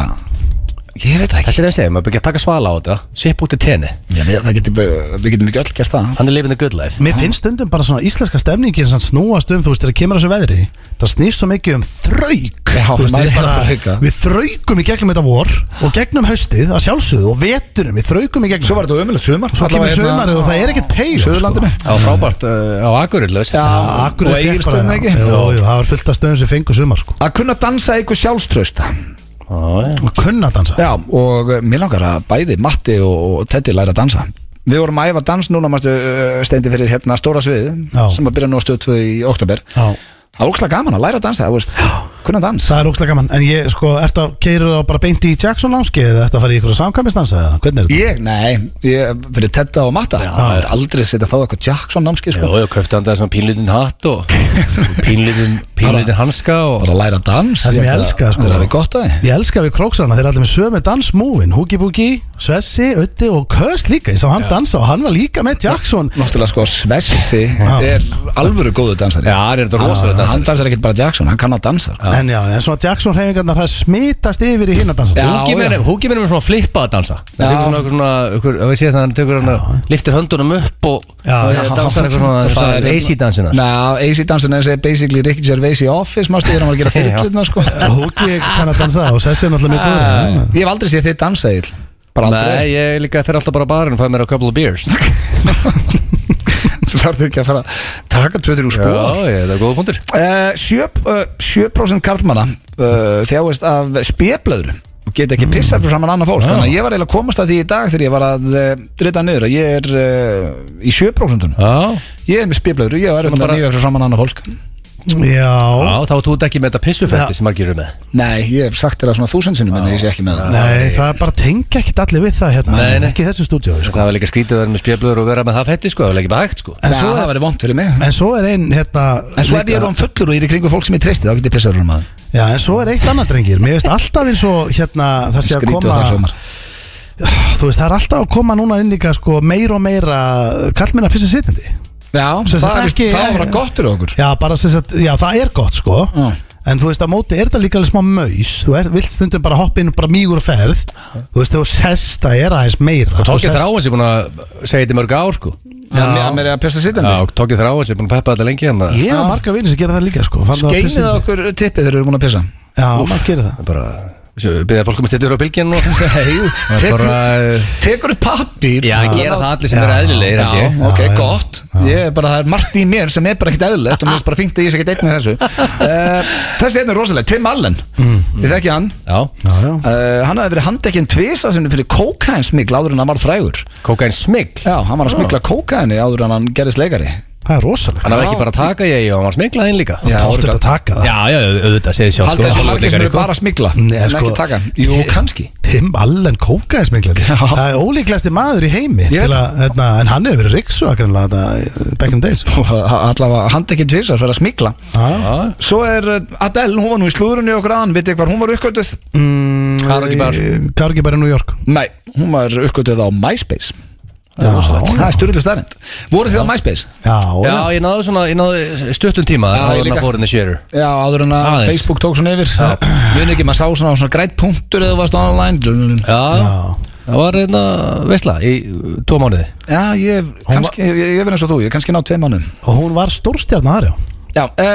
Speaker 1: ég veit það ekki
Speaker 2: Þessi er það að segja, maður byrja að taka svala á þetta Sipp út í tenni
Speaker 1: Já, við, það getur, við getum ekki öll gert það
Speaker 2: Hann er lifin the good life
Speaker 3: Mér finnst stundum bara svona íslenska stemningin sem snúast um, þú veist, þegar kemur að þessu veðri það snýst svo mikið um þrauk
Speaker 1: Já,
Speaker 3: Þú
Speaker 1: maður
Speaker 3: ég
Speaker 1: er að þrauka.
Speaker 3: Við þraukum í gegnum þetta vor og gegnum haustið að sjálfsögðu og veturum, við þraukum í gegnum
Speaker 1: Svo var þetta ömulegt sumar hérna
Speaker 3: Svo kemur sömarið og það er ekkert sko. pay
Speaker 1: Suðurlandinu
Speaker 2: Það var frábært
Speaker 1: eh,
Speaker 2: uh, á Akureyri
Speaker 1: Já,
Speaker 3: Akkur
Speaker 1: og Egilsstöðum ekki
Speaker 3: Jú, jú, það var fullt af stöðum sem fengu sumar sko.
Speaker 1: Að kunna dansa eitthvað sjálfströsta
Speaker 2: Já,
Speaker 3: og kunna að dansa
Speaker 1: Já, og eh, mér langar að bæði Matti og og Teddy læra að dansa Við vorum að æfa dans núna, mástu, steindi fyrir hérna stóra sviðið,
Speaker 3: Já.
Speaker 1: sem að byrja nú að stöðu tvö í oktober.
Speaker 3: Já.
Speaker 1: Það var ókslega gaman að læra að dansa, þú veist, kunna dans.
Speaker 3: Það er ógstlega gaman, en ég sko, ertu að keira það bara beint í Jackson námskeið eða ertu að fara í ykkur samkvæmistansa eða hvernig er þetta?
Speaker 1: Ég, nei, ég, fyrir Tedda og Matta, það er aldrei setja þá eitthvað Jackson námski, sko.
Speaker 2: já, köfti hann það svona pínlítinn hatt og Pínlítin, pínlítin hanska og
Speaker 1: Bara að læra dans
Speaker 3: Það sem ég elska, sko.
Speaker 1: Það er að við gott að þið
Speaker 3: Ég elska við króksana, þeir eru allir með sömu dansmúin Húki Búki, Svessi, Ötti og Köst líka Ég sá hann dansa og hann var líka með Jackson
Speaker 1: Náttúrulega sko Svessi er alvöru góðu dansari
Speaker 2: Já, hann er þetta rosalega dansari.
Speaker 1: Hann dansar ekkert bara Jackson, hann kann að dansa sko.
Speaker 3: En já, en svona Jackson hreyfingarnar það smitast yfir í hinn að dansa
Speaker 1: Já,
Speaker 2: Húki minn er húki minn er með svona flippa að dansa
Speaker 1: Já.
Speaker 2: Það tekur svona eitthvað svona, ykkur, ef ég sé það, hann tekur hann að liftir höndunum upp og
Speaker 3: Já.
Speaker 2: og
Speaker 3: Já,
Speaker 2: dansar eitthvað svona, svona AC
Speaker 1: hérna-
Speaker 2: dansina
Speaker 1: Ná, AC dansin er þessi basically Ricky Gervais í Office Mástu þegar hann var að gera þyrlutna sko
Speaker 3: Húki eh, kann að dansa og Svessi er náttúrulega mjög góður í það.
Speaker 1: Ég hef aldrei séð þið dansa Egill. Bara
Speaker 2: Nei,
Speaker 1: aldrei
Speaker 2: ég líka fer alltaf bara á barinn og fæði mér a couple of beers Já,
Speaker 1: Þú verður ekki að fara að taka tveitur úr spór
Speaker 2: ég, það er góða punktur
Speaker 1: Eh, sjö- eh, 7% karlmanna uh, þjáist af spjöblöður og get ekki pissað fyrir saman annað fólk þannig að ég var eiginlega að komast að því í dag þegar ég var að uh, drita niður að ég er uh, í 7%
Speaker 2: Já,
Speaker 1: ég er með spjöblöður, ég er
Speaker 2: bara-
Speaker 1: bara nýja fyrir saman annað fólk
Speaker 3: Já,
Speaker 2: Já, þá ert þú ekki með þetta pissufætti sem margir eru með
Speaker 1: nei, ég hef sagt þér það svona þúsund sinnum en ég sé ekki með það
Speaker 3: nei, það er bara tengja ekkit allir við það hérna
Speaker 2: Nei, nei.
Speaker 3: Ekki í þessu stúdíói, sko
Speaker 2: Það var líka skrítið að vera með spjöflöður og vera með það fætti sko, það var ekki bara hægt sko
Speaker 1: en
Speaker 3: En svo
Speaker 1: það
Speaker 3: er-
Speaker 1: væri vond fyrir mig
Speaker 3: En svo er einn, hérna
Speaker 1: en svo ef ég er án fullur og ég er í kringu fólk sem ég treysti þá get ég pissað fyrir maður
Speaker 3: Já, en svo er eitt annað drengir Mér veist alltaf eins og hérna það sé að
Speaker 1: skrítu
Speaker 3: koma
Speaker 1: að það hljómar
Speaker 3: Þú veist, það er alltaf að koma núna inn líka sko, meira og meira kallmennar pissa sitjandi
Speaker 1: já, það
Speaker 3: Sem sagt
Speaker 1: er
Speaker 3: ekki-
Speaker 1: það var gott fyrir okkur
Speaker 3: Já, bara sem sagt, já, það er gott sko
Speaker 1: Já.
Speaker 3: En þú veist, að móti er þetta líka alveg smá maus Þú er, vilt stundum bara hoppa inn og bara mýgur og ferð Þú veist, þú sest, það er aðeins meira Þú
Speaker 2: Tókið
Speaker 3: sest-
Speaker 2: þráins er búin að segja þetta í mörg ár sko
Speaker 1: Hann- hann er að pissa sitjandi.
Speaker 2: Já, Tókið þráins er búin að peppa þetta lengi hérna. hann að
Speaker 3: Ég hafa marga vinni sem gera það líka sko Fann það að pissa
Speaker 1: Skeinið á
Speaker 3: sitjandi.
Speaker 1: okkur tippið þegar við erum búin að pissa
Speaker 3: Já, maður gerir það
Speaker 2: bara, byrðið fólk um að styrja á bylgin og Það er
Speaker 1: tekur-
Speaker 2: bara,
Speaker 1: Tekur upp pappir
Speaker 2: Já, gera það allir sem
Speaker 3: Já.
Speaker 2: eru eðlilegir held
Speaker 1: Já,
Speaker 2: ég.
Speaker 1: ok, gott Ég er bara, það er margt í mér sem er bara ekkert eðlilegt og mér er bara fínt að ég sé ekkert einn með þessu uh, Þessi einn er rosalega, Tim Allen Ég þekki hann
Speaker 2: Já,
Speaker 3: Já, já
Speaker 1: uh, Hann hafði verið handekinn tvisa sinni fyrir kókainsmikl áður en hann var frægur
Speaker 2: kókain smikl
Speaker 1: Já, hann var að smikla kókaini áður en hann gerðist leikari
Speaker 3: Það er rosalegt
Speaker 2: Hann hafði
Speaker 1: Já.
Speaker 2: ekki bara að taka ég og hann var smiklað inn líka
Speaker 1: Já,
Speaker 3: Það áttir
Speaker 1: örugglega.
Speaker 3: þetta að taka það
Speaker 2: Já, já, auðvitað, segið sjálf
Speaker 1: Haldið þessi margir sem eru bara að smikla
Speaker 3: Nei,
Speaker 1: en
Speaker 3: sko,
Speaker 1: ekki taka Jú,
Speaker 3: ég-
Speaker 1: kannski
Speaker 3: Tim Allen kókaðismenglar
Speaker 1: Já.
Speaker 3: Það er ólíklegasti maður í heimi
Speaker 1: Ég veit
Speaker 3: til að, hérna, En hann hefur verið riksu Back in the days
Speaker 1: Allavega handekinn tvisa fyrir að smikla
Speaker 3: Já.
Speaker 1: Svo er uh, Adele, hún var nú í slúðurinn í okkur aðan Vitið þið hvar hún var uppgötuð?
Speaker 3: Mm.
Speaker 2: Karol Gibar.
Speaker 3: Kargi bara í New York
Speaker 1: Nei, hún var uppgötuð á MySpace
Speaker 3: Já,
Speaker 1: Það er styrlu starrend Voruð þið á MySpace?
Speaker 3: já,
Speaker 2: sko. Já, ég náðu svona, ég náðu stuttum tíma
Speaker 1: Já, ég
Speaker 2: áður en
Speaker 1: líka.
Speaker 2: að fórinni sérur
Speaker 1: Já, áður en að
Speaker 2: Aðeins.
Speaker 1: Facebook tók svona yfir Mjög ekki, maður sá svona, svona grætt punktur eða þú varst online
Speaker 2: Já, það var einna veistla í uh, tvo mánuði
Speaker 1: Já, ég, kannski, ég, ég er eins og þú, ég er kannski nátt tveim mánum
Speaker 3: Og hún var stórstjarn aðra
Speaker 1: Já, e,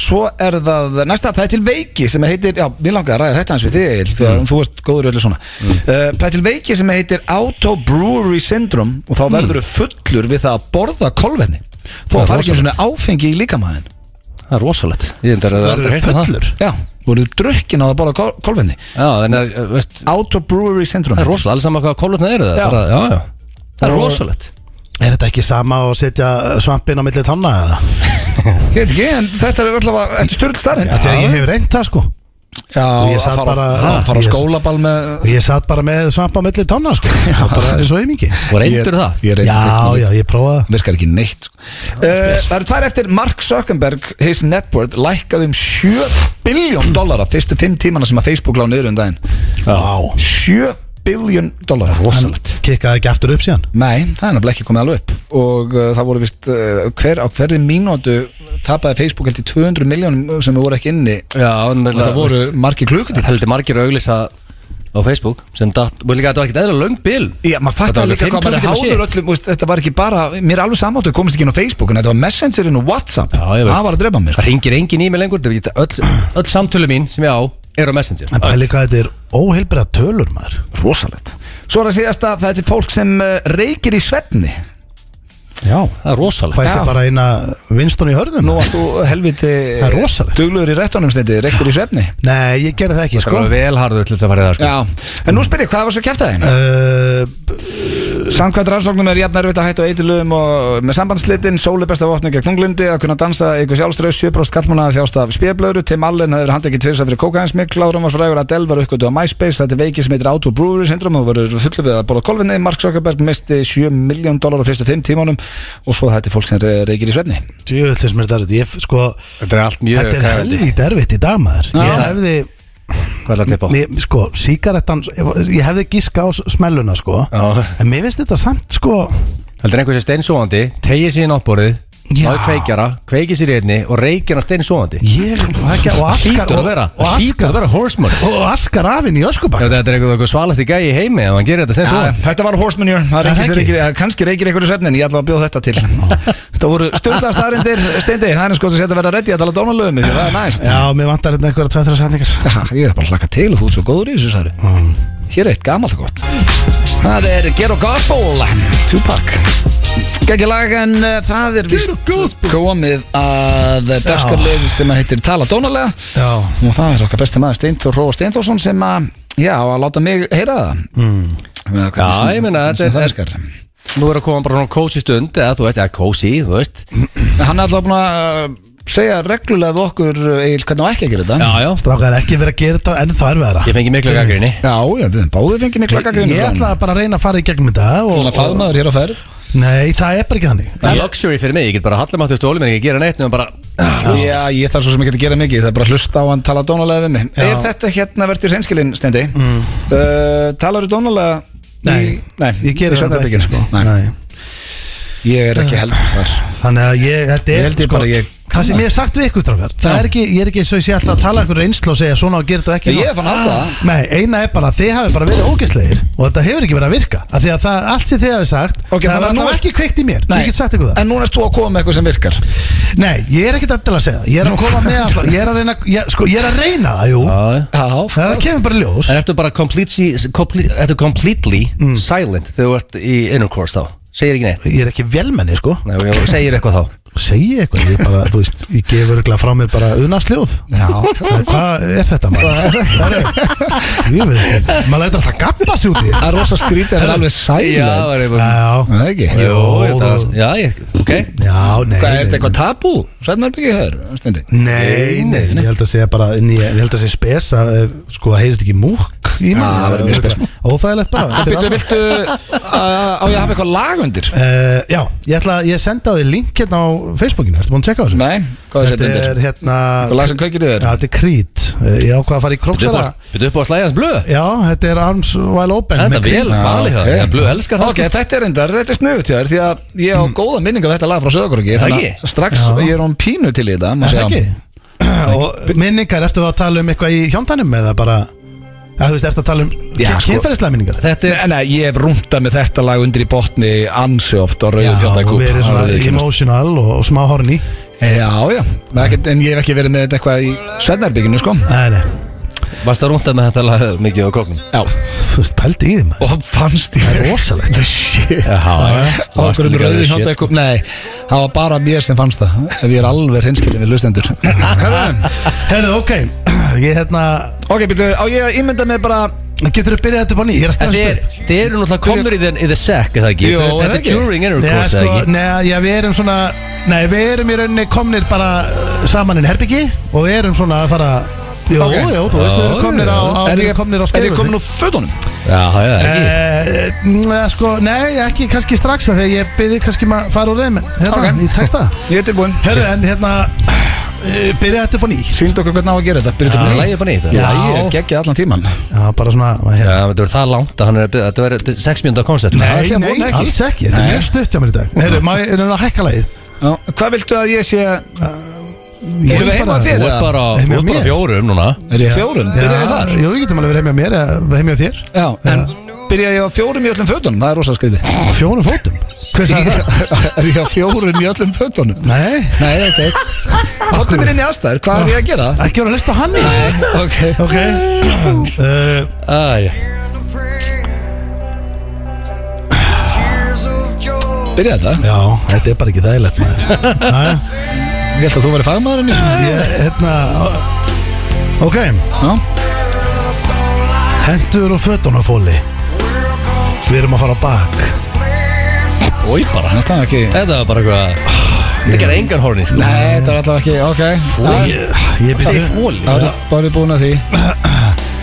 Speaker 1: svo er það næsta, það er til veiki sem heitir Já, mér langaði að ræða þetta hans við þig Egill, því að þú ert góður í öllu svona mm. Það er til veiki sem heitir Autobrewery Syndrome og þá verður þú fullur við það að borða kolvetni Þó
Speaker 2: Það er
Speaker 1: að fara ekki
Speaker 2: rosalegt.
Speaker 1: svona áfengi í líkamæðin
Speaker 2: Það er rosalegt Ég endur að það
Speaker 3: Það
Speaker 2: aldrei
Speaker 3: eru
Speaker 2: heyrst um það
Speaker 3: fullur
Speaker 1: Já, voruð drukkin á að borða kol kolvetni
Speaker 2: Já, en það er, veist,
Speaker 1: Autobrewery Syndrome
Speaker 2: það er rosalegt, alls saman hvað kólutna eru það
Speaker 1: Já.
Speaker 2: bara, já, já Það er rosalegt
Speaker 3: Er þetta ekki sama og setja svampin á milli tanna eða?
Speaker 1: Ég veit ekki, en þetta er allavega, þetta er styrl starrend
Speaker 3: Þetta ég hef reynt það sko
Speaker 1: Já,
Speaker 3: ég
Speaker 1: að
Speaker 3: sat
Speaker 1: fara, bara,
Speaker 3: bara-
Speaker 1: að fara á
Speaker 3: ég-
Speaker 1: skólaball með
Speaker 3: Og Ég satt bara með svamp á milli tanna sko Það var bara eins og ymingi
Speaker 2: Og reyndur það
Speaker 1: Ég reyndur
Speaker 3: Já,
Speaker 1: það
Speaker 3: já, ég prófaði það.
Speaker 1: Virkar ekki neitt sko. uh, Það eru tvær eftir Mark Zuckerberg His net worth lækkaði um 7 biljón dollara Fyrstu 5 tímana sem að Facebook lág niður um daginn
Speaker 3: Vá
Speaker 1: 7 biljón dollara
Speaker 3: Hann kikkaði ekki aftur upp síðan
Speaker 1: Nei, það er nefnilega ekki komið alveg upp Og uh, það voru vist uh, hver, Á hverri mínútu tapaði Facebook held í 200 miljónum sem voru ekki inni
Speaker 2: Já, en
Speaker 1: Og það voru margir klukutíma
Speaker 2: heldur margir auglisa á Facebook sem datt, og líka að þetta var ekkert eðla löng bil
Speaker 1: Já, maður fattar
Speaker 2: Þetta var
Speaker 1: líka
Speaker 2: alveg
Speaker 1: hvað maður er
Speaker 2: fimm klukkutíma
Speaker 1: háður
Speaker 2: shit.
Speaker 1: öllum veist, Þetta var ekki bara, mér er alveg samáttu komist ekki inn á Facebook, en þetta var Messengerin og Whatsapp
Speaker 2: Já, ég veist.
Speaker 1: Það var að drepa mér sko.
Speaker 2: Það ringir engin í mig lengur, þetta er ekki- öll, öll samtölu mín sem ég á er á Messenger
Speaker 3: En bæli hvað þetta er óheilbreða tölur maður
Speaker 1: Rosalegt Svo er það síðast að það er til fólk sem eh, reykir í svefni
Speaker 3: Já
Speaker 2: Það er rosalegt
Speaker 3: Fæst
Speaker 1: Já.
Speaker 3: það bara eina vinstun í hörðun
Speaker 1: Nú varst þú helviti
Speaker 3: Það er rosalegt.
Speaker 1: Duglugur í réttunum stendi, reyktir í svefni
Speaker 3: Nei, ég gerði það ekki
Speaker 2: Það
Speaker 3: sko
Speaker 2: er vel harðu til þess að fara í það sko
Speaker 1: Já, en nú spyr ég, hvað var svo kæft að þeim?
Speaker 3: Uh,
Speaker 1: Samkvæmt rannsóknum er jafn erfitt að hætta á eitilum og með sambandslitin, sólu besta vopni gegn unglindi, að kunna dansa ykkur sjálfströð, 7% kallmanna þjást af spjöblöðru, Tim Allen hefur handið ekki tvirsa fyrir kókaðinsmikl, Lárum var frægur að Del var uppgötu á MySpace, þetta er veiki sem heitir Auto Brewery Syndrome og verður fullu við að borða kolvinni, Mark Zuckerberg misti 7 miljón dólar á fyrstu 5 tímanum, og svo þetta er fólk sem re- reykir í svefni
Speaker 3: Djöfullis mér þetta er erfitt. Ég, sko,
Speaker 2: Þetta er allt mjög
Speaker 3: þetta er
Speaker 2: kæfandi.
Speaker 3: helvít erfitt í dag maður
Speaker 1: Já.
Speaker 3: Ég hefði,
Speaker 2: Hvað er það að tippa á?
Speaker 3: mér, sko, sígarettan Ég hefði giska á s- smelluna, sko
Speaker 2: Já.
Speaker 3: En mér finnst þetta samt, sko
Speaker 2: Heldur einhver sem steinsóandi, tegið sér í náttborðið
Speaker 3: Já.
Speaker 2: Náðu kveikjara, kveikið sér í einni og reykir hann steinsóandi
Speaker 3: Ég, það ekki, og askar
Speaker 2: Hýtur
Speaker 3: og,
Speaker 2: að vera,
Speaker 3: og
Speaker 2: hýtur
Speaker 3: askar
Speaker 2: að vera horseman
Speaker 3: Og askar afinn í
Speaker 2: Ef
Speaker 3: öskubakk
Speaker 2: þetta er eitthvað eitthvað svalasti gæi í heimi ef hann gerir þetta
Speaker 1: Ja,
Speaker 2: steinsóandi
Speaker 1: þetta var Horseman Year Það
Speaker 3: Það
Speaker 1: reykir sér
Speaker 3: ekki.
Speaker 1: reykir, eða kannski reykir einhverju svefni en ég ætla að bjóða þetta til Þetta voru stjórnlega staðarindir Steindi, það er sko sem setja að vera reddi að tala dónalögum því það er næst
Speaker 3: Já, mér vantar hérna einhverja tveitra sæningar
Speaker 1: Ha, Ég er bara að hlaka til og þú ert svo góður í þessu særu Hér er eitt gamalt og gott Það er Get a Gospel Tupac Gækja lag en uh, það er víst komið að dagskarlið sem að heitir Tala Dónalega
Speaker 3: Já.
Speaker 1: og það er okkar besti maður Steintur Róa Steinþórsson sem að, já, á að láta mig heyra það mm.
Speaker 2: Já, ég meina, þetta er-
Speaker 1: þetta er
Speaker 2: Nú er að koma bara svona kósi stund eða þú veist, eða kósi, þú veist
Speaker 1: Hann er alltaf búin að uh, segja reglulega við okkur, uh, Egil, hvernig á ekki að gera þetta
Speaker 2: Já, já,
Speaker 3: Strákar, ekki verið að gera þetta ennþá erfiðara
Speaker 2: ég fengi miklu gaggrinni
Speaker 1: já, já, við höfum báðið fengið mikla gagnrýni
Speaker 3: Ég
Speaker 1: frá honum.
Speaker 3: ætla bara að reyna að fara í gegnum þetta og,
Speaker 1: Þannig að faðmaður hér á ferð
Speaker 3: Nei, það er bara ekki þannig
Speaker 2: Luxury fyrir mig, ég get bara hallar maður stóli mér ekki gera neitt nema bara
Speaker 1: Já, ég þarf svo sem ekki að gera mikið Það er bara að hlusta á hann tala dónalega við mig Er þetta hérna verður hreinskilinn, Steindi? Mm. Uh, talar þú dónalega?
Speaker 3: Nei,
Speaker 1: nei
Speaker 3: ég geri
Speaker 1: í
Speaker 3: það bara ekki
Speaker 1: svefnherberginu?
Speaker 3: sko.
Speaker 1: Nei. Ég er ekki heldur þar
Speaker 3: Þannig að ég, þetta
Speaker 1: Ég
Speaker 3: er sko,
Speaker 1: held ég bara, ég kann
Speaker 3: Það sem ég hef sagt við ykkur drákar Það er ekki, ég er ekki svo ég sé alltaf að tala ykkur reynslu og segja svona og gera þetta og ekki
Speaker 1: Ég
Speaker 3: svona.
Speaker 1: er fann að það
Speaker 3: Nei, eina er bara að þið hafi bara verið ógeðslegir og þetta hefur ekki verið að virka af því að það, allt sem þið hafi sagt
Speaker 1: Ok,
Speaker 3: það
Speaker 1: þannig
Speaker 3: var
Speaker 1: að nú
Speaker 3: alltaf
Speaker 1: er-
Speaker 3: ekki kveikt í mér, ég get sagt ykkur það
Speaker 1: En núna erst þú að koma með eitthvað sem virkar
Speaker 3: Nei, ég er ekkert endilega að segja það. ég er að koma með alltaf, ég er að reyna ég, sko, ég er að reyna, það, jú
Speaker 2: Já, já.
Speaker 1: Já,
Speaker 3: það kemur bara í ljós
Speaker 2: En ertu bara completely, complete, ertu completely silent þegar þú ert í intercourse þá? Segir ekki neitt?
Speaker 3: ég er ekki velmenni, sko
Speaker 2: Nei, og ég- segir eitthvað þá?
Speaker 3: segi ég eitthvað, ég bara, þú veist ég gefur ekki frá mér bara unnarsljóð hvað er þetta maður? Hvað er- Jú, við- maður lætur alltaf gappa sig út í
Speaker 1: það er rosa skrítið Það er alveg
Speaker 2: Já, það
Speaker 1: silent
Speaker 2: er
Speaker 3: Já,
Speaker 2: eitthvað
Speaker 3: já,
Speaker 1: Það er ekki
Speaker 2: Jó,
Speaker 3: Jó,
Speaker 2: þetta var,
Speaker 3: það-
Speaker 2: já, ég, ok
Speaker 3: já, nei
Speaker 1: Hvað er
Speaker 3: nei,
Speaker 1: þetta eitthvað tabú? Svefnherbergi hér, Steindi
Speaker 3: Nei, nei, ég held að segja bara inn í, ég held að segja spes að eh, sko að heyrist ekki múk í mann
Speaker 1: það verður mjög spes.
Speaker 3: Óþægilegt bara
Speaker 1: Býttu, viltu uh, á ég að hafa eitthvað lag undir?
Speaker 3: uh, Já, ég ætla að ég senda á því link hérna á Facebookinu, ertu búin að tjekka á þessu?
Speaker 1: Nei, hvað er þetta
Speaker 3: Þetta er
Speaker 1: undir?
Speaker 3: hérna
Speaker 1: Eitthvað lag sem kveikir í þér?
Speaker 3: Já, þetta er Creed Eh, Ég ákvað að fara í
Speaker 2: Byrðu upp
Speaker 3: króksara
Speaker 2: á- byrðu upp á að slæða hans blöð
Speaker 3: Já, þetta er Arms While Open
Speaker 2: Þetta
Speaker 3: með
Speaker 2: er
Speaker 3: Creed.
Speaker 2: vel svalið það,
Speaker 1: ok.
Speaker 2: ég blöð elskar það
Speaker 1: Ok, þetta er reyndar, þetta er snuðut hjá þér Því að ég á góða minningu af þetta lag frá Söðakorgi
Speaker 2: Það
Speaker 1: Þannig
Speaker 2: ekki?
Speaker 1: að strax
Speaker 3: Já.
Speaker 1: ég er án pínu til í þetta má
Speaker 3: Er
Speaker 1: sjá.
Speaker 3: það ekki Og minningar, ertu þá að tala um eitthvað í hjóndanum eða bara Já, þú veist, ertu að tala um
Speaker 1: Já, sko.
Speaker 3: kynferðislega minningar
Speaker 1: Þetta er, nei, ég hef rúntað með þetta lag undir í botni ansi oft á
Speaker 3: Já,
Speaker 1: rauðum hjáta
Speaker 3: og
Speaker 1: kúp
Speaker 3: verið svona emotional og, og smá horni
Speaker 1: Já, já, en ekkert- en ég hef ekki verið með þetta eitthvað í Sveinarbygginu, sko
Speaker 3: Nei, nei,
Speaker 2: Varst það rúndað með þetta lag mikið á króknum?
Speaker 1: Já,
Speaker 3: þú veist, pældi í því maður
Speaker 1: og fannst ég
Speaker 3: Það er rosalegt.
Speaker 1: The shit
Speaker 2: já
Speaker 1: Okkur um rauðum
Speaker 3: sko?
Speaker 1: hjáta
Speaker 2: sko.
Speaker 1: kúp, nei Það var bara mér sem fannst það Ef ég er alveg hinskilin við lustendur
Speaker 3: Herðu, ok, ég hérna
Speaker 1: Ok, býttu, á ég að ímynda mig bara
Speaker 3: Getur þú byrjað þetta bara ný, ég er
Speaker 2: En
Speaker 3: að stæðast
Speaker 2: þeir,
Speaker 3: upp
Speaker 2: þeir eru náttúrulega komnir í the, í the sack, er það ekki?
Speaker 1: Jú,
Speaker 2: Þetta-
Speaker 1: er það
Speaker 2: þetta er
Speaker 1: ekki?
Speaker 2: during
Speaker 3: Nei,
Speaker 2: intercourse,
Speaker 3: sko,
Speaker 2: eða ekki?
Speaker 3: nei, já, við erum svona Nei, við erum í rauninni komnir bara uh, saman inn í herbyggi og við erum svona að fara Jó,
Speaker 1: Ok.
Speaker 3: jó, þú veist, við erum
Speaker 2: Já,
Speaker 3: komnir á, á,
Speaker 1: Er
Speaker 3: við
Speaker 1: ég
Speaker 3: erum komnir á
Speaker 1: er ég
Speaker 3: skeifu
Speaker 1: komin úr fötunum?
Speaker 2: Já, já, ekki
Speaker 3: Eh, eh, sko, nei, ekki kannski strax af því að ég byrði kannski maður að fara úr þeim en hérna,
Speaker 1: Ok.
Speaker 3: í texta
Speaker 1: Ég er tilbúinn
Speaker 3: Herðu, en hérna eh, byrja þetta upp á nýtt
Speaker 1: Sýnd okkur hvernig á að gera þetta Byrjuðu
Speaker 2: Já,
Speaker 1: bara
Speaker 2: lagið bara nýtt,
Speaker 1: Já,
Speaker 2: já.
Speaker 1: ég geggja allan tíman
Speaker 3: Já, bara svona
Speaker 2: Já,
Speaker 3: hérna.
Speaker 2: þetta verður það langt að hann er að byrja, þetta verður 6 mínúnda koncept
Speaker 1: það
Speaker 3: Nei,
Speaker 1: sem
Speaker 3: nei,
Speaker 1: voru ekki.
Speaker 3: alls ekki, þetta
Speaker 1: Nei.
Speaker 3: er mjög stutt hjá mér í dag Herru, má ég er að hækka lagið?
Speaker 1: Já, Hvað viltu að ég sé
Speaker 3: Ég
Speaker 1: Erum við heima á
Speaker 3: bara-
Speaker 1: þér?
Speaker 2: Þú ert bara, þú
Speaker 3: Nei, með
Speaker 2: ert bara
Speaker 3: mér.
Speaker 2: fjórum núna
Speaker 1: Er ég á fjórum?
Speaker 3: Já,
Speaker 1: Byrja ég þar?
Speaker 3: Jú, við getum alveg verið heimja mér eða heimja þér
Speaker 1: Já, en byrja ég á fjórum í öllum fötunum? Það er rosa skriði
Speaker 3: Á Fjónum fótum Hver sagði það?
Speaker 1: Er ég á fjórum í öllum fötunum?
Speaker 3: Nei,
Speaker 1: Nei, ok Fóttu mér inn í aðstæður, hvað er ég að gera?
Speaker 3: ekki voru að lista hann í þessu.
Speaker 1: Ok
Speaker 3: Ok uh,
Speaker 2: Æ,
Speaker 1: Byrja þetta
Speaker 3: Já, þetta er bara ekki þægilegt maður. Jæja,
Speaker 1: Ég held að þú verið fagmaðurinn í
Speaker 3: ég, Hérna Ok,
Speaker 1: Já
Speaker 3: hendur og fötunafóli Við erum að fara á bak
Speaker 1: Ói bara Þetta er ekki
Speaker 2: þetta var bara eitthvað Þetta gerði engan horni, sko
Speaker 1: Nei, þetta er allavega ekki Ok Já,
Speaker 3: Ég, ég,
Speaker 2: Þetta
Speaker 3: býst-
Speaker 2: er fóli,
Speaker 1: já,
Speaker 2: þetta
Speaker 1: Bara við búin að því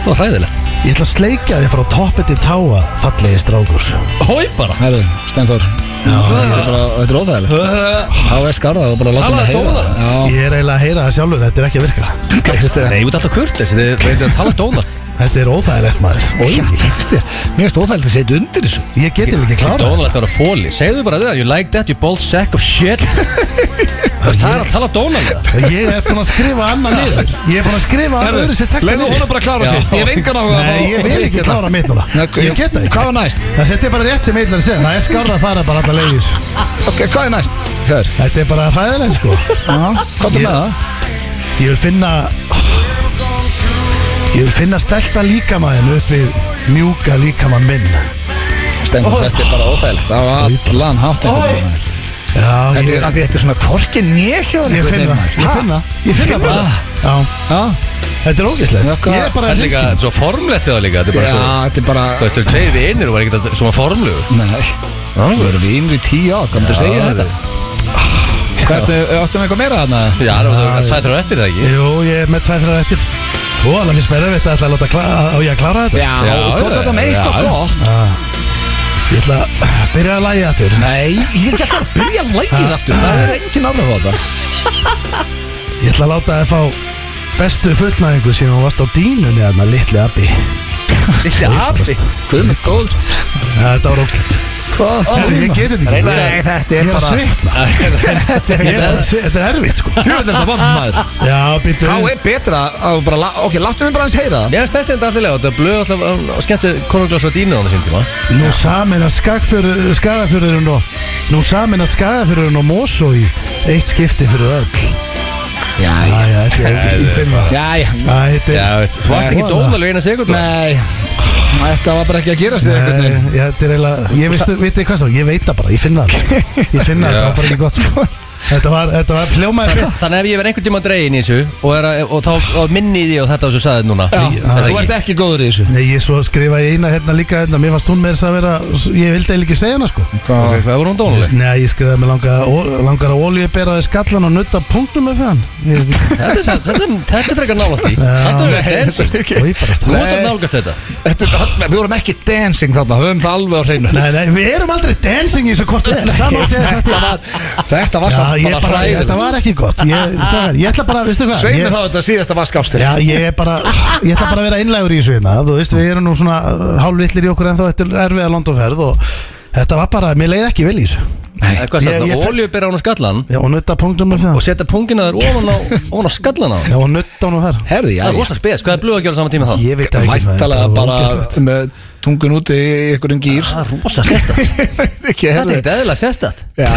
Speaker 2: var hræðilegt
Speaker 3: ég ætla að sleika þig frá toppi til táa Fallegi strákur
Speaker 2: Hói bara
Speaker 1: Herðu, Stenþór Þetta er bara- þetta er óþægilegt Þá er skarðað og bara láta
Speaker 2: Talaðu
Speaker 1: mig heyra
Speaker 2: dónarann.
Speaker 1: það. Já.
Speaker 3: Ég er eiginlega að heyra það sjálfur, þetta er ekki að virka
Speaker 2: Nei, út alltaf kurtis, þið veitir að tala dóna
Speaker 3: Þetta er óþægilegt maður
Speaker 1: Oj, þetta er- Mér finnst óþægilegt að setja undir þessu
Speaker 3: Ég get eiginlega ekki klára
Speaker 2: Dónalegt að vera fóli, segðu bara það, you like that, you bold sack of shit Það er að tala dónalega
Speaker 3: Ég er búin að skrifa annan niður Ég er búin að skrifa annan öðru sér texta
Speaker 1: Leðu honum bara að klára
Speaker 2: Já.
Speaker 1: sér Ég hef engan áhuga
Speaker 3: Nei, ég vil ekki klára mitt núna Ég get
Speaker 1: Hvað
Speaker 3: það ekki
Speaker 1: var næst?
Speaker 3: Þetta er bara rétt sem eitthvað að segja Það er skárra að fara bara alla leiðis
Speaker 1: Ok, hvað er næst? Hör,
Speaker 3: Þetta er bara hræðilegt sko
Speaker 1: hvað er
Speaker 3: Ég-
Speaker 1: með það?
Speaker 3: Ég vil finna Ég vil finna stelta líkamaðin upp við mjúka líkamann minn
Speaker 1: Stendur, þetta er bara óþægilegt Á allan hátt einhvern veginn.
Speaker 3: Já,
Speaker 1: Þetta
Speaker 3: ég,
Speaker 1: er af því þetta er svona korki nýhjóður
Speaker 3: ég finn það Ég finn það Ég finn það bara Já,
Speaker 1: Já,
Speaker 3: þetta er
Speaker 1: Já,
Speaker 3: ógæslegt
Speaker 1: hvað-
Speaker 3: Ég er bara
Speaker 2: Það er líka svo formlegt það líka, þetta er
Speaker 1: já,
Speaker 2: bara svo
Speaker 1: þetta er bara
Speaker 2: Þetta er tveið við innir og var ekkert að- svona formlegu
Speaker 1: Nei, þú verður við innri í tíu ár Komum til að segja
Speaker 2: Já,
Speaker 1: þetta Hvað ertu, áttum eitthvað meira þarna?
Speaker 2: Já, það er það er eftir það ekki
Speaker 3: Jú, ég er með tvær þrjár eftir Ó, alveg finnst mér erfitt að ætla að láta kla- á ég að klára þetta
Speaker 1: Já,
Speaker 2: Já,
Speaker 1: komum
Speaker 2: já,
Speaker 1: þetta með eitthvað
Speaker 2: já.
Speaker 1: gott
Speaker 3: Ég ætla að byrja að lægja aftur
Speaker 1: Nei, ég er ekki alltaf að byrja lægið aftur Það er engin áhrif á þetta
Speaker 3: Ég ætla að láta þið fá bestu fullnæðingu sem hún varst á dínunni þarna, litli abbi
Speaker 2: Þessi api
Speaker 1: Guð með góð
Speaker 3: Þetta var ógslitt
Speaker 1: Hvað?
Speaker 3: Ég get þetta ekki
Speaker 1: Nei, þetta er
Speaker 3: Ég er að
Speaker 1: bara
Speaker 3: svitna Ég er bara að svitna. Þetta er erfitt sko
Speaker 1: Djúrðin þetta vann maður
Speaker 3: Já, býttu
Speaker 1: Þá er betra að bara la- Ok, láttu mig bara eins heyra það
Speaker 2: Mér finnst þessi enda alltaf lega, þetta blöð alltaf og skemmt sér konunglása dínu á þessum tíma
Speaker 3: Nú samin að skagafjörðurinn og Nú samin að skagafjörðurinn og Mosó í eitt skipti fyrir öll
Speaker 1: Já,
Speaker 3: Æja, þetta er ógist í fimm að
Speaker 1: já
Speaker 3: Þetta
Speaker 2: Já,
Speaker 3: er
Speaker 2: veit, þú varst ekki
Speaker 3: Voða.
Speaker 2: dónalega eina sekund
Speaker 1: Nei, þetta var bara ekki að gera sig einhvern
Speaker 3: Nei,
Speaker 1: veginn
Speaker 3: já, þetta er eiginlega Ég veistu, veitu hvað það, ég veit það bara, ég finn það alveg. Ég finn
Speaker 2: Já.
Speaker 3: það, þetta var bara ekki gott sko Þetta var, þetta var pljómaði fyrir
Speaker 2: Þannig ef ég verð einhvern tíma dregin í þessu og, er að, og þá og minni ég því og þetta á þessu saðið núna
Speaker 1: Já, þú ert ekki góður í þessu
Speaker 3: Nei, ég svo skrifaði eina hérna líka hérna, mér fannst hún með þess að vera, ég vildi eiginlega ekki segja hana sko
Speaker 2: Ok, Hvað voru hún dónaleg?
Speaker 3: Nei, ég skrifaði með langar, langar að olju beraði skallan og nutta punktum með hann Ég veist ekki,
Speaker 2: Þetta er sa- þetta er- þetta er frekar nálægt í Þetta er verið dancing
Speaker 3: og ég bara
Speaker 2: Nú
Speaker 3: stað
Speaker 2: er þetta nálgast þetta
Speaker 1: Þetta er allt- Við vorum ekki dancing þarna, höfum það alveg á hreinu
Speaker 3: Nei, nei, við erum aldrei dancing í þessu kort leir Saman sé þetta var
Speaker 1: Þetta var
Speaker 3: Já,
Speaker 1: samt
Speaker 3: ég
Speaker 1: bara
Speaker 3: bara,
Speaker 1: fræðilegt
Speaker 3: þetta var ekki gott Ég, strákar, ég ætla bara, veistu hvað
Speaker 1: Sveinu
Speaker 3: ég-
Speaker 1: þá þetta síðasta var skástil
Speaker 3: Já, ég er bara, ég ætla bara að vera einlægur í þessu hérna Þú veist, við erum nú svona hálfvillir í okkur En þá eftir erfiða Londonferð Og þetta var bara, mér leið ekki vel í þessu
Speaker 2: Eh, Hvað
Speaker 3: Ég-
Speaker 2: sagði
Speaker 3: ég-
Speaker 2: það? Ólju byrja hún á skallan
Speaker 3: Já, og nutta punktum með
Speaker 2: og
Speaker 3: það
Speaker 2: setja pungina þér ofan á, ofan á skallan á hann.
Speaker 3: Já, og nutta hún þar
Speaker 1: Herði, já
Speaker 2: Það er rosalega spes, hvað er blöð að gera saman tíma þá?
Speaker 3: Ég veit það ekki maður,
Speaker 1: Væntalega
Speaker 3: þetta var
Speaker 1: bara
Speaker 3: ógeðslegt.
Speaker 1: með tungun úti í einhverjum gýr
Speaker 2: Það er rosalega sérstætt
Speaker 1: Ekki,
Speaker 2: Þetta er
Speaker 1: herði
Speaker 2: ekkert eðlilega sérstætt
Speaker 1: Já,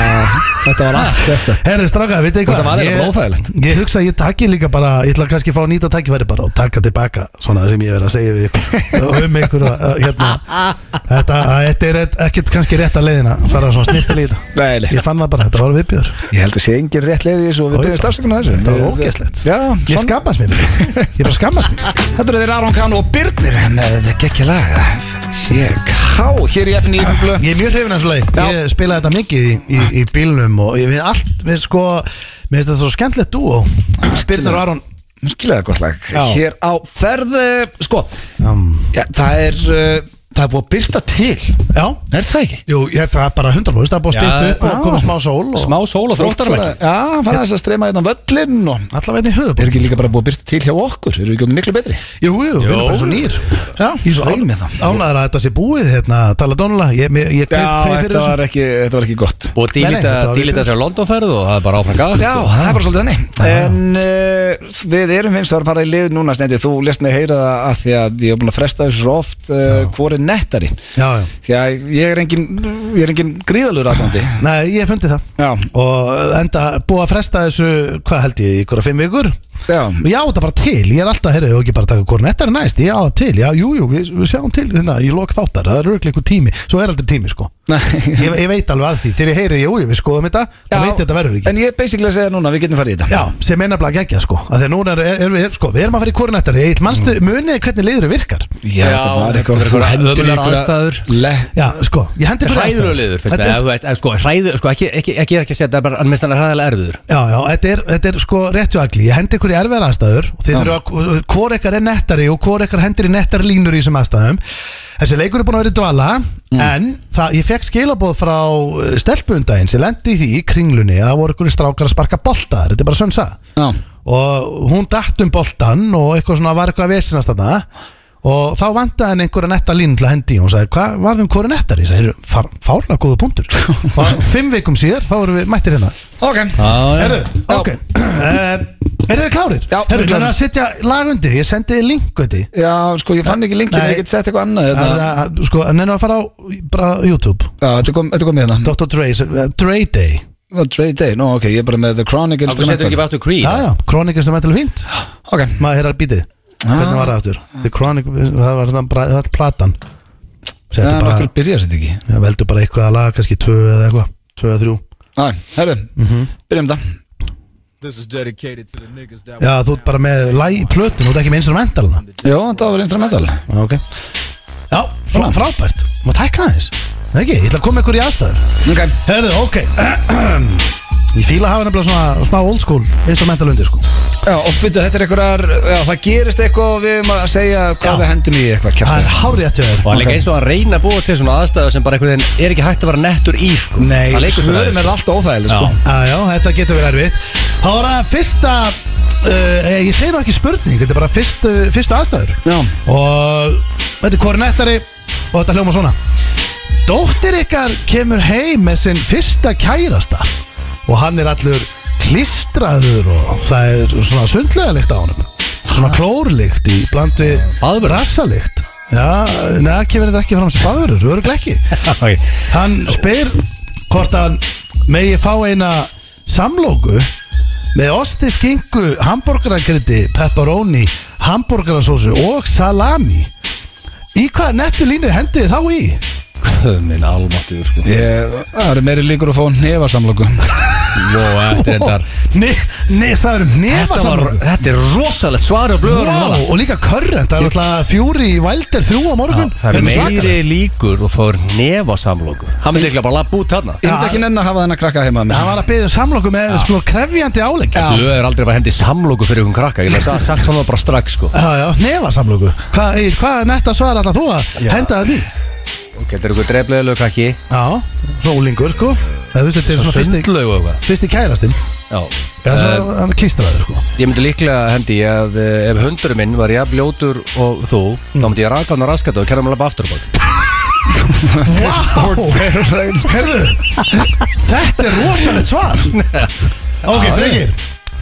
Speaker 1: þetta var allt þetta
Speaker 3: Herri, stráka, veit þið hvað
Speaker 1: Þetta var eiginlega
Speaker 3: Ég-
Speaker 1: bara óþægilegt.
Speaker 3: Ég hugsa að ég taki líka bara Ég ætla kannski að fá nýta tækifæri bara Og taka tilbaka Svona sem ég er að segja við ykkur Um ykkur að, hérna Þetta, að þetta er et- ekkert kannski rétt að leiðina Fara svona snirtil í þetta
Speaker 1: Nei, nei.
Speaker 3: Ég fann það bara, þetta var viðbjör
Speaker 1: Ég held að sé engin rétt leið í þessu og við
Speaker 3: Oj,
Speaker 1: byrjum
Speaker 3: bara.
Speaker 1: stafsökun að þessu
Speaker 3: Þetta var ógeðslegt.
Speaker 1: Já,
Speaker 3: Ég
Speaker 1: svona
Speaker 3: skammast mér Ég bara skammast mér
Speaker 1: Þetta eru þeir Aron Kahn og Birnir með gekkja lag CK Hér í FNI Blö
Speaker 3: Ég er mjög hrifin af þessu lagi
Speaker 1: Já.
Speaker 3: Ég spilaði þetta mikið í, í, í bílnum og ég við allt, við sko mér finnst þetta svo skemmtilegt dúo Birnir og Aron
Speaker 1: Skilaðu gott lag
Speaker 3: Já.
Speaker 1: Hér á ferð eh, Sko,
Speaker 3: um,
Speaker 1: já, það er eh, Það er búið að byrta til
Speaker 3: Já,
Speaker 1: Er það ekki?
Speaker 3: Jú, ég, það er bara 100% það er búið
Speaker 2: Já,
Speaker 3: að stýta upp og
Speaker 1: já.
Speaker 3: komið smá sól og
Speaker 2: Smá sól og þróttarmerki
Speaker 1: Já, fann þess að streyma hérna völlinn og
Speaker 3: allavega veginn í höfubók
Speaker 1: Er ekki líka bara búið að byrta til hjá okkur? Erum við ekki um miklu betri?
Speaker 3: Jú, jú, við erum bara svo nýr
Speaker 1: Já,
Speaker 3: Ég er svo
Speaker 1: ánægður með það.
Speaker 3: ánæður að þetta sé búið hérna, tala dónulega Ég, ég, ég
Speaker 1: Já,
Speaker 3: kveið fyrir
Speaker 1: þetta
Speaker 3: þessu
Speaker 1: var ekki, þetta var ekki gott
Speaker 2: Og
Speaker 3: Nei, nei, þetta var
Speaker 2: dílita
Speaker 3: viðbjóður.
Speaker 2: sér á Londonferð og það er bara áfram gaf
Speaker 1: Já, það er bara svolítið þannig En uh, við erum hins vegar að fara í lið núna Snendi, þú lest mig heyra það að því að ég er búin að fresta þessu svo oft uh, Hvor er nettari?
Speaker 3: Já, já,
Speaker 1: Því að ég er engin, ég er engin gríðalur aðtandi
Speaker 3: nei, ég hef fundið það
Speaker 1: Já,
Speaker 3: Og enda búið að fresta þessu, hvað held ég, ykkur að fimm vikur
Speaker 1: já
Speaker 3: Ég á þetta bara til, ég er alltaf, heyrðu, og ekki bara að taka korn Þetta er næst, ég á það til, já, jú, jú, við, við sjáum til hérna, Ég lók þáttar, það er örglega einhver tími Svo er aldrei tími, sko
Speaker 1: Nei.
Speaker 3: Ég, ég veit alveg að því, þegar ég heyri, jú, jú, við skoðum þetta Þá
Speaker 1: Já,
Speaker 3: veit ég þetta verður ekki
Speaker 1: En ég er basically að segja núna, við getum farið í þetta
Speaker 3: Já, sem er nefnilega geggjað, sko að Þegar núna er, er, er, er, sko, við erum að fara í korn Þetta er, manstu,
Speaker 2: Mm.
Speaker 3: muniði hvernig liður virkar
Speaker 1: Já, þetta var eitthvað
Speaker 2: þetta
Speaker 1: þú
Speaker 2: var
Speaker 1: hendir
Speaker 2: ömurlegar
Speaker 1: einhverja-
Speaker 2: aðstæður.
Speaker 1: Le-
Speaker 3: Já, sko, ég hendi ykkur í
Speaker 2: Hræður
Speaker 3: aðstæður.
Speaker 2: og liður, finnst
Speaker 3: Þetta
Speaker 2: mér Ef
Speaker 3: er-
Speaker 2: þú ert- ef Sko, hræður, sko, ekki, ekki, ekki er ekki að segja þetta er bara Mest hann er hræðilega erfiður
Speaker 3: Já, já, þetta er, þetta er sko réttju agli Ég hendi ykkur í erfiðar aðstæður og Þið þurfa að, hvor ekkar er nettari og hvor ekkar hendir í nettar línur í þessum aðstæðum Þessi leikur er búin að vera í dvala En það, ég fekk skilaboð frá eh, stelpu um daginn sem lendi í því í kringlunni að það voru ykkur strákar að sparka boltar Þetta er bara sönsa
Speaker 1: Já.
Speaker 3: Og hún datt um boltan og eitthvað svona var eitthvað að vesinast þarna Og þá vantaði henni einhverja netta línu til að hendi í Hún sagði, hvað varðum hverju nettar? Ég sagði, "Fár- fárlega góða punktur Og fimm vikum síðar, þá vorum við mættir hérna
Speaker 1: Ok
Speaker 2: Já, já.
Speaker 3: Herru, ok Er þið klárir?
Speaker 1: Já, við
Speaker 3: Herru,
Speaker 1: erum
Speaker 3: ég er
Speaker 1: klárir.
Speaker 3: að setja lag undir Ég sendi þið link undir
Speaker 1: Já, sko, ég fann ekki linkin,
Speaker 3: Nei.
Speaker 1: ég get sett eitthvað annað
Speaker 3: Það er
Speaker 1: hérna.
Speaker 3: að, sko, en er að fara á bara YouTube
Speaker 1: Já, þetta kom, þetta kom með hérna
Speaker 3: Dr. Dre, uh, Dre Day
Speaker 1: Well, Trade Day, nú ok, ég er bara með The Chronic
Speaker 2: Akkur setur ekki
Speaker 1: Instrumental
Speaker 2: bara til Creed
Speaker 3: Já, já, Chronic Instrumental er fínt
Speaker 1: Ok,
Speaker 3: Maður heyrar bítið Hvernig var það aftur? The Chronic, það var þannig bara, það var platan
Speaker 1: það
Speaker 3: Settu
Speaker 1: er okkur
Speaker 3: bara,
Speaker 1: byrjar þetta ekki
Speaker 3: ja, veldu bara eitthvað að lag, kannski tvö eða eitthvað Tvö eða þrjú
Speaker 1: Æ, herru, byrjum þetta
Speaker 5: This is dedicated to the niggas that
Speaker 3: Já, þú ert bara með lag í plötun, þú ert ekki með instrumentalna
Speaker 1: Jó, þetta var vel instrumental
Speaker 3: Já, ok Já, frá, frábært Má tækna það eins Nei ekki, ég ætla að koma ykkur í aðstæður
Speaker 1: Ok,
Speaker 3: Herðu, ok Ég fíla að hafa nefnilega svona, svona old school instrumental undir sko
Speaker 1: já, og byrja, þetta er einhverjar Já, það gerist eitthvað og við erum að segja hvað
Speaker 3: Já.
Speaker 1: við hendum í eitthvað
Speaker 3: Það
Speaker 1: kjafta
Speaker 3: er hárið að tjóður
Speaker 2: Og hann leika eins og hann reyna að búa til svona aðstæðu sem bara einhvern veginn er ekki hægt að vera nettur í sko.
Speaker 1: Nei,
Speaker 2: hann leikur svona
Speaker 1: svörum er alltaf óþægileg sko.
Speaker 2: Já.
Speaker 3: Já, já, þetta getur verið erfitt Það var að fyrsta uh, Ég segir nú ekki spurning, þetta er bara fyrstu, fyrstu aðstæður
Speaker 1: Já.
Speaker 3: Og þetta er kornettari Og þetta hljóma svona Dóttir ykkar kemur heim með sinn fyrsta kærasta Og hann er allur klistraður Og það er svona sundlega lykt á honum Svona klórlykt í bland við
Speaker 2: Baðvörur?
Speaker 3: Rassalykt Já, neða, kemur þetta ekki fram sem baðurur, öruglega ekki
Speaker 2: okay.
Speaker 3: Hann spyr hvort hann megi fá eina samlóku með osti, skinku, hambúrgarakriti, pepperoni, hambúrgarasósu og salami. Í hvaða nettu línu hendið þið þá í?
Speaker 2: Guð minn almáttugur sko.
Speaker 1: Ég, Eh, það eru meiri líkur að fá nefasamlöku
Speaker 2: Jó, eftir þetta
Speaker 3: Nei, nei, það eru nefa
Speaker 2: Þetta, var,
Speaker 3: samlóku.
Speaker 2: þetta er rosalegt svar á blöður
Speaker 3: Vá, og líka körrent, það er alltaf fjúri í Valdir þrjú á morgun.
Speaker 2: Það er
Speaker 3: Þetta
Speaker 2: meiri
Speaker 3: svakalegt.
Speaker 2: líkur og fór nefa samlóku Hann myndi ekki bara lappa út þarna
Speaker 1: Ég myndi ekki nenn að hafa þennan krakka heima með
Speaker 3: Hann var að byggja samlóku með sko krefjandi álegg.
Speaker 2: Blöður er aldrei að hendi samlóku fyrir ykkur krakka Ég hef sagt hann það bara strax sko
Speaker 3: Já, já, nefa samlóku. Hvað hva netta svar alltaf þú að henda það í?
Speaker 2: Ok, þetta er ykkur dreflega lög krakki
Speaker 3: Já, rólingur sko. Það þú veist, þetta er svona fyrsti...
Speaker 2: Sundlög og eitthvað
Speaker 3: fyrst í kærastinn
Speaker 2: Já
Speaker 3: Já, svo hann klístraði sko
Speaker 2: Ég myndi líklega hendi að eh, ef hundurum minn var jafn ljótur og þú þá myndi ég raka hann á raskatu og kenna hann alveg aftur á bak
Speaker 3: Herðu Þetta er rosalegt svar Ok, drengir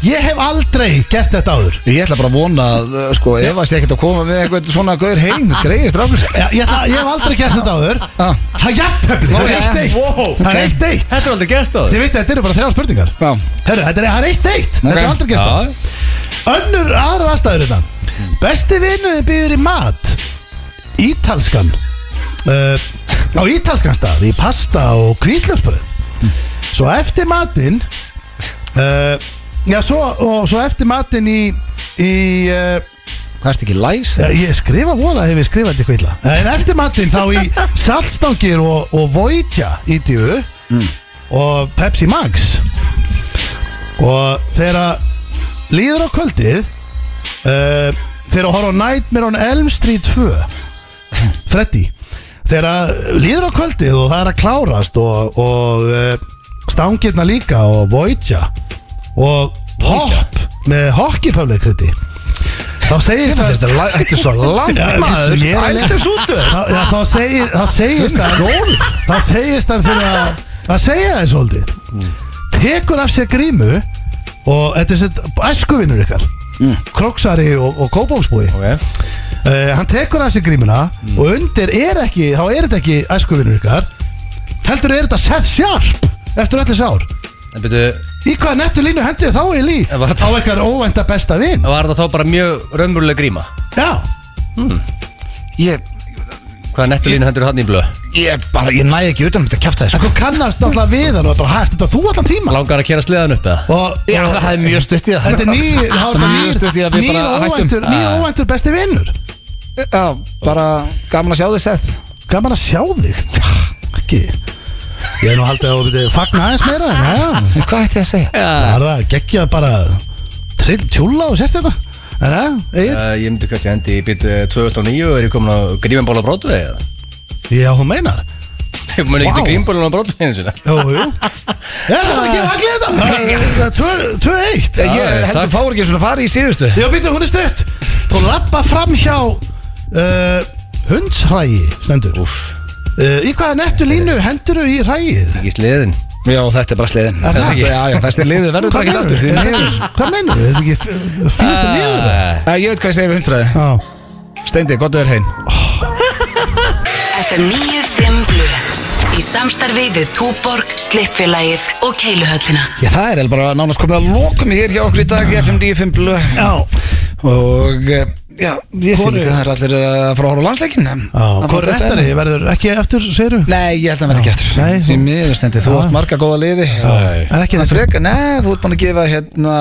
Speaker 3: Ég hef aldrei gert þetta áður
Speaker 1: Ég ætla bara að vona að, uh, sko, ef að sé ekkert að koma með eitthvað svona gaur heim, greiðist rákur
Speaker 3: Já, ég, ætla, ég hef aldrei gert þetta áður
Speaker 1: Ah.
Speaker 3: Það er jafntöfli Það er eitt eitt Það er eitt eitt
Speaker 2: Þetta er aldrei gæst á
Speaker 3: Þið veit að þetta eru bara þrjá spurningar
Speaker 1: Já,
Speaker 3: Herru, þetta er, það er eitt eitt Þetta er
Speaker 1: Ok.
Speaker 3: aldrei gert þetta Önnur aðra aðstæður þetta Besti vinnuði býður í mat Ítalskan uh, Á ítalskan stað Í pasta og kvítlöksbröð Svo eftir matinn uh, Já, svo, og, svo eftir matinn í Í uh,
Speaker 1: hvað erst ekki læs?
Speaker 3: já, Ég skrifa vola hef ég skrifað þetta kvítla En eftir matinn þá í saltstangir og, og voitja í djú Og Pepsi Max Og þegar líður á kvöldið uh, Þegar að horfa á Nightmare on Elm Street 2 Freddy Þegar að líður á kvöldið og það er að klárast Og, og uh, stangirna líka og Voidja Og Hopp með Hockey Public Freddy Þá segist að
Speaker 1: Þetta er þetta er svo langt
Speaker 3: Já,
Speaker 1: maður,
Speaker 3: ég er að-
Speaker 1: ældur sútu
Speaker 3: Þá, já, þá, segir, þá segist hann Þá segist hann fyrir að Það segja þið svolítið Tekur af sér grímu Og þetta er sér æskuvinnur ykkar
Speaker 1: Mm.
Speaker 3: Kroksari og, og kópóksbúi
Speaker 2: Ok
Speaker 3: uh, Hann tekur af sér grímuna
Speaker 1: Mm.
Speaker 3: Og undir er ekki, þá er þetta ekki æskuvinnur ykkar Heldur er þetta Seth Sharp Eftir öllis ár
Speaker 2: En byrju,
Speaker 3: Í hvaða nettu línu hendið þá í lí
Speaker 2: En var
Speaker 3: Á ykkar óvænta besta vin
Speaker 2: var það þá bara mjög raunveruleg gríma
Speaker 3: Já,
Speaker 1: Ég,
Speaker 2: Hvaða nettulínu hendur hann í blöð?
Speaker 1: ég bara, ég næ ekki utan um þetta kjafta
Speaker 3: en
Speaker 1: þessu
Speaker 3: þú kannast náttúrulega við hann Og er bara hæst þetta þú allan tíma
Speaker 2: Langar að kera sleðan upp eða?
Speaker 3: Og
Speaker 1: Já, það er mjög stutt í það
Speaker 3: Þetta er ný, það er
Speaker 1: Mjög stutt í
Speaker 3: nýr,
Speaker 1: að við
Speaker 3: nýr,
Speaker 1: bara hættum.
Speaker 3: óvæntur, nýr óvæntur besti vinnur
Speaker 1: Já, bara gaman að sjá þið sett
Speaker 3: Gaman að sjá þig Ekki Ég er nú haldið að þú myndi fagna aðeins meira en já,
Speaker 1: Hvað ætti ég að segja?
Speaker 3: Það er að gegja bara Trill tjúla og sérst þetta En það, Egil,
Speaker 2: Uh, ég myndi kannski hendi í byrju 2009 er ég komin á grímanbóla brótvegi eða?
Speaker 3: já, hún meinar
Speaker 2: Ég mun ekki til grímbólun á brotveinu sinna
Speaker 3: Jú, jú Þetta var ekki vaklið þetta Það er- það er tvö- 2-1
Speaker 1: Eh, Ég heldur
Speaker 2: Ah, takk.
Speaker 1: þú fáir ekki svona fari í síðustu
Speaker 3: Já, býttu, hún er stutt Þú lappa fram hjá uh, Hundshræi Stendur uh, Í hvaða nettu línu henduru í hræið?
Speaker 2: Ekki sleðin
Speaker 1: Já, þetta er bara sleiðin
Speaker 3: Er það
Speaker 1: Þetta-
Speaker 3: ekki?
Speaker 1: Já, já, þessi liður verður bara ekki aftur því miður. Eh.
Speaker 3: Hvað mennur? Þetta ekki fínast að niður það?
Speaker 2: Ah.
Speaker 1: Æ, Ég veit hvað ég segi við hundfræði
Speaker 3: Já
Speaker 1: Steindi, gott að vera heim
Speaker 4: FM 95 Blu Í samstarfi við Túborg, Slippfélagið og Keiluhöllina
Speaker 1: Já, það er eiginlega bara nánast komið að lokum hér hjá okkur í dag í FM 95 blö Og, eh, já, ég sé
Speaker 3: Hvor er-
Speaker 1: líka að það er allir að fara að horfa á landsleikin en-
Speaker 3: Já,
Speaker 1: Það
Speaker 3: hvað er
Speaker 1: var þetta
Speaker 3: réttari?
Speaker 1: enn.
Speaker 3: Verður ekki eftir, segiru?
Speaker 1: Nei, ég held að verða ekki eftir
Speaker 3: Nei,
Speaker 1: Því
Speaker 3: þú-
Speaker 1: miður, Steindi, þú
Speaker 3: Já.
Speaker 1: átt marga góða liði
Speaker 3: En ekki
Speaker 1: Það
Speaker 3: þessi
Speaker 1: frekar, nei, þú ert búin að gefa hérna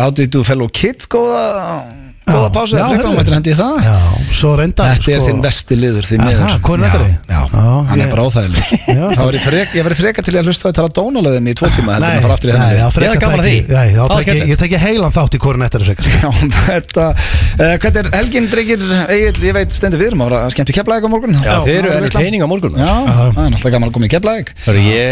Speaker 1: How do you do fellow kids góða Góða
Speaker 3: Já.
Speaker 1: pásu,
Speaker 3: Já,
Speaker 1: það frekar
Speaker 3: heyrðu.
Speaker 1: um eftir hendi í það
Speaker 3: Já, svo reyndar sko-
Speaker 1: Þetta er þinn besti liður því
Speaker 3: Aha,
Speaker 1: miður
Speaker 3: hvor er
Speaker 1: Já,
Speaker 3: vettari?
Speaker 1: Já,
Speaker 3: Já,
Speaker 1: hann er
Speaker 3: ég-
Speaker 1: bara óþægileg
Speaker 3: Já,
Speaker 1: Það var ég frek- Ég verið freka til að hlusta á að tala dónalöðin í tvo tíma heldur en
Speaker 3: Nei,
Speaker 1: að fara aftur í
Speaker 3: nei,
Speaker 1: henni
Speaker 3: já, frekar
Speaker 2: Eða gaman að
Speaker 3: tæki-
Speaker 2: því.
Speaker 3: Nei, þá
Speaker 2: Það var
Speaker 3: tek ég-
Speaker 2: skemmtilegt.
Speaker 3: ég tek ég heilan þátt í hvorn eftir þessu
Speaker 1: Já, um þetta uh, Hvernig er helgin, drengir, Egil, ég veit stendur við erum að vera skemmt í keflæðik á morgun
Speaker 2: Já, þeir eru ennig teining á morgun
Speaker 1: Já, það er náttúrulega gaman að koma í keflæðik
Speaker 2: Hörru, Ég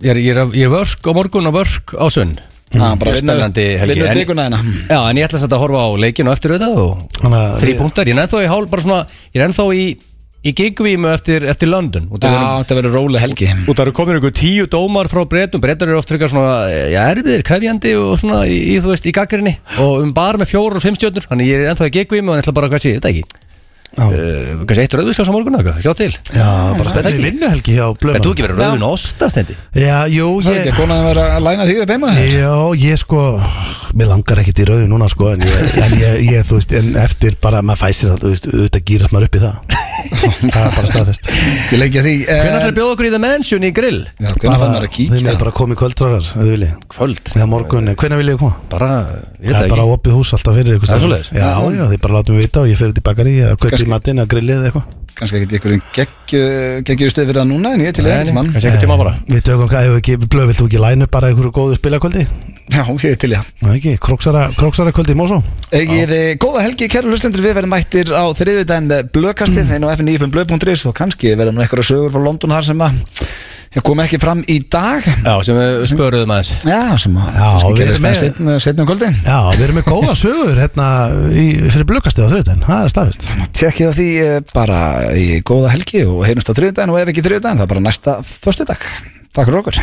Speaker 2: ég er- ég er ég er vörk á morgun og vörk á sunn
Speaker 1: Hmm.
Speaker 2: Ah, Spennandi helgi
Speaker 1: Vinnur
Speaker 2: en-
Speaker 1: diguna hérna
Speaker 2: Já, en ég ætla samt að horfa á leikinu eftir auðvitað og
Speaker 3: Þannig að
Speaker 2: þrý
Speaker 3: við-
Speaker 2: punktar, ég er ennþá í hál bara svona, ég er ennþá í, í gigvímu eftir, eftir London út
Speaker 1: Já,
Speaker 2: af þeirnum-
Speaker 1: þetta verður róleg helgi
Speaker 2: út af það eru komin einhver tíu dómar frá breytum, breytar eru oft frekar svona já, erfiðir, krefjandi og svona í, í þú veist, í gaggrinni og um bar með fjóru og fimm stjórnur þannig ég er ennþá í gigvímu og ég ætla bara, hvað sé, ég, þetta ekki uh, kannski eitt rauðvískás á morgun eða eitthvað, hjá til
Speaker 3: Já, bara
Speaker 2: spennandi.
Speaker 3: spennandi vinnuhelgi hjá Blöman
Speaker 2: Verður þú ekki verið rauðvin og osta, stendi?
Speaker 3: Já, jú,
Speaker 1: Það er ekki
Speaker 3: ég
Speaker 1: að konan að vera að læna því upp heima
Speaker 3: Já, ég sko Mér langar ekkit í rauðu núna sko En ég, en ég, ég þú veist, en eftir bara Maður fæsir alltaf, þú veist, auðvitað gýrast maður upp í það Það er bara staðfest
Speaker 1: Ég leikja því eh,
Speaker 2: Hvernig ætlar að bjóða okkur í The Mansion í grill?
Speaker 1: Hvernig fann maður að
Speaker 3: Þið
Speaker 1: kíkja
Speaker 3: með bara komið kvölddragar, ef þið viljið
Speaker 2: Kvöld,
Speaker 3: Eða morgun, hvernig viljið þið koma?
Speaker 2: bara, ég veit
Speaker 3: Það
Speaker 2: það
Speaker 3: er bara
Speaker 2: ekki
Speaker 3: opið hús alltaf fyrir ykkur
Speaker 2: Það er
Speaker 3: staðar.
Speaker 2: svoleiðis?
Speaker 3: Já, já, þið bara látum við vita og ég fer út í bakari eða kaupi
Speaker 1: Kannski-
Speaker 3: í matinn eða grillið eða eitthvað
Speaker 1: Kannski ekki einhverjum geggju- geggjuðu stöð fyrir það núna En ég er til
Speaker 2: Nei,
Speaker 1: einhvern
Speaker 2: nei,
Speaker 1: mann
Speaker 2: kannski einhvern tíma bara
Speaker 3: Við tökum hvað, ef við ekki, blöð, vilt þú ekki læna upp bara einhverju góðu spilakvöldi?
Speaker 1: Já, ég er til í það
Speaker 3: Nei ekki, króksara kvöldi í Mosó
Speaker 1: Egið eh, góða helgi, kæru hlustendur, við verðum mættir á þriðjudaginn blökastið inn á fn9.blö.is og kannski verða nú einhverja sögur frá London þar sem að ég kom ekki fram í dag
Speaker 2: Já, sem við spöruðum aðeins
Speaker 1: Já, sem að
Speaker 3: Já,
Speaker 1: kannski
Speaker 3: við
Speaker 1: gerist
Speaker 3: erum
Speaker 1: það
Speaker 3: með-
Speaker 1: setna, setna um kvöldin
Speaker 3: Já, við erum með góða sögur hérna í, fyrir blökastið á þriðutæn, það er staðfist
Speaker 1: Tjekkið á því eh, bara í góða helgi og heyrnumst á þriðjudaginn og ef ekki þriðjudaginn þá bara næsta föstudag Takk fyrir okkur